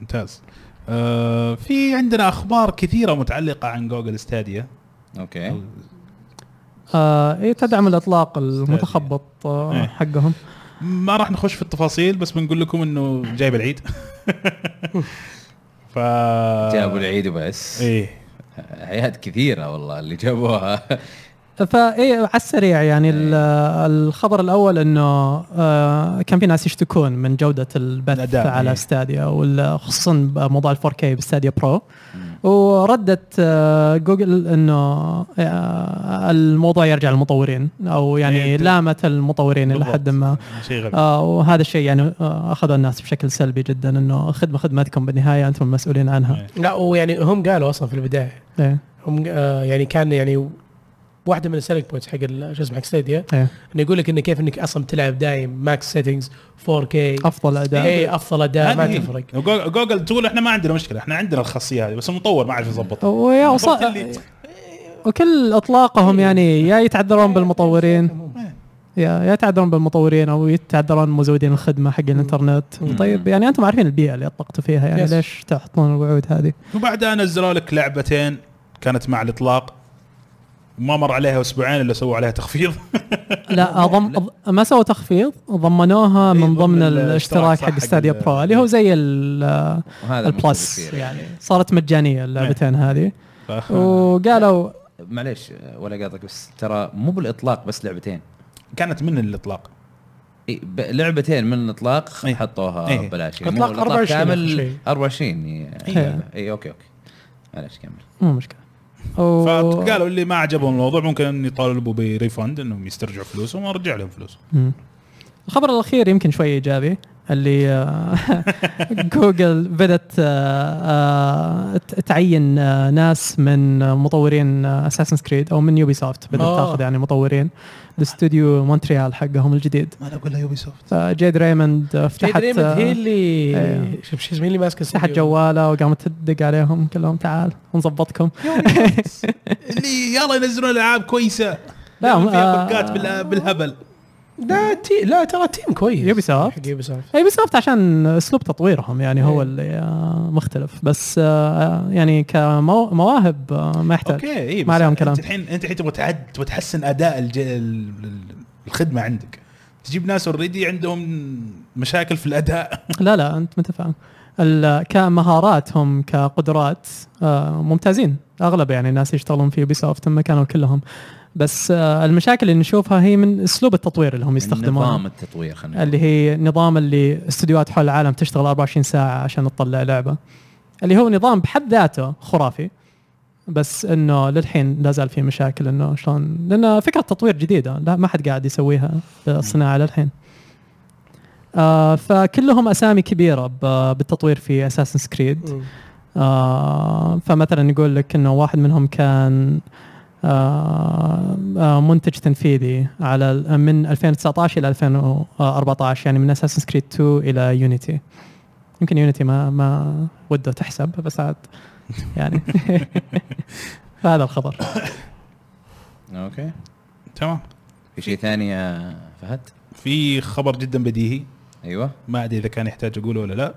A: ممتاز آه في عندنا اخبار كثيره متعلقه عن جوجل ستاديا
B: اوكي
D: آه إيه، تدعم الاطلاق المتخبط
A: إيه.
D: آه حقهم
A: ما راح نخش في التفاصيل بس بنقول لكم انه جايب العيد ف
B: جابوا العيد وبس
A: ايه
B: حياة كثيرة والله اللي جابوها
D: فاي إيه، على السريع
A: إيه.
D: يعني ال- الخبر الاول انه آه، كان في ناس يشتكون من جوده البث
A: الأداء، إيه.
D: على ستاديا وال- خصوصا بموضوع ال 4K بستاديا برو وردت آه، جوجل انه آه، الموضوع يرجع للمطورين او
A: إيه،
D: يعني
A: أنت-
D: لامت المطورين الى حد ما
A: شيء غريب
D: آه وهذا الشيء يعني آه، اخذه الناس بشكل سلبي جدا انه خدمه خدمتكم بالنهايه انتم المسؤولين عنها
A: إيه.
C: لا ويعني هم قالوا اصلا في البدايه
D: ايه
C: هم آه يعني كان يعني واحده من السيلينج بوينتس حق ال- شو اسمه حق ستيديا
D: ايه
C: انه يقول لك انه كيف انك اصلا تلعب دايم ماكس سيتنجز 4K
D: افضل اداء
C: اي افضل اداء إيه،
D: يعني
C: ما
A: هذه-
C: تفرق
A: جو- جوجل تقول احنا ما عندنا مشكله احنا عندنا الخاصيه هذه بس المطور ما عرف يظبطها
D: ويا وص...
A: عرفت اللي-
D: وكل اطلاقهم يعني يا يتعذرون بالمطورين
A: إيه.
D: يا يا يتعذرون بالمطورين او يتعذرون مزودين الخدمه حق الانترنت
C: مم.
D: طيب يعني انتم عارفين البيئه اللي اطلقتوا فيها يعني
C: Yes.
D: ليش تحطون الوعود هذه
A: وبعدها نزلوا لك لعبتين كانت مع الاطلاق ما مر عليها اسبوعين الا سووا عليها تخفيض
D: لا أضم... أض- ما سووا تخفيض ضمنوها
A: إيه، ضمن
D: من ضمن
A: الاشتراك
D: الاشتراك
A: صح
D: حق
A: حق
D: ستاديا
A: ال-
D: برو اللي هو زي ال-
B: وهذا المفروض
D: البلس
B: يصير
D: يعني صارت مجانيه اللعبتين هذه
A: ف-
D: وقالوا
B: معليش ولا قاطعك بس ترى مو بالاطلاق بس لعبتين
A: كانت من الاطلاق
B: إيه، ب- لعبتين من الاطلاق
A: إيه.
B: حطوها
A: إيه.
B: ببلاش يعني
C: إطلاق 24 آخر
B: كامل
C: شيء.
B: 24 يعني
D: إيه.
B: اي اوكي اوكي معليش كمل
D: مو مشكله و-
A: فقالوا اللي ما عجبهم الموضوع ممكن يطالبوا بريفند انهم يسترجعوا فلوسهم ونرجع لهم فلوسهم
D: مم. الخبر الاخير يمكن شوي ايجابي اللي آه، جوجل بدات آه، آه، ت- تعين آه، ناس من آه، مطورين اساسن كريد او من يوبي سوفت بدات
C: آه.
D: تاخذ يعني مطورين الاستوديو مونتريال حقهم الجديد
A: ما انا اقول يوبي سوفت
D: فجيد ريموند آه،
C: جيد
D: فتحت
C: ريموند هي
D: آه،
C: اللي
D: إيه.
C: شوف شو اسمه اللي ماسك
D: فتحت جواله وقامت تدق عليهم كلهم تعال نظبطكم
A: اللي يلا ينزلون العاب كويسه
D: لا،
A: لا فيها
D: آه.
A: بقات بال- بالهبل
C: لا تي... لا ترى تيم كويس
D: يوبي سوفت.
C: حق يوبي سوفت
D: اي بس إيه، عشان اسلوب تطويرهم يعني
C: إيه.
D: هو اللي آه، مختلف بس آه، يعني كمواهب ما يحتاج
A: اوكي اي
D: ما عليهم كلام.
A: انت الحين انت الحين تبغى تعد تبغى تحسن اداء الج... ال- ال- الخدمه عندك تجيب ناس اوريدي عندهم مشاكل في الاداء
D: لا لا انت متفاهم ال- كمهارات هم كقدرات آه، ممتازين اغلب يعني الناس يشتغلون في سوفت هم كانوا كلهم بس آه، المشاكل اللي نشوفها هي من اسلوب التطوير اللي هم
B: نظام
D: يستخدمونه
B: التطوير خلينا نقول.
D: اللي هي نظام اللي استديوهات حول العالم تشتغل 24 ساعه عشان تطلع لعبه اللي هو نظام بحد ذاته خرافي بس انه للحين لا زال في مشاكل انه شلون لان فكره تطوير جديده لا ما حد قاعد يسويها الصناعه للحين آه فكلهم اسامي كبيره ب- بالتطوير في اساسن كريد
C: مم.
D: آه فمثلا يقول لك انه واحد منهم كان آه آه، منتج تنفيذي على ال- من 2019 الى 2014 يعني من اساسن كريد 2 الى يونيتي يمكن يونيتي ما ما وده تحسب بس عاد يعني فهذا الخبر
B: اوكي
A: تمام
B: في شيء ثاني يا فهد
A: في خبر جدا بديهي
B: ايوه
A: ما ادري اذا كان يحتاج اقوله ولا لا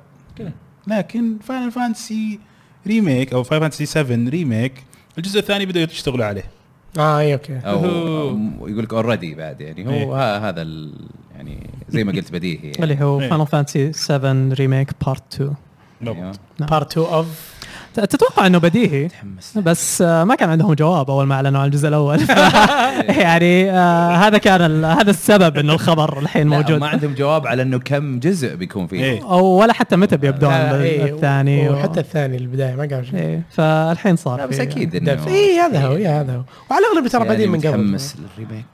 A: لكن فاينل فانتسي ريميك او فاينل فانتسي 7 ريميك الجزء الثاني بدأوا يشتغلوا عليه
C: اه اي
D: آه،
C: اوكي
B: او
A: هو-
B: أو يقول لك اوريدي بعد يعني هو ها هذا ال- يعني زي ما قلت بديهي يعني.
D: اللي هو
A: إيه.
D: فاينل فانتسي 7 ريميك بارت 2
A: بالضبط
B: أيوة.
D: نعم.
C: بارت 2 اوف
D: ت- تتوقع انه بديهي
B: تحمس
D: بس آه، ما كان عندهم جواب اول ما اعلنوا عن الجزء الاول يعني آه، هذا كان ال- هذا السبب انه الخبر الحين
B: لا،
D: موجود
B: ما عندهم جواب على انه كم جزء بيكون فيه
A: إيه.
D: او ولا حتى متى بيبدون
C: لا، إيه،
D: الثاني و-
C: وحتى الثاني البدايه ما قالوا شيء
D: إيه، فالحين صار
B: لا بس
D: في-
B: اكيد انه
C: اي هذا هو إيه، هذا هو وعلى الاغلب ترى
B: يعني
C: بادين من قبل
B: متحمس للريميك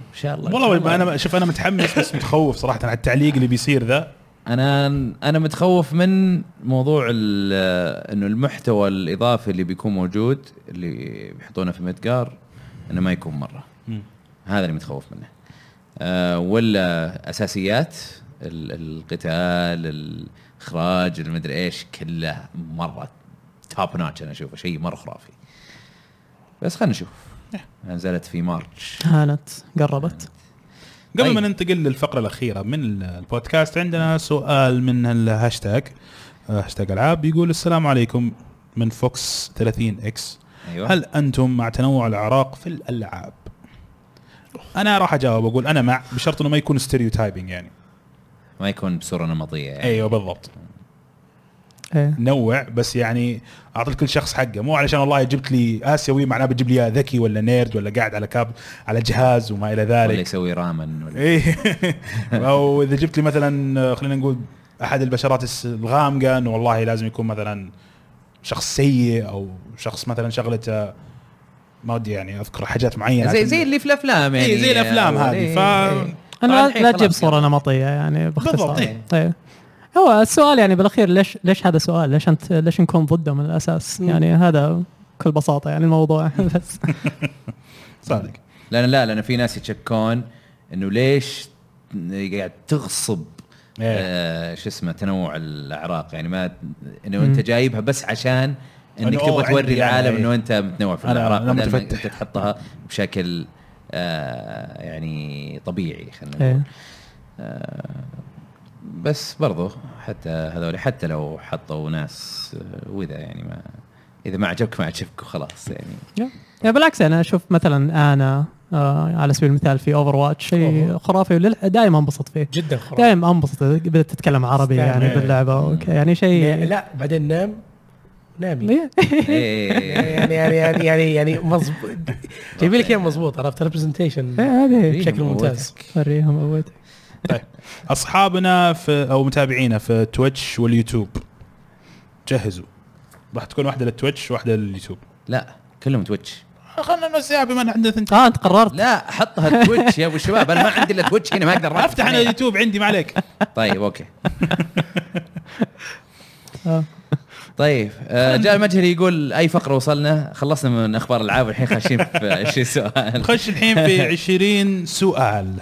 B: ان شاء الله
A: والله ما انا شوف انا متحمس بس متخوف صراحه على التعليق اللي بيصير ذا
B: انا انا متخوف من موضوع ال- انه المحتوى الاضافي اللي بيكون موجود اللي بيحطونه في مدقار انه ما يكون مره
A: مم.
B: هذا اللي متخوف منه آه، ولا اساسيات ال- القتال الاخراج المدري ايش كله مره توب ناتش انا اشوفه شيء مره خرافي بس خلينا نشوف
A: نعم.
B: نزلت في مارتش
D: هانت قربت
A: قبل
B: طيب.
A: ما ننتقل للفقره الاخيره من ال- البودكاست عندنا سؤال من الهاشتاج آه، هاشتاج العاب يقول السلام عليكم من فوكس 30 اكس
B: ايوه
A: هل انتم مع تنوع الاعراق في الالعاب؟ انا راح اجاوب اقول انا مع بشرط انه ما يكون ستيريوتايبنج يعني
B: ما يكون بصوره نمطيه يعني.
A: ايوه بالضبط
D: إيه.
A: نوع بس يعني اعطي لكل شخص حقه مو علشان والله جبت لي اسيوي معناه بتجيب لي إياه ذكي ولا نيرد ولا قاعد على كاب على جهاز وما الى
B: ولا
A: ذلك
B: يسوي رامن ولا
A: ايه او اذا جبت لي مثلا آه، خلينا نقول احد البشرات الس- الغامقه انه والله لازم يكون مثلا شخص سيء او شخص مثلا شغلته ما ودي يعني اذكر حاجات معينه
B: زي
A: عشان-
B: زي اللي في الافلام يعني إيه.
A: إيه، زي الافلام هذه ف
D: انا
B: طبعاً
D: لا- لا
B: الحين
D: تجيب
B: خلاص
D: صوره نمطيه يعني باختصار
A: بالضبط، إيه.
D: طيب هو السؤال يعني بالاخير ليش ليش هذا سؤال؟ ليش انت ليش نكون ضده من الاساس؟ يعني هذا بكل بساطه يعني الموضوع بس
A: صادق
B: لان لا لان في ناس يتشكون انه ليش قاعد تغصب
A: إيه.
B: آه شو اسمه تنوع الاعراق يعني ما انه انت جايبها بس عشان انك
A: إنه أوه،
B: تبغى
A: عندي
B: توري
A: أنا،
B: العالم
A: إيه.
B: انه انت متنوع في
A: أنا-
B: الاعراق
A: أنا
B: بدل ما
A: متفتح.
B: انت تحطها بشكل آه يعني طبيعي خلينا نقول
D: إيه.
B: بس برضو حتى هذول حتى لو حطوا ناس آه، وذا يعني ما اذا ما عجبك ما عجبك وخلاص يعني
D: يا- يا بالعكس يعني انا اشوف مثلا انا آه على سبيل المثال في اوفر واتش شيء
C: أوه.
D: خرافي ولل- دائما انبسط فيه
C: جدا خرافي
D: دائما انبسط إذا بدات تتكلم عربي
C: دايم،
D: يعني
A: إيه.
D: باللعبه أوكي، يعني
C: لا-
D: شيء
C: لا بعدين نام نامي
D: إيه.
B: إيه.
C: يعني يعني يعني يعني يعني مظبوط جايبين لك اياه مظبوط عرفت
D: إيه،
C: ريبرزنتيشن
D: هذه
B: إيه.
C: بشكل ممتاز
D: وريهم قوتك
A: اصحابنا في او متابعينا في تويتش واليوتيوب جهزوا راح تكون واحده للتويتش واحده لليوتيوب آه،
B: لا كلهم تويتش
A: خلنا نوسع بما ان عندنا ثنتين
D: اه انت قررت
B: لا حطها تويتش يا ابو الشباب انا ما عندي الا تويتش هنا ما اقدر أركز
A: افتح انا
B: عليه.
A: اليوتيوب عندي ما عليك
B: طيب اوكي
D: آه.
B: طيب آه، جاء المجهري يقول اي فقره وصلنا خلصنا من اخبار العاب الحين خاشين في 20 سؤال
A: نخش الحين في 20 سؤال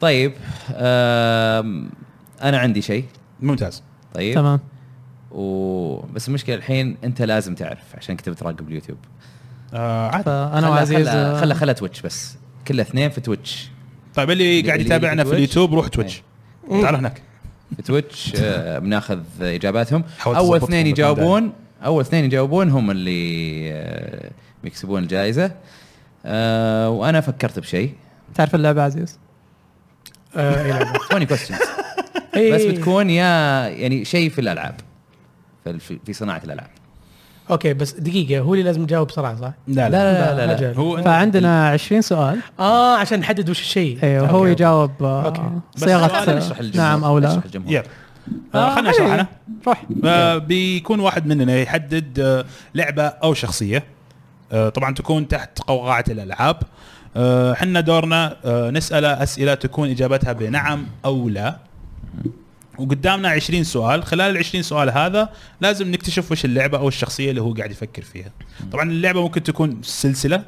B: طيب آم، انا عندي شيء
A: ممتاز
B: طيب
D: تمام
B: و بس المشكله الحين انت لازم تعرف عشان كنت بتراقب اليوتيوب
A: آه عاد
D: فانا
B: خلها-
D: وعزيز
B: خلها-
D: آه،
B: خلها خلها تويتش بس كلها اثنين في تويتش
A: طيب اللي قاعد
B: اللي
A: يتابعنا في
B: تويتش.
A: اليوتيوب روح تويتش تعال هناك
B: في تويتش آه، بناخذ اجاباتهم
A: حاول
B: اول
A: تظبطهم
B: اثنين
A: بالبندان.
B: يجاوبون اول اثنين يجاوبون هم اللي آه، بيكسبون الجائزه آه، وانا فكرت بشيء
D: تعرف اللعبه عزيز
C: آه، إيه. إي نعم.
B: 20 كويستشنز
C: إي.
B: بس بتكون يا يعني شيء في الالعاب في- في في صناعه الالعاب
C: اوكي بس دقيقه هو اللي لازم يجاوب بسرعه صح؟
A: لا
B: لا، لا، لا، لا.
C: أجل.
A: هو أنت-
D: فعندنا 20 سؤال
C: اه عشان نحدد وش السؤال.
D: ايوه
C: أوكي،
D: هو
C: أوكي.
D: يجاوب آه،
C: أوكي.
A: بس
D: صياغه
A: سؤال
D: آه،
B: نشرح للجمهور
D: نعم او لا
B: نشرح للجمهور
A: يلا آه خلنا اشرح
D: إيه.
A: انا
D: روح
A: آه، بيكون واحد مننا يحدد آه، لعبه او شخصيه آه، طبعا تكون تحت قوقعه الالعاب آه، حنا دورنا آه، نساله اسئله تكون اجابتها بنعم او لا وقدامنا 20 سؤال خلال ال 20 سؤال هذا لازم نكتشف وش اللعبه او الشخصيه اللي هو قاعد يفكر فيها طبعا اللعبه ممكن تكون سلسله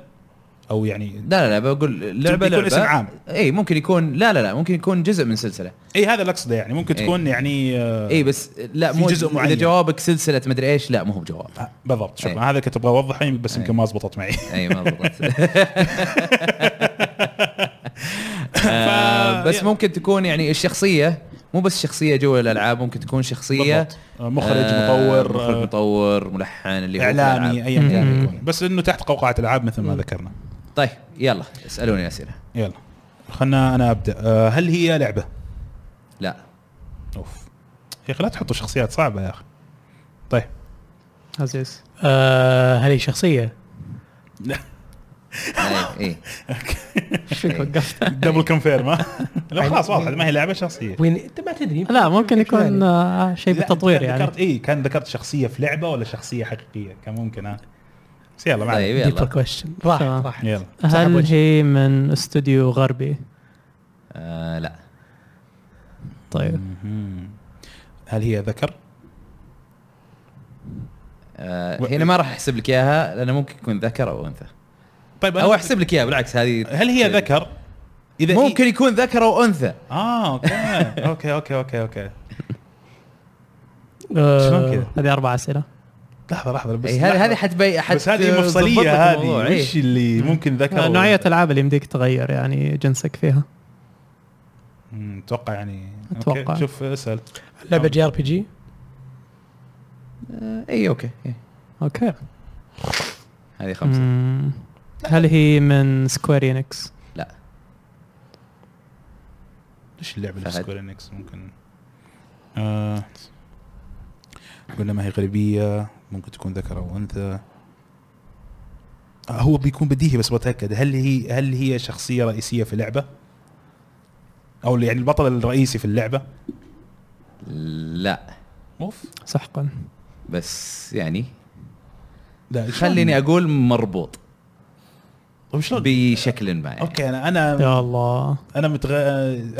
A: او يعني
B: لا لا لا بقول لعبه
A: يكون
B: لعبه
A: اسم عام.
B: اي ممكن يكون لا لا لا ممكن يكون جزء من سلسله
A: اي هذا اللي اقصده يعني ممكن
B: إيه.
A: تكون يعني آه،
B: اي إيه، بس لا
A: في
B: مو
A: جزء معين.
B: اذا جوابك سلسله مدري ايش لا مو هو بجواب
A: آه، بالضبط شوف
B: إيه.
A: هذا كنت ابغى اوضحه بس يمكن ما زبطت معي
B: اي ما ضبطت آه، بس
A: يلا.
B: ممكن تكون يعني الشخصيه مو بس شخصيه جوا الالعاب ممكن تكون شخصيه
A: بالضبط. آه، مخرج
B: آه،
A: مطور
B: مخرج
A: آه،
B: مطور ملحن اللي هو
A: اعلامي
B: الألعاب.
A: ايا كان
D: مم.
A: يكون. بس انه تحت قوقعه العاب مثل ما ذكرنا
B: طيب يلا اسالوني اسئله
A: يلا خلنا انا ابدا آه، هل هي لعبه؟
B: لا
A: اوف يا اخي لا تحطوا شخصيات صعبه يا اخي طيب
D: عزيز
C: آه هذه شخصيه
B: اي اي
D: ايش فيك وقفت؟
A: دبل كونفيرم لا خلاص واضح ما هي لعبه شخصيه
C: وين انت ما تدري
D: لا ممكن يكون آه، شيء
A: لا،
D: بالتطوير
A: كان
D: يعني
A: ذكرت اي كان ذكرت شخصيه في لعبه ولا شخصيه حقيقيه كان ممكن ها بس يلا ما
B: طيب
A: عليك.
C: ديبر
B: يلا
C: كويشن راحت
D: تمام.
B: طيب.
C: راحت
A: يلا
C: صاحب
D: هل
C: وجه.
D: هي من استوديو غربي؟
B: آه لا
D: طيب
A: مهم. هل هي ذكر؟
B: آه هنا ما راح احسب لك اياها لانه ممكن يكون ذكر او انثى
A: طيب
B: او
A: أنا
B: احسب لك اياها بالعكس هذه آه،
A: هل هي ذكر؟ اذا
B: ممكن يكون ذكر او انثى
A: اه اوكي اوكي اوكي اوكي اوكي
C: آه،
A: شلون كذا؟
D: هذه اربع اسئله
A: لحظه لحظه بس
B: اي إيه، هذه هذه
A: لحظة.
B: حتبي حت
A: بس هذه
B: تضبط
A: مفصليه هذه
B: الموضوع، إيه. إي.
A: وش اللي ممكن ذكر
D: آه،
A: أو
D: نوعيه
A: أنثى؟
D: العاب اللي يمديك تغير يعني جنسك فيها
A: مم، اتوقع يعني
D: أتوقع.
A: اوكي شوف اسال
C: لعبه جي ار بي جي
B: آه، اي اوكي إي.
D: اوكي
B: هذه خمسه
D: مم. هل هي من سكوير انكس؟
B: لا
A: ايش اللعبه اللي
B: فهد.
A: سكوير انكس ممكن آه قلنا ما هي غربيه ممكن تكون ذكر او انثى آه هو بيكون بديهي بس بتاكد هل هي هل هي شخصيه رئيسيه في لعبه؟ او يعني البطل الرئيسي في اللعبه؟
B: لا
A: اوف
D: سحقا
B: بس يعني
A: لا شلون؟
B: خليني اقول مربوط
A: طب شلون؟
B: بشكل ما يعني.
A: اوكي انا انا
D: يا الله
A: انا متغ...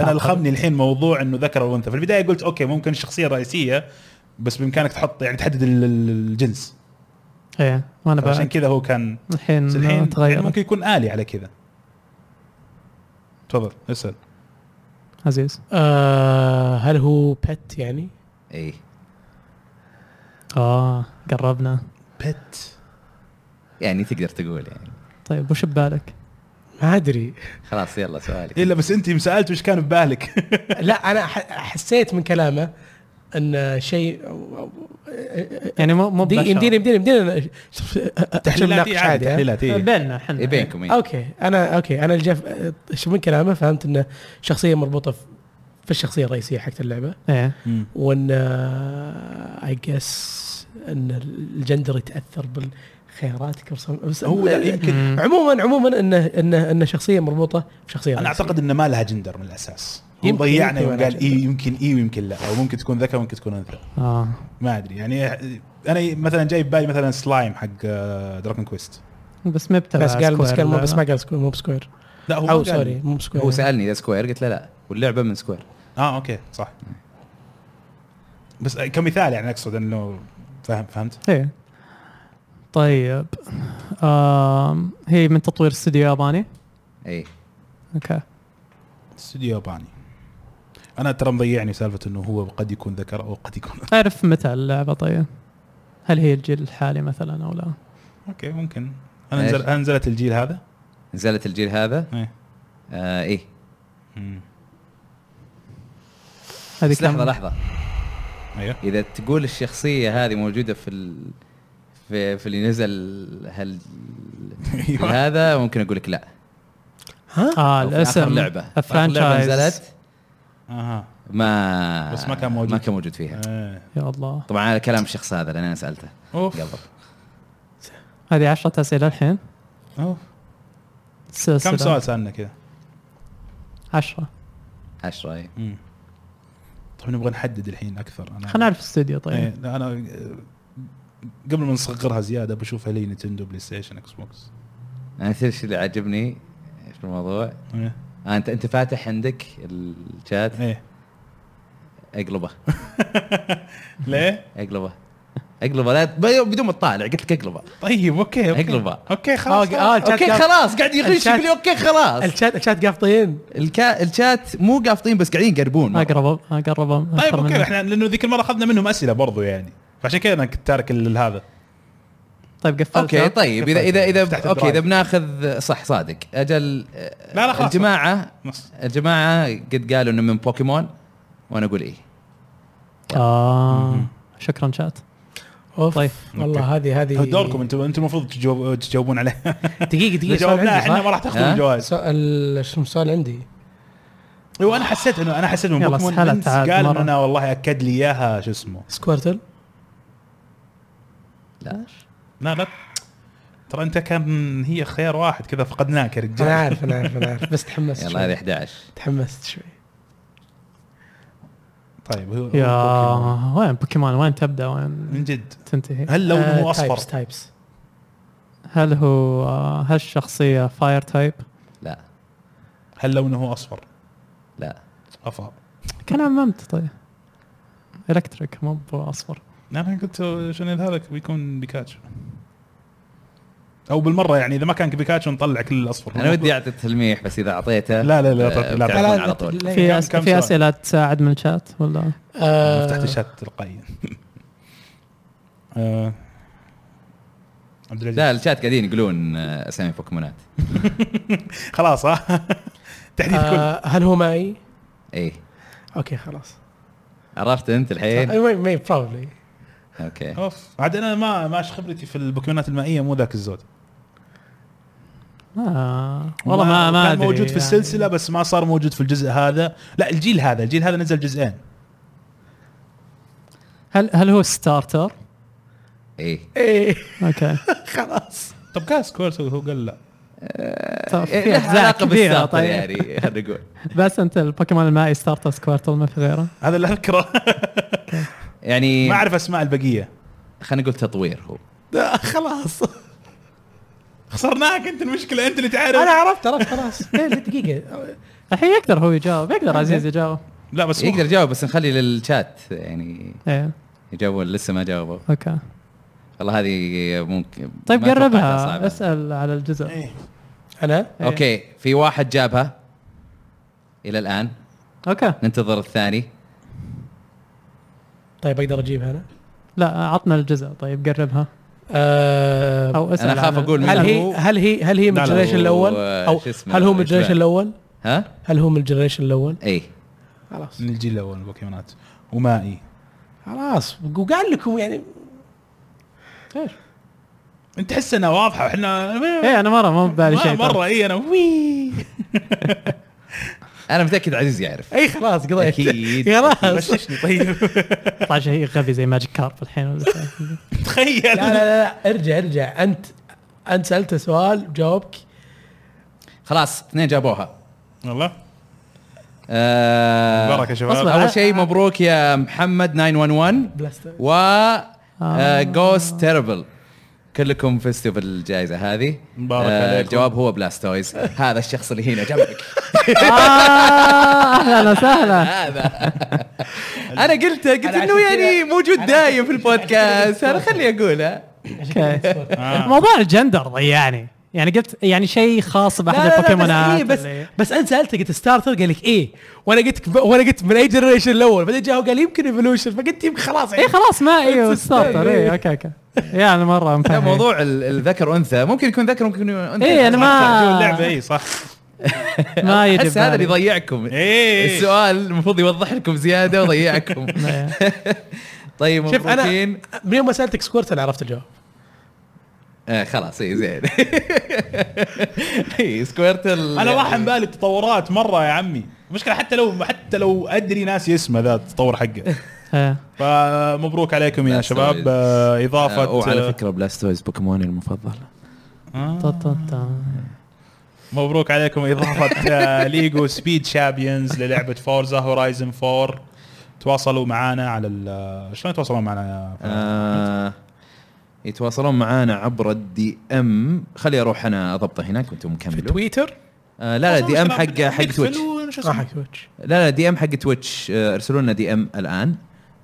A: انا الخمني الحين موضوع انه ذكر او انثى في البدايه قلت اوكي ممكن الشخصيه الرئيسيه بس بامكانك تحط يعني تحدد ال- ال- الجنس
D: ايه وانا
A: عشان
D: بعد
A: كذا هو كان
D: الحين
A: بس الحين يعني
D: تغير
A: ممكن يكون آلي على كذا تفضل اسال
D: عزيز
C: آه هل هو بت يعني؟
B: اي
D: اه قربنا
A: بت
B: يعني تقدر تقول يعني
D: طيب وش ببالك؟
C: ما ادري
B: خلاص يلا سؤالك
A: الا بس انت سالت وش كان ببالك
C: لا انا ح- حسيت من كلامه ان شيء
D: يعني مو مو
C: إيه، دي-
D: بشر.
C: يمديني يمديني يمديني شوف
A: تحليلات
C: ناقش
A: إيه
C: عادي ها؟
A: تحليلات إيه.
D: بيننا احنا
B: إيه بينكم إيه.
C: اوكي انا اوكي انا اللي جاف شوف من كلامه فهمت انه شخصيه مربوطه في- في الشخصيه الرئيسيه حقت آه، اللعبه
D: ايه
A: مم.
C: وان اي جس ان الجندر يتاثر بالخياراتك وصم- بس
A: هو لا، يمكن
D: مم.
C: عموما عموما انه انه انه شخصيه مربوطه بشخصيه
A: انا
C: رئيسية.
A: اعتقد انه ما لها جندر من الاساس هو
C: يمكن-
A: ضيعنا
C: يمكن
A: يوم
C: ما لها
A: قال اي يمكن اي ويمكن لا او ممكن تكون ذكر ممكن تكون انثى
D: اه
A: ما ادري يعني انا مثلا جاي ببالي مثلا سلايم حق آه، دراكون كويست
D: بس ما بتابع
C: بس قال بس
D: سكوير
C: قال مو-
D: ولا
C: بس
D: لا.
C: ما قال سكوير مو بسكوير
A: لا هو ما
C: او
A: قال.
C: سوري مو بسكوير
B: هو سالني اذا سكوير قلت له لا واللعبه من سكوير
A: اه اوكي صح بس كمثال يعني اقصد انه فهم فهمت
D: ايه طيب آم هي من تطوير استوديو ياباني
B: اي
D: اوكي
A: استوديو ياباني انا ترى مضيعني سالفه انه هو قد يكون ذكر او قد يكون
D: تعرف متى اللعبه طيب هل هي الجيل الحالي مثلا او لا
A: اوكي ممكن انا نزل انا نزلت الجيل هذا
B: نزلت الجيل هذا
A: ايه
B: آه اي
A: مم.
D: هذه
B: بس لحظه
D: كم-
B: لحظه
A: ايوه
B: اذا تقول الشخصيه هذه موجوده في ال... في, في اللي نزل هل
A: أيوة.
B: هذا ممكن اقول لك لا
C: ها
D: اه
B: أو في آخر
D: الاسم
B: لعبه في آخر لعبه
D: الفرانشايز.
B: نزلت
A: اها
B: ما
A: بس ما كان موجود.
B: ما كان موجود فيها
A: إيه.
D: يا الله
B: طبعا هذا كلام الشخص هذا لان انا سالته
A: اوف
B: قبل
D: هذه عشرة اسئله الحين
A: اوف
D: السلسلة.
A: كم سؤال سالنا كذا
D: 10
B: 10 اي
A: مم. طيب نبغى نحدد الحين اكثر انا
D: خلينا نعرف استوديو
A: إيه،
D: طيب
A: لا، انا آه، قبل ما نصغرها زياده بشوف هل هي نتندو بلاي ستيشن اكس بوكس
B: انا تدري إيش اللي عجبني في الموضوع
C: إيه.
A: ايه
B: آه انت انت فاتح عندك الشات
A: ايه
B: اقلبه
A: ليه؟
B: اقلبه اقلبه لا ب- بدون ما تطالع قلت لك اقلبه
A: طيب اوكي اوكي
B: اقلبه.
A: اوكي خلاص
C: آه، آه، الشات
B: اوكي
C: قال-
B: خلاص قاعد يغش
C: الشات-
B: يقول لي اوكي خلاص
C: الشات الشات قافطين
B: الكا... الشات مو قافطين بس قاعدين يقربون مرة.
D: اقرب اقرب
A: طيب
D: أكثر منك.
A: اوكي احنا لانه ذيك المره اخذنا منهم اسئله برضو يعني فعشان كذا انا كنت تارك ال- هذا
D: طيب قفلت
B: اوكي طيب اذا اذا
A: فتحت
B: اذا اوكي
A: الدرايف.
B: اذا بناخذ صح صادق اجل آه،
A: لا، لا، خلاص.
B: الجماعه
A: نص
B: الجماعه قد قالوا انه من بوكيمون وانا اقول ايه
D: اه شكرا شات
C: اوف
D: طيب.
C: والله هذه هذه
A: دوركم انتم انتم المفروض تجاوب- تجاوبون عليه
C: دقيقه
A: اذا
C: دقيقه سؤال
A: جاوبناها
C: عندي
A: احنا ما
C: صح؟
A: راح تاخذون
B: ها؟
A: الجوائز
C: سؤال شنو السؤال عندي؟
A: وانا إيوه، حسيت انه انا حسيت انه
D: يلا،
A: بوكيمون
D: سهلت
A: بنس
D: عاد
A: قال
D: مرة.
A: انه انا والله اكد لي اياها شو اسمه
C: سكويرتل
B: لا
A: لا لا ترى انت كان هي خيار واحد كذا فقدناك يا
C: انا
A: رجال
C: عارف انا عارف انا عارف بس تحمست
B: يلا هذه
C: شوي
B: 11
C: تحمست شوي
A: طيب هو
D: يا
A: هو
D: وين بوكيمون وين تبدا
A: بوكيمون.
D: وين
A: من جد
D: تنتهي
A: هل لونه
C: آه،
A: اصفر
C: تايبس تايبس
D: هل هو آه، هل الشخصيه فاير تايب
B: لا
A: هل لونه اصفر
B: لا
A: افا
D: كان عممت طيب الكتريك مو اصفر
A: انا نعم، قلت شنو هذا بيكون بيكاتشو او بالمره يعني اذا ما كان بيكاتشو نطلع كل الاصفر
B: انا ودي اعطي تلميح بس اذا اعطيته
A: لا لا لا
B: آه،
A: لا، طيب. لا،
B: بتعرفون
C: لا، لا،
B: على طول
C: لا،
D: في
A: كم-
D: أس...
A: كم
D: في
A: سؤال؟
D: اسئله تساعد من الشات ولا
A: أنا
C: آه،
A: فتحت الشات تلقائيا آه. عبد العزيز
B: لا الشات قاعدين يقولون آه، اسامي بوكيمونات
A: خلاص ها تحديد كل
C: آه، هل هو معي؟
B: ايه
C: اوكي خلاص آه،
B: عرفت انت الحين إيه.
C: مي بروبلي
B: اوكي
A: اوف عاد انا ما ماش خبرتي في البوكيمونات المائيه مو ذاك الزود
D: آه. والله ما ما يعني.
A: كان
D: ادري
A: موجود في السلسله بس ما صار موجود في الجزء هذا لا الجيل هذا الجيل هذا نزل جزئين
D: هل هل هو ستارتر؟
B: ايه
C: ايه
D: اوكي
C: خلاص
A: طب كاس كورس هو قال لا
D: طب
B: إيه،
D: في
B: له
D: اجزاء
B: علاقه
D: كبيره
B: بالسالفه
D: طيب
B: يعني خلينا نقول
D: بس انت البوكيمون المائي ستارتر سكوارتل ما في غيره
A: هذا اللي اذكره
B: يعني
A: ما اعرف اسماء البقيه
B: خلينا نقول تطوير هو
C: آه، خلاص
A: خسرناك انت المشكله انت اللي
C: انا
A: تعرف
C: عرفت عرفت خلاص إيه، دقيقه
D: الحين يقدر هو يجاوب
B: إيه.
D: يقدر عزيز يجاوب
A: لا بس
B: يقدر
A: يقدر
B: يجاوب بس نخلي للشات يعني
D: ايه
B: يجاوبون لسه ما جاوبوا
D: اوكي
B: والله هذه ممكن
D: طيب
B: ما أتوقع إنها
D: قربها
B: صعبة. إيه.
D: اسال على الجزء
C: انا
D: إيه.
B: اوكي في واحد جابها الى الان
D: اوكي
B: ننتظر الثاني
C: طيب اقدر اجيبها انا
D: لا عطنا الجزء طيب قربها
C: آه،
D: او اسال
B: أنا أخاف
D: عن-
B: أقول
C: هل
B: منه.
C: هي هل هي هل هي من
A: لا، لا،
C: الجنريشن
B: هو-
C: الاول او
B: شو اسمه،
C: هل هو
B: إجراء.
C: من الجنريشن الاول
B: ها إيه.
C: هل هو من الجنريشن الاول
B: اي
C: خلاص
A: من الجيل الاول من البوكيمونات ومائي
C: خلاص وقال لكم يعني
D: إيش؟
A: انت تحس انها واضحه واحنا
D: ايه انا مره ما ببالي
A: ما
D: شيء
A: مره اي انا وي
B: انا متاكد عزيز يعرف
C: اي خلاص قضيت
B: أكيد.
C: طيب. خلاص
A: غششني طيب
D: طلع شيء غبي زي ماجيك كارب الحين ولا شيء.
C: لا
A: تخيل
C: لا لا لا، ارجع ارجع انت انت سالته سؤال جاوبك
B: خلاص اثنين جابوها
A: والله
B: آه
A: مبارك يا شباب
D: أصبر.
B: اول شيء مبروك يا محمد 911
C: بلاستر
B: و
C: آه.
B: جوست تيربل كلكم فزتوا بالجائزه هذه آه،
A: مبارك عليكم.
B: الجواب هو بلاستويز هذا الشخص اللي هنا جنبك
D: آه، اهلا وسهلا
B: هذا انا قلت قلت
C: أنا
B: انه
C: عشان كذا-
B: يعني موجود
C: أنا
B: دايم
C: عشان
B: في
C: كذا- عشان
B: البودكاست
C: كذا
B: انا خلي اقولها
D: اوكي
A: آه.
D: موضوع الجندر ضيعني يعني قلت يعني شيء خاص
C: لا،
D: باحد
C: لا، لا، بس إيه،
D: البوكيمونات
C: بس
D: اللي-
C: بس انت سالته قلت ستارتر قال لك ايه وانا قلت وانا قلت من اي جنريشن الاول بعدين جاء قال يمكن ايفولوشن فقلت يمكن خلاص
A: إيه.
D: اي خلاص ما ايوه
C: It's
D: ستارتر
C: إيه.
D: اي اوكي اوكي يا انا مره
B: لا
D: مفهم
B: موضوع ال- الذكر وانثى ممكن يكون ذكر ممكن يكون انثى
D: إيه، أنا ما-
A: جو اللعبه اي صح
D: ما يجي
B: احس هذا اللي
D: ببالي.
B: يضيعكم
A: إيه.
B: السؤال المفروض يوضح لكم زياده وضيعكم
D: إيه.
B: طيب
C: شوف انا
B: مبروكين
C: من يوم ما سالتك سكورت انا عرفت الجواب
B: آه خلاص اي زين إيه، اي سكويرتل
A: انا راح عن بالي التطورات مره يا عمي مشكله حتى لو حتى لو ادري ناسي اسمه ذا التطور حقه
D: إيه.
A: فمبروك عليكم يا
B: لا،
A: شباب
B: سوري.
A: آه، اضافه
B: وعلى فكره بلاستويز بوكيموني المفضل
A: آه،
D: طا- طا- طا.
A: مبروك عليكم اضافه آه، ليجو سبيد شامبيونز للعبه فورزا هورايزن 4 تواصلوا معنا على ال- آه، شلون يتواصلون معنا يا فهد؟
B: آه يتواصلون معانا عبر الدي ام خلي اروح انا اضبطه هناك وانتم كملوا
C: تويتر
B: آه لا لا دي ام حق حق
A: ميكفل
B: تويتش آه،
A: وش
C: ما
A: اسمه؟
C: حق تويتش
B: لا لا دي ام حق تويتش آه، ارسلوا لنا دي ام الان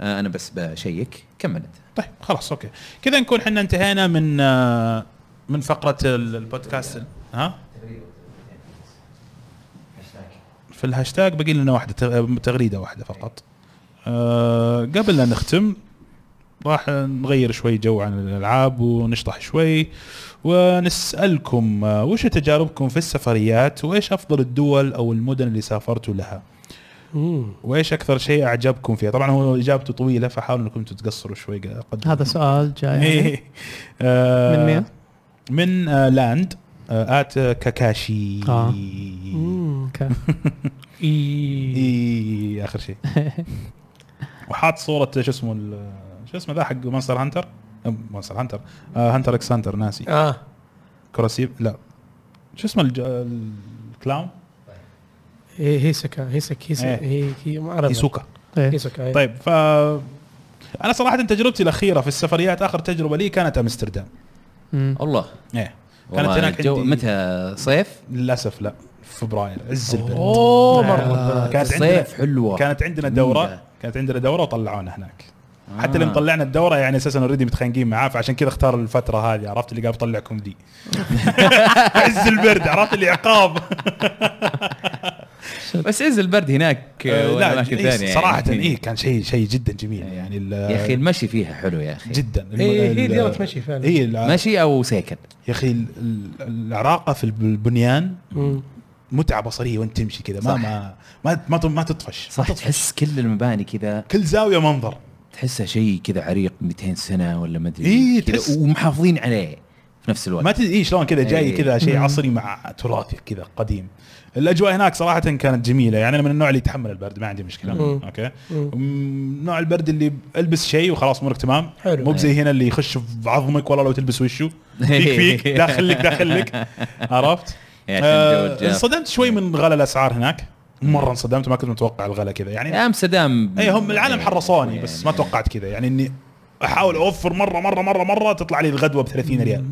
B: آه انا بس بشيك كمل انت
A: طيب خلاص اوكي كذا نكون احنا انتهينا من آه، من فقره ال- البودكاست ها في الهاشتاج باقي لنا واحده تغ- تغريده واحده فقط أه قبل لا نختم راح نغير شوي جو عن الالعاب ونشطح شوي ونسالكم آه، وش تجاربكم في السفريات وايش افضل الدول او المدن اللي سافرتوا لها وايش اكثر شيء اعجبكم فيها طبعا هو اجابته طويله فحاولوا انكم تتقصروا شوي قد
D: هذا سؤال جاي
A: إيه. آه،
D: يعني. من مين؟
A: من آه، لاند آه، ات كاكاشي
D: آه. اوكي
C: اي
A: اي آه، اخر شيء وحاط صوره شو اسمه ال- شو اسمه ذا حق مونستر هانتر مونستر هانتر آه هانتر اكس هانتر ناسي
C: اه
A: كراسيب لا شو اسمه الج... الكلاون
C: هي هيسكا هيسك هيسك
A: إيه.
C: هي هي ما اعرف
A: ايسوكا
D: إيه.
C: هيسوكا إيه.
A: طيب ف انا صراحه تجربتي الاخيره في السفريات اخر تجربه لي كانت امستردام
D: مم.
B: الله
A: ايه كانت
B: والله
A: هناك
B: الجو
A: عندي
B: متى صيف؟
A: للاسف لا في فبراير عز البرد
C: اوه
A: آه،
C: مره
A: كانت عندنا
B: الصيف حلوه
A: كانت عندنا دوره
B: ميدة.
A: كانت عندنا دوره وطلعونا هناك
B: آه.
A: حتى اللي مطلعنا الدوره يعني اساسا اوريدي متخانقين معاه فعشان كذا اختار الفتره هذه عرفت اللي قاعد بطلعكم دي عز البرد عرفت اللي عقاب
B: بس عز البرد هناك
A: آه،
B: لا
A: إيه،
B: ثانيه
A: صراحه
B: يعني. إيه.
A: ايه كان شيء شيء جدا جميل يعني ال-
B: يا إيه، اخي المشي فيها حلو يا اخي
A: جدا الم-
C: هي هي
A: ال-
C: ديره مشي فعلا
A: اي الع-
B: مشي او سيكل
A: يا اخي ال- ال- العراقه في الب- البنيان
C: مم.
A: متعه بصريه وانت تمشي كذا ما
B: صح.
A: ما ما ما, ت- ما تطفش
B: صح تحس كل المباني كذا
A: كل زاويه منظر
B: تحسها شيء كذا عريق 200 سنه ولا ما ادري
A: إيه،
B: كذا
A: تحس-
B: ومحافظين عليه في نفس
A: ما
B: الوقت
A: تدري إيه شلون كذا جاي
B: إيه.
A: كذا شيء
D: مم.
A: عصري مع تراثي كذا قديم الاجواء هناك صراحه كانت جميله يعني انا من النوع اللي يتحمل البرد ما عندي مشكله
C: مم.
A: اوكي
C: مم.
A: مم، نوع البرد اللي البس شيء وخلاص امورك تمام
C: حلو.
A: مو زي هنا اللي يخش في عظمك والله لو تلبس وشه فيك فيك داخل لك داخل لك عرفت
B: يا
A: آه،
B: عشان جو الجاف.
A: انصدمت شوي من غلا الاسعار هناك مره انصدمت ما كنت متوقع الغلا كذا يعني
B: يا امستردام
A: اي هم العالم
B: إيه،
A: حرصوني
B: إيه،
A: بس ما توقعت كذا يعني اني احاول اوفر مره مره مره مره تطلع لي الغدوه ب 30 ريال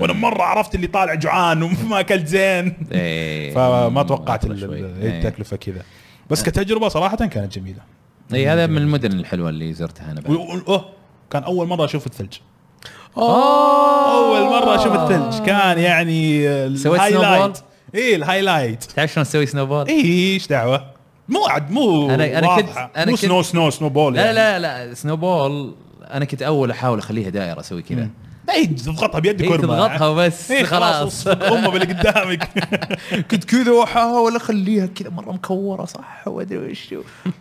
A: وانا مره عرفت اللي طالع جوعان وما اكلت زين
B: إيه،
A: فما توقعت
B: أطول
A: ال-
B: شوي.
A: ال-
B: إيه.
A: التكلفه كذا بس كتجربه صراحه كانت جميله
B: اي إيه، هذا من المدن الحلوه اللي زرتها انا
A: و-
B: بعد
A: و- اوه كان اول مره اشوف الثلج
C: اوه
A: اول مره اشوف الثلج كان يعني
B: سويت
A: الهايلايت
B: snowball؟
A: ايه الهايلايت
B: تعرف شلون تسوي سنوبول؟
A: ايه ايش دعوه مو عاد مو
B: أنا- أنا كنت-
A: واضحة.
B: أنا
A: مو
B: كنت-
A: سنو سنو سنو بول
B: لا
A: يعني.
B: لا لا سنوبول انا كنت اول احاول اخليها دائره اسوي كذا
A: اي تضغطها بيدك
B: إيه،
A: ورمى.
B: تضغطها وبس
A: إيه،
B: خلاص
A: اصبك امه باللي قدامك
B: كنت كذا واحاول اخليها كذا مره مكوره صح وادري وش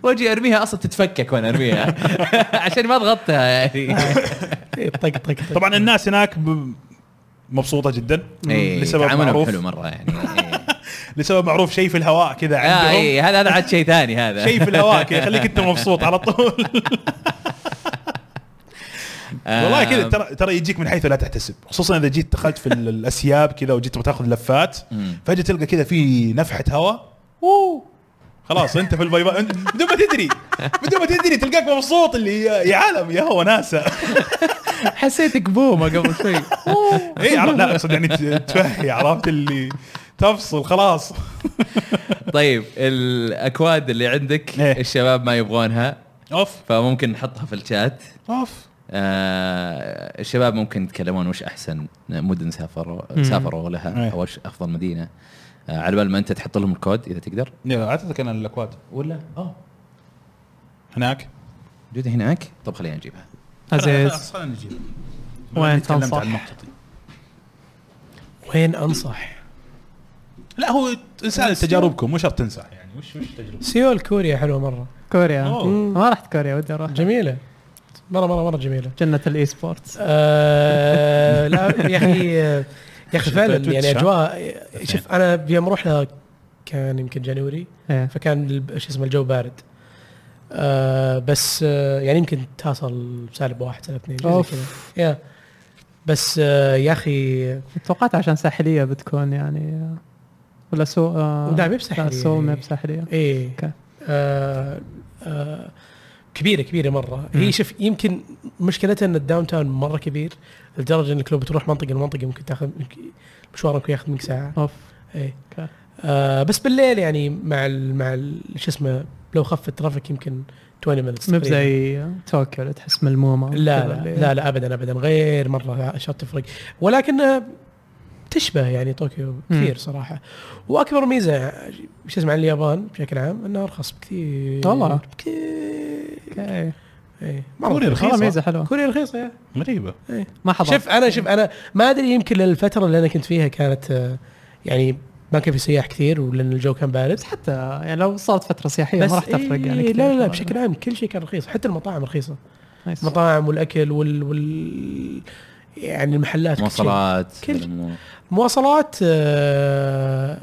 B: واجي ارميها اصلا تتفكك وانا ارميها عشان ما ضغطتها يعني
C: إيه، طق طق طق.
A: طبعا الناس هناك ب- مبسوطه جدا
B: إيه،
A: لسبب
B: تعاملهم
A: معروف
B: حلو مره يعني إيه.
A: لسبب معروف شيء في الهواء كذا
B: آه
A: عندهم
B: إيه، هذا هذا عاد شيء ثاني هذا
A: شيء في الهواء كذا يخليك انت مبسوط على طول
B: آه،
A: والله كذا ترى ترى يجيك من حيث لا تحتسب خصوصا اذا جيت دخلت في ال- الاسياب كذا وجيت بتاخذ لفات
B: مم.
A: فجاه تلقى كذا في نفحه هواء اوه خلاص انت في الباي باي أنت بدون ما تدري بدون ما تدري تلقاك مبسوط اللي يا يا عالم يا هو ناسا
B: حسيتك بومه قبل شوي
A: اي عرفت لا اقصد يعني ت- تفهي عرفت اللي تفصل خلاص
B: طيب الاكواد اللي عندك
A: إيه.
B: الشباب ما يبغونها
A: اوف
B: فممكن نحطها في الشات
A: اوف
B: آه الشباب ممكن يتكلمون وش احسن مدن سافروا
D: مم.
B: سافروا
A: إيه.
B: لها او وش افضل مدينه آه على بال ما انت تحط لهم الكود اذا تقدر
A: اعتقد انا الاكواد
B: ولا اه
A: هناك
B: موجوده هناك طب خلينا نجيبها
D: عزيز
A: خلينا نجيب
D: وين
A: تكلمت
D: تنصح؟
A: عن نقطتي.
C: وين انصح؟
A: لا هو اسال تجاربكم مو شرط تنصح يعني وش وش تجربتك؟
C: سيول كوريا حلوه مره
D: كوريا
A: أوه.
D: ما رحت كوريا ودي اروح
C: جميله مره مره مره جميله
D: جنه الاي سبورتس
C: آه لا يا اخي يا اخي فعلا يعني اجواء شوف انا يوم رحنا كان يمكن جانوري
D: إيه.
C: فكان الب- شو اسمه الجو بارد آه بس آه يعني يمكن تصل سالب واحد سالب اثنين شيء زي
D: أوف.
C: كذا يا بس آه يا اخي
D: توقعت عشان ساحليه بتكون يعني ولا سو آه،
C: لا، ما هي بساحلية.
D: لا، سو ما هي بساحليه
C: ايه
D: أوكي.
C: آه آه كبيره كبيره مره
D: مم.
C: هي شوف يمكن مشكلتها ان الداون تاون مره كبير لدرجه انك لو بتروح منطقه لمنطقه ممكن تاخذ منك- مشوار ممكن ياخذ منك ساعه
D: اوف
C: ايه
D: أوكي.
C: آه بس بالليل يعني مع ال مع ال شو اسمه لو خف الترافيك يمكن 20 minutes
D: ما
C: تقريباً.
D: بزي طوكيو اللي تحس ملمومه
C: لا
D: كذا
C: لا,
D: اللي-
C: لا لا ابدا ابدا غير مره اشياء تفرق ولكنها تشبه يعني طوكيو كثير صراحه واكبر ميزه شو اسمه عن اليابان بشكل عام انها ارخص بكثير
D: والله.
C: بكثير
D: اوكي
C: ايه
A: كوريا
D: والله
A: رخيصة
D: ميزه حلوه
C: كوريا رخيصه يا
A: غريبة
D: ما حضرت
C: شوف انا شوف انا ما ادري يمكن الفتره اللي انا كنت فيها كانت آه، يعني ما كان في سياح كثير ولان الجو كان بارد
D: بس حتى يعني لو صارت فتره سياحيه ما راح تفرق يعني
C: إيه
D: كثير.
C: لا لا لا بشكل عام كل شيء كان رخيص حتى المطاعم رخيصه
D: نايس.
C: المطاعم والاكل وال, وال يعني المحلات كل شيء.
B: مواصلات
C: كل-
B: الأمور.
C: مواصلات آه،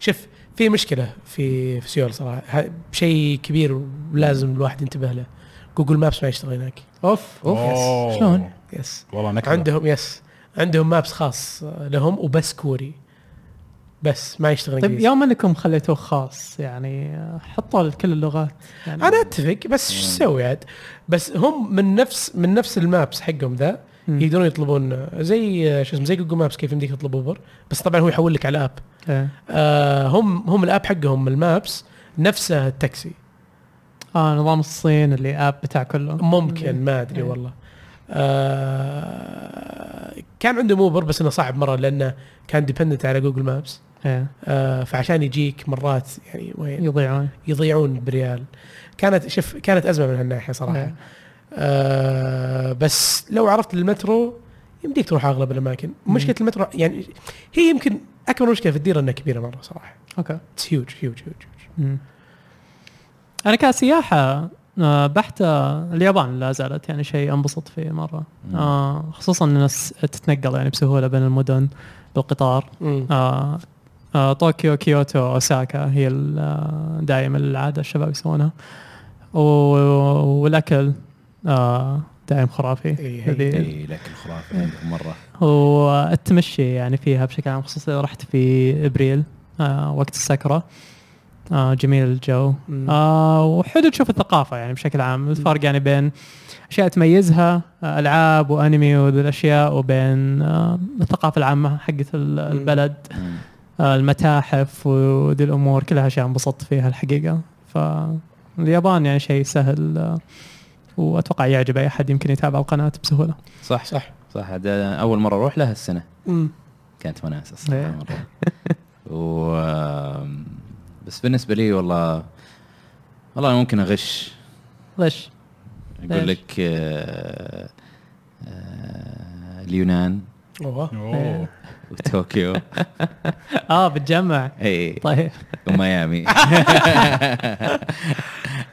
C: شوف في مشكله في في سيول صراحه ه- شيء كبير ولازم الواحد ينتبه له جوجل مابس ما يشتغل هناك
D: اوف اوف
A: أوه.
C: يس. شلون؟ يس
A: والله نكته
C: عندهم يس عندهم مابس خاص لهم وبس كوري بس ما يشتغل
D: طيب
C: انجليزي
D: يوم انكم خليتوه خاص يعني حطوا لكل اللغات يعني
C: انا اتفق بس شو اسوي عاد بس هم من نفس من نفس المابس حقهم ذا
D: مم.
C: يقدرون يطلبون زي شو اسمه زي جوجل مابس كيف يمديك تطلب اوبر بس طبعا هو يحول لك على اب
D: إيه.
C: آه هم هم الاب حقهم المابس نفسه التاكسي
D: اه نظام الصين اللي اب بتاع كله
C: ممكن ما ادري
D: إيه.
C: والله آه كان عندهم اوبر بس انه صعب مره لانه كان ديبندنت على جوجل مابس
D: إيه.
C: آه فعشان يجيك مرات يعني وين
D: يضيعون
C: يضيعون بريال كانت شف كانت ازمه من هالناحيه صراحه
D: إيه.
C: آه بس لو عرفت المترو يمديك تروح اغلب الاماكن مشكله المترو يعني هي يمكن اكبر مشكله في الديره انها كبيره مره صراحه
D: اوكي
C: اتس هيوج هيوج هيوج
D: مم. انا كسياحه آه، بحتة اليابان لا زالت يعني شيء انبسط فيه مره آه خصوصا ان الناس تتنقل يعني بسهوله بين المدن بالقطار آه آه طوكيو كيوتو اوساكا هي ال- آه، دايم العاده الشباب يسوونها و- والاكل آه دايم خرافي
C: إي، هي-
D: لذيذ.
B: اي لكن خرافي عندهم مره
D: والتمشي يعني فيها بشكل عام خصوصا إذا رحت في ابريل آه وقت السكره آه جميل الجو
C: مم.
D: آه وحلو تشوف الثقافه يعني بشكل عام الفرق يعني بين اشياء تميزها آه، العاب وانمي وذي الاشياء وبين آه الثقافه العامه حقت ال- البلد
B: مم.
D: آه المتاحف وذي الامور كلها اشياء انبسطت فيها الحقيقه فاليابان يعني شيء سهل آه واتوقع يعجب اي احد يمكن يتابع القناه بسهوله
B: صح صح
C: صح
B: صح هذا اول مره اروح لها السنه
C: مم.
B: كانت وناسه
D: إيه.
B: الصراحه مره و آم، بس بالنسبه لي والله والله أنا ممكن اغش
D: ليش؟
B: اقول
D: ليش؟
B: لك آه، آه، اليونان نعم.
C: اوه
A: أوه.
B: وطوكيو
D: اه بتجمع
B: اي
D: طيب
B: وميامي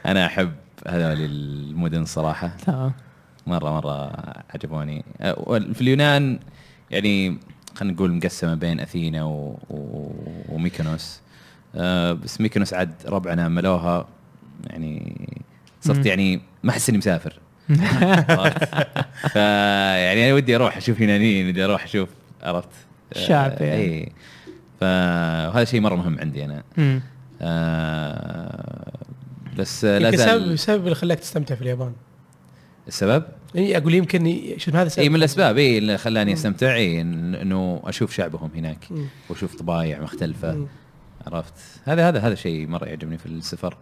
B: انا احب هذول المدن صراحه
D: تمام
B: مره مره عجبوني أه، وال- في اليونان يعني خلينا نقول مقسمه بين اثينا و... و... وميكونوس أه، بس ميكونوس عاد ربعنا ملوها يعني صرت
D: مم.
B: يعني ما احس اني مسافر عرفت؟ فيعني انا ودي اروح اشوف يونانيين ودي اروح اشوف عرفت أه،
D: الشعب يعني.
B: اي فهذا شيء مره مهم عندي انا
D: مم.
B: أه، بس أه، لا
C: يمكن السبب
B: زال
C: السبب اللي خلاك تستمتع في اليابان
B: السبب
C: يعني اقول يمكن ي- شوف هذا السبب
B: اي إيه، من الاسباب اي اللي خلاني استمتع اي إن- انه اشوف شعبهم هناك
C: مم.
B: واشوف طبايع مختلفه
C: مم.
B: عرفت هذا هذا هذا شيء مره يعجبني في السفر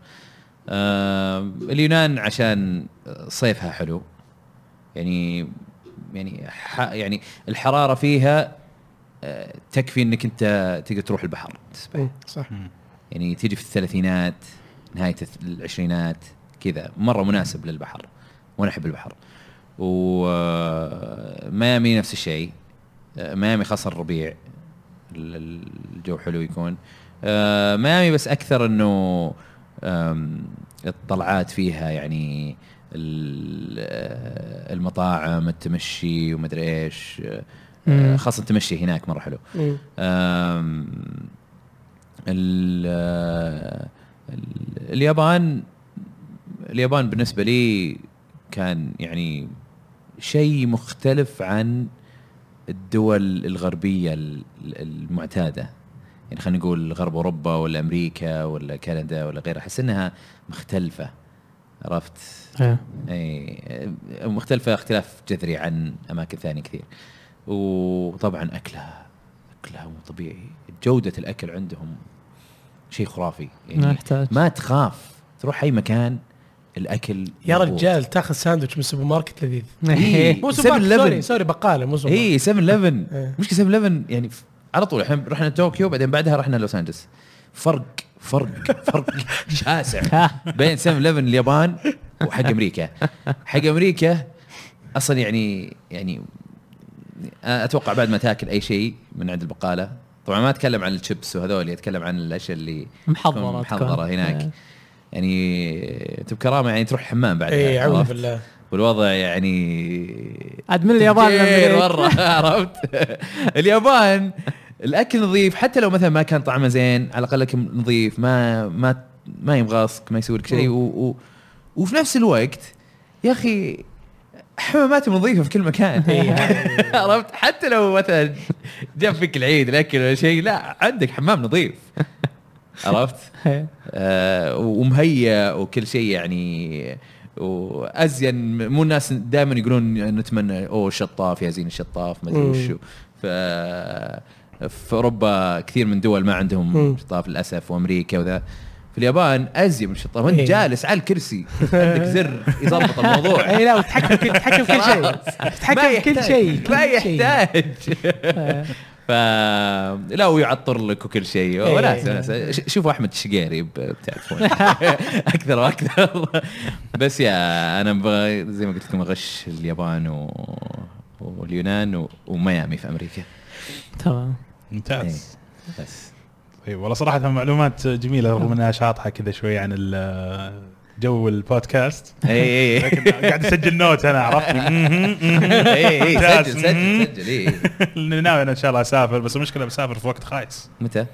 B: آه اليونان عشان صيفها حلو يعني يعني ح يعني الحراره فيها آه، تكفي انك انت تقدر تروح البحر تسبح
C: مم. صح
B: يعني تيجي في الثلاثينات نهاية الث- العشرينات كذا مرة مناسب للبحر وأنا أحب البحر وميامي نفس الشيء آه، ميامي خاصة الربيع ال- ال- الجو حلو يكون آه، ميامي بس أكثر أنه آم، الطلعات فيها يعني ال- آه، المطاعم التمشي ومدري ايش آه،
D: مم.
B: خاصة التمشي هناك مرة حلو
C: مم.
B: أم، ال- آه، ال- اليابان اليابان بالنسبه لي كان يعني شيء مختلف عن الدول الغربيه ال- ال- المعتاده يعني خلينا نقول غرب اوروبا ولا امريكا ولا كندا ولا غيرها احس انها مختلفه عرفت
D: إيه.
B: اي أه، مختلفه اختلاف جذري عن اماكن ثانيه كثير وطبعا اكلها اكلها مو طبيعي جوده الاكل عندهم شيء خرافي
D: ما
C: نعم.
B: يعني
D: يحتاج
B: ما تخاف تروح اي مكان الاكل
C: يا
B: موجود.
C: رجال تاخذ ساندويتش من السوبر ماركت لذيذ
B: إيه.
C: مو
B: 7
C: سوبر ماركت سوري
B: لبن.
C: سوري بقاله مو سوبر
B: اي 7 11
C: إيه.
B: مشكله 7 11 يعني ف- على طول احنا رحنا طوكيو بعدين بعدها رحنا لوس انجلس فرق فرق فرق شاسع بين 7 11 اليابان وحق امريكا حق امريكا اصلا يعني يعني اتوقع بعد ما تاكل اي شيء من عند البقاله طبعا ما اتكلم عن الشيبس وهذول اتكلم عن الاشياء اللي
D: محضرة
B: تكون
D: تكون.
B: محضره
D: إيه.
B: هناك يعني انت بكرامه يعني تروح حمام بعدها
C: اي اعوذ
B: عرفت؟
C: بالله
B: والوضع يعني
D: عاد من اليابان
B: كثير
D: لأمريكا.
B: مره عرفت اليابان الاكل نظيف حتى لو مثلا ما كان طعمه زين على الاقل الاكل نظيف ما ما ما يمغصك ما يسوي لك شيء و- و- وفي نفس الوقت يا اخي حمامات نظيفه في كل مكان
D: إيه،
B: عرفت حتى لو مثلا جاب فيك العيد الاكل ولا شيء لا عندك حمام نظيف عرفت
D: إيه.
B: آه، ومهيأ وكل شيء يعني وازين مو الناس دائما يقولون نتمنى اوه شطاف يا زين الشطاف ما ادري
C: مم.
B: وشو ف في اوروبا كثير من دول ما عندهم
C: مم.
B: شطاف للاسف وامريكا وذا في اليابان ازين من الشطاف انت
C: إيه.
B: جالس على الكرسي عندك زر يضبط الموضوع
D: إيه،
C: اي لا وتحكم في تحكم في كل شيء
B: ما
C: إيه، تحكم في كل
B: يحتاج-
C: شيء كل
B: ما
C: شيء.
B: يحتاج
D: إيه.
B: ف لا ويعطر لك وكل شيء
C: إيه.
B: وناس وناس ش- شوفوا احمد الشقيري ب- بتعرفون اكثر واكثر بس يا انا بغ- زي ما قلت لكم اغش اليابان و... واليونان و... وميامي في امريكا
D: تمام
A: ممتاز
B: إيه. بس
A: طيب والله صراحه معلومات جميله رغم انها شاطحه كذا شوي عن ال- جو البودكاست
B: اي اي
A: لكن قاعد اسجل نوت انا عرفت مهم، مهم.
B: اي اي
A: ممتاز.
B: إيه، سجل سجل سجل إيه. اي
A: ناوي انا ان شاء الله اسافر بس المشكله بسافر في وقت خايس
B: متى؟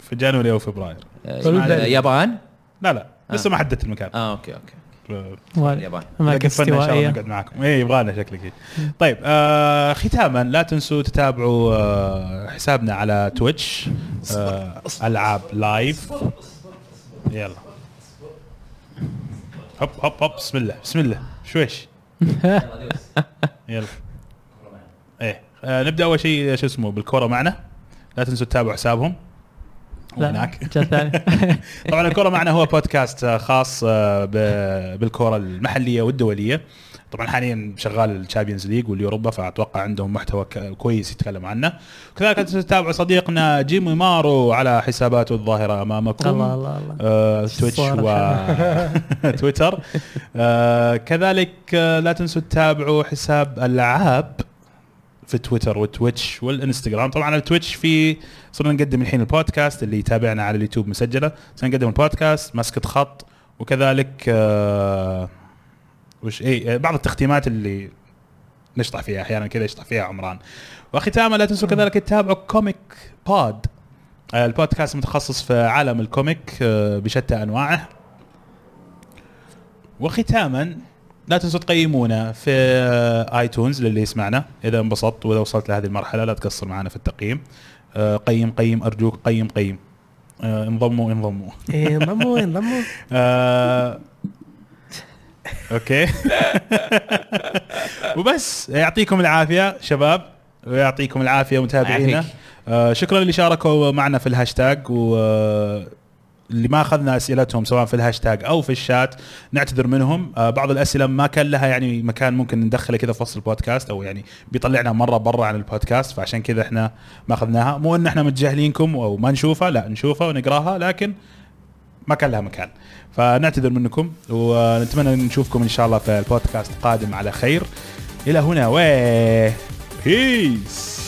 A: في جانوري او فبراير
B: آه، يابان؟
A: لا لا لسه ما حددت المكان
B: اه اوكي اوكي
A: ف-
D: وال-
B: اليابان
D: اماكن
A: لكن فن ان شاء الله
D: استوائيه
A: نقعد معكم اي يبغالنا شكلك طيب آه ختاما لا تنسوا تتابعوا آه حسابنا على تويتش آه العاب لايف يلا هب هب هب بسم الله بسم الله شويش يلا ايه آه نبدا اول شيء شو اسمه بالكوره معنا لا تنسوا تتابعوا حسابهم
D: لا،
A: هناك
D: جاء ثاني
A: طبعا الكوره معنا هو بودكاست آه، خاص آه، ب- بالكوره المحليه والدوليه طبعا حاليا شغال الشامبيونز ليج واليوروبا فاتوقع عندهم محتوى ك- كويس يتكلم عنه كذلك تتابعوا صديقنا جيمي مارو على حساباته الظاهره امامكم
D: الله الله الله
A: آه، تويتش
D: صار
A: وتويتر آه، كذلك آه، لا تنسوا تتابعوا حساب العاب في تويتر والتويتش والانستغرام طبعا على التويتش في صرنا نقدم الحين البودكاست اللي يتابعنا على اليوتيوب مسجله صرنا نقدم البودكاست مسكة خط وكذلك آه، وش اي آه، بعض التختيمات اللي نشطح فيها احيانا كذا يشطح فيها عمران وختاما لا تنسوا كذلك تتابعوا كوميك بود آه، البودكاست متخصص في عالم الكوميك آه، بشتى انواعه وختاما لا تنسوا تقيمونا في آه، ايتونز للي يسمعنا اذا انبسطت واذا وصلت لهذه المرحله لا تقصر معنا في التقييم آه، قيم قيم ارجوك قيم قيم آه، انضموا انضموا
C: إيه، انضموا انضموا
A: آه، اوكي وبس يعطيكم العافيه شباب ويعطيكم العافيه متابعينا
B: يعافيك.
A: آه، شكرا اللي شاركوا معنا في الهاشتاج و آه، اللي ما اخذنا اسئلتهم سواء في الهاشتاج او في الشات نعتذر منهم آه، بعض الاسئله ما كان لها يعني مكان ممكن ندخله كذا في وسط البودكاست او يعني بيطلعنا مره برا عن البودكاست فعشان كذا احنا ما اخذناها مو ان احنا متجاهلينكم او ما نشوفها لا نشوفها ونقراها لكن ما كان لها مكان فنعتذر منكم ونتمنى نشوفكم ان شاء الله في البودكاست القادم على خير الى هنا و بيس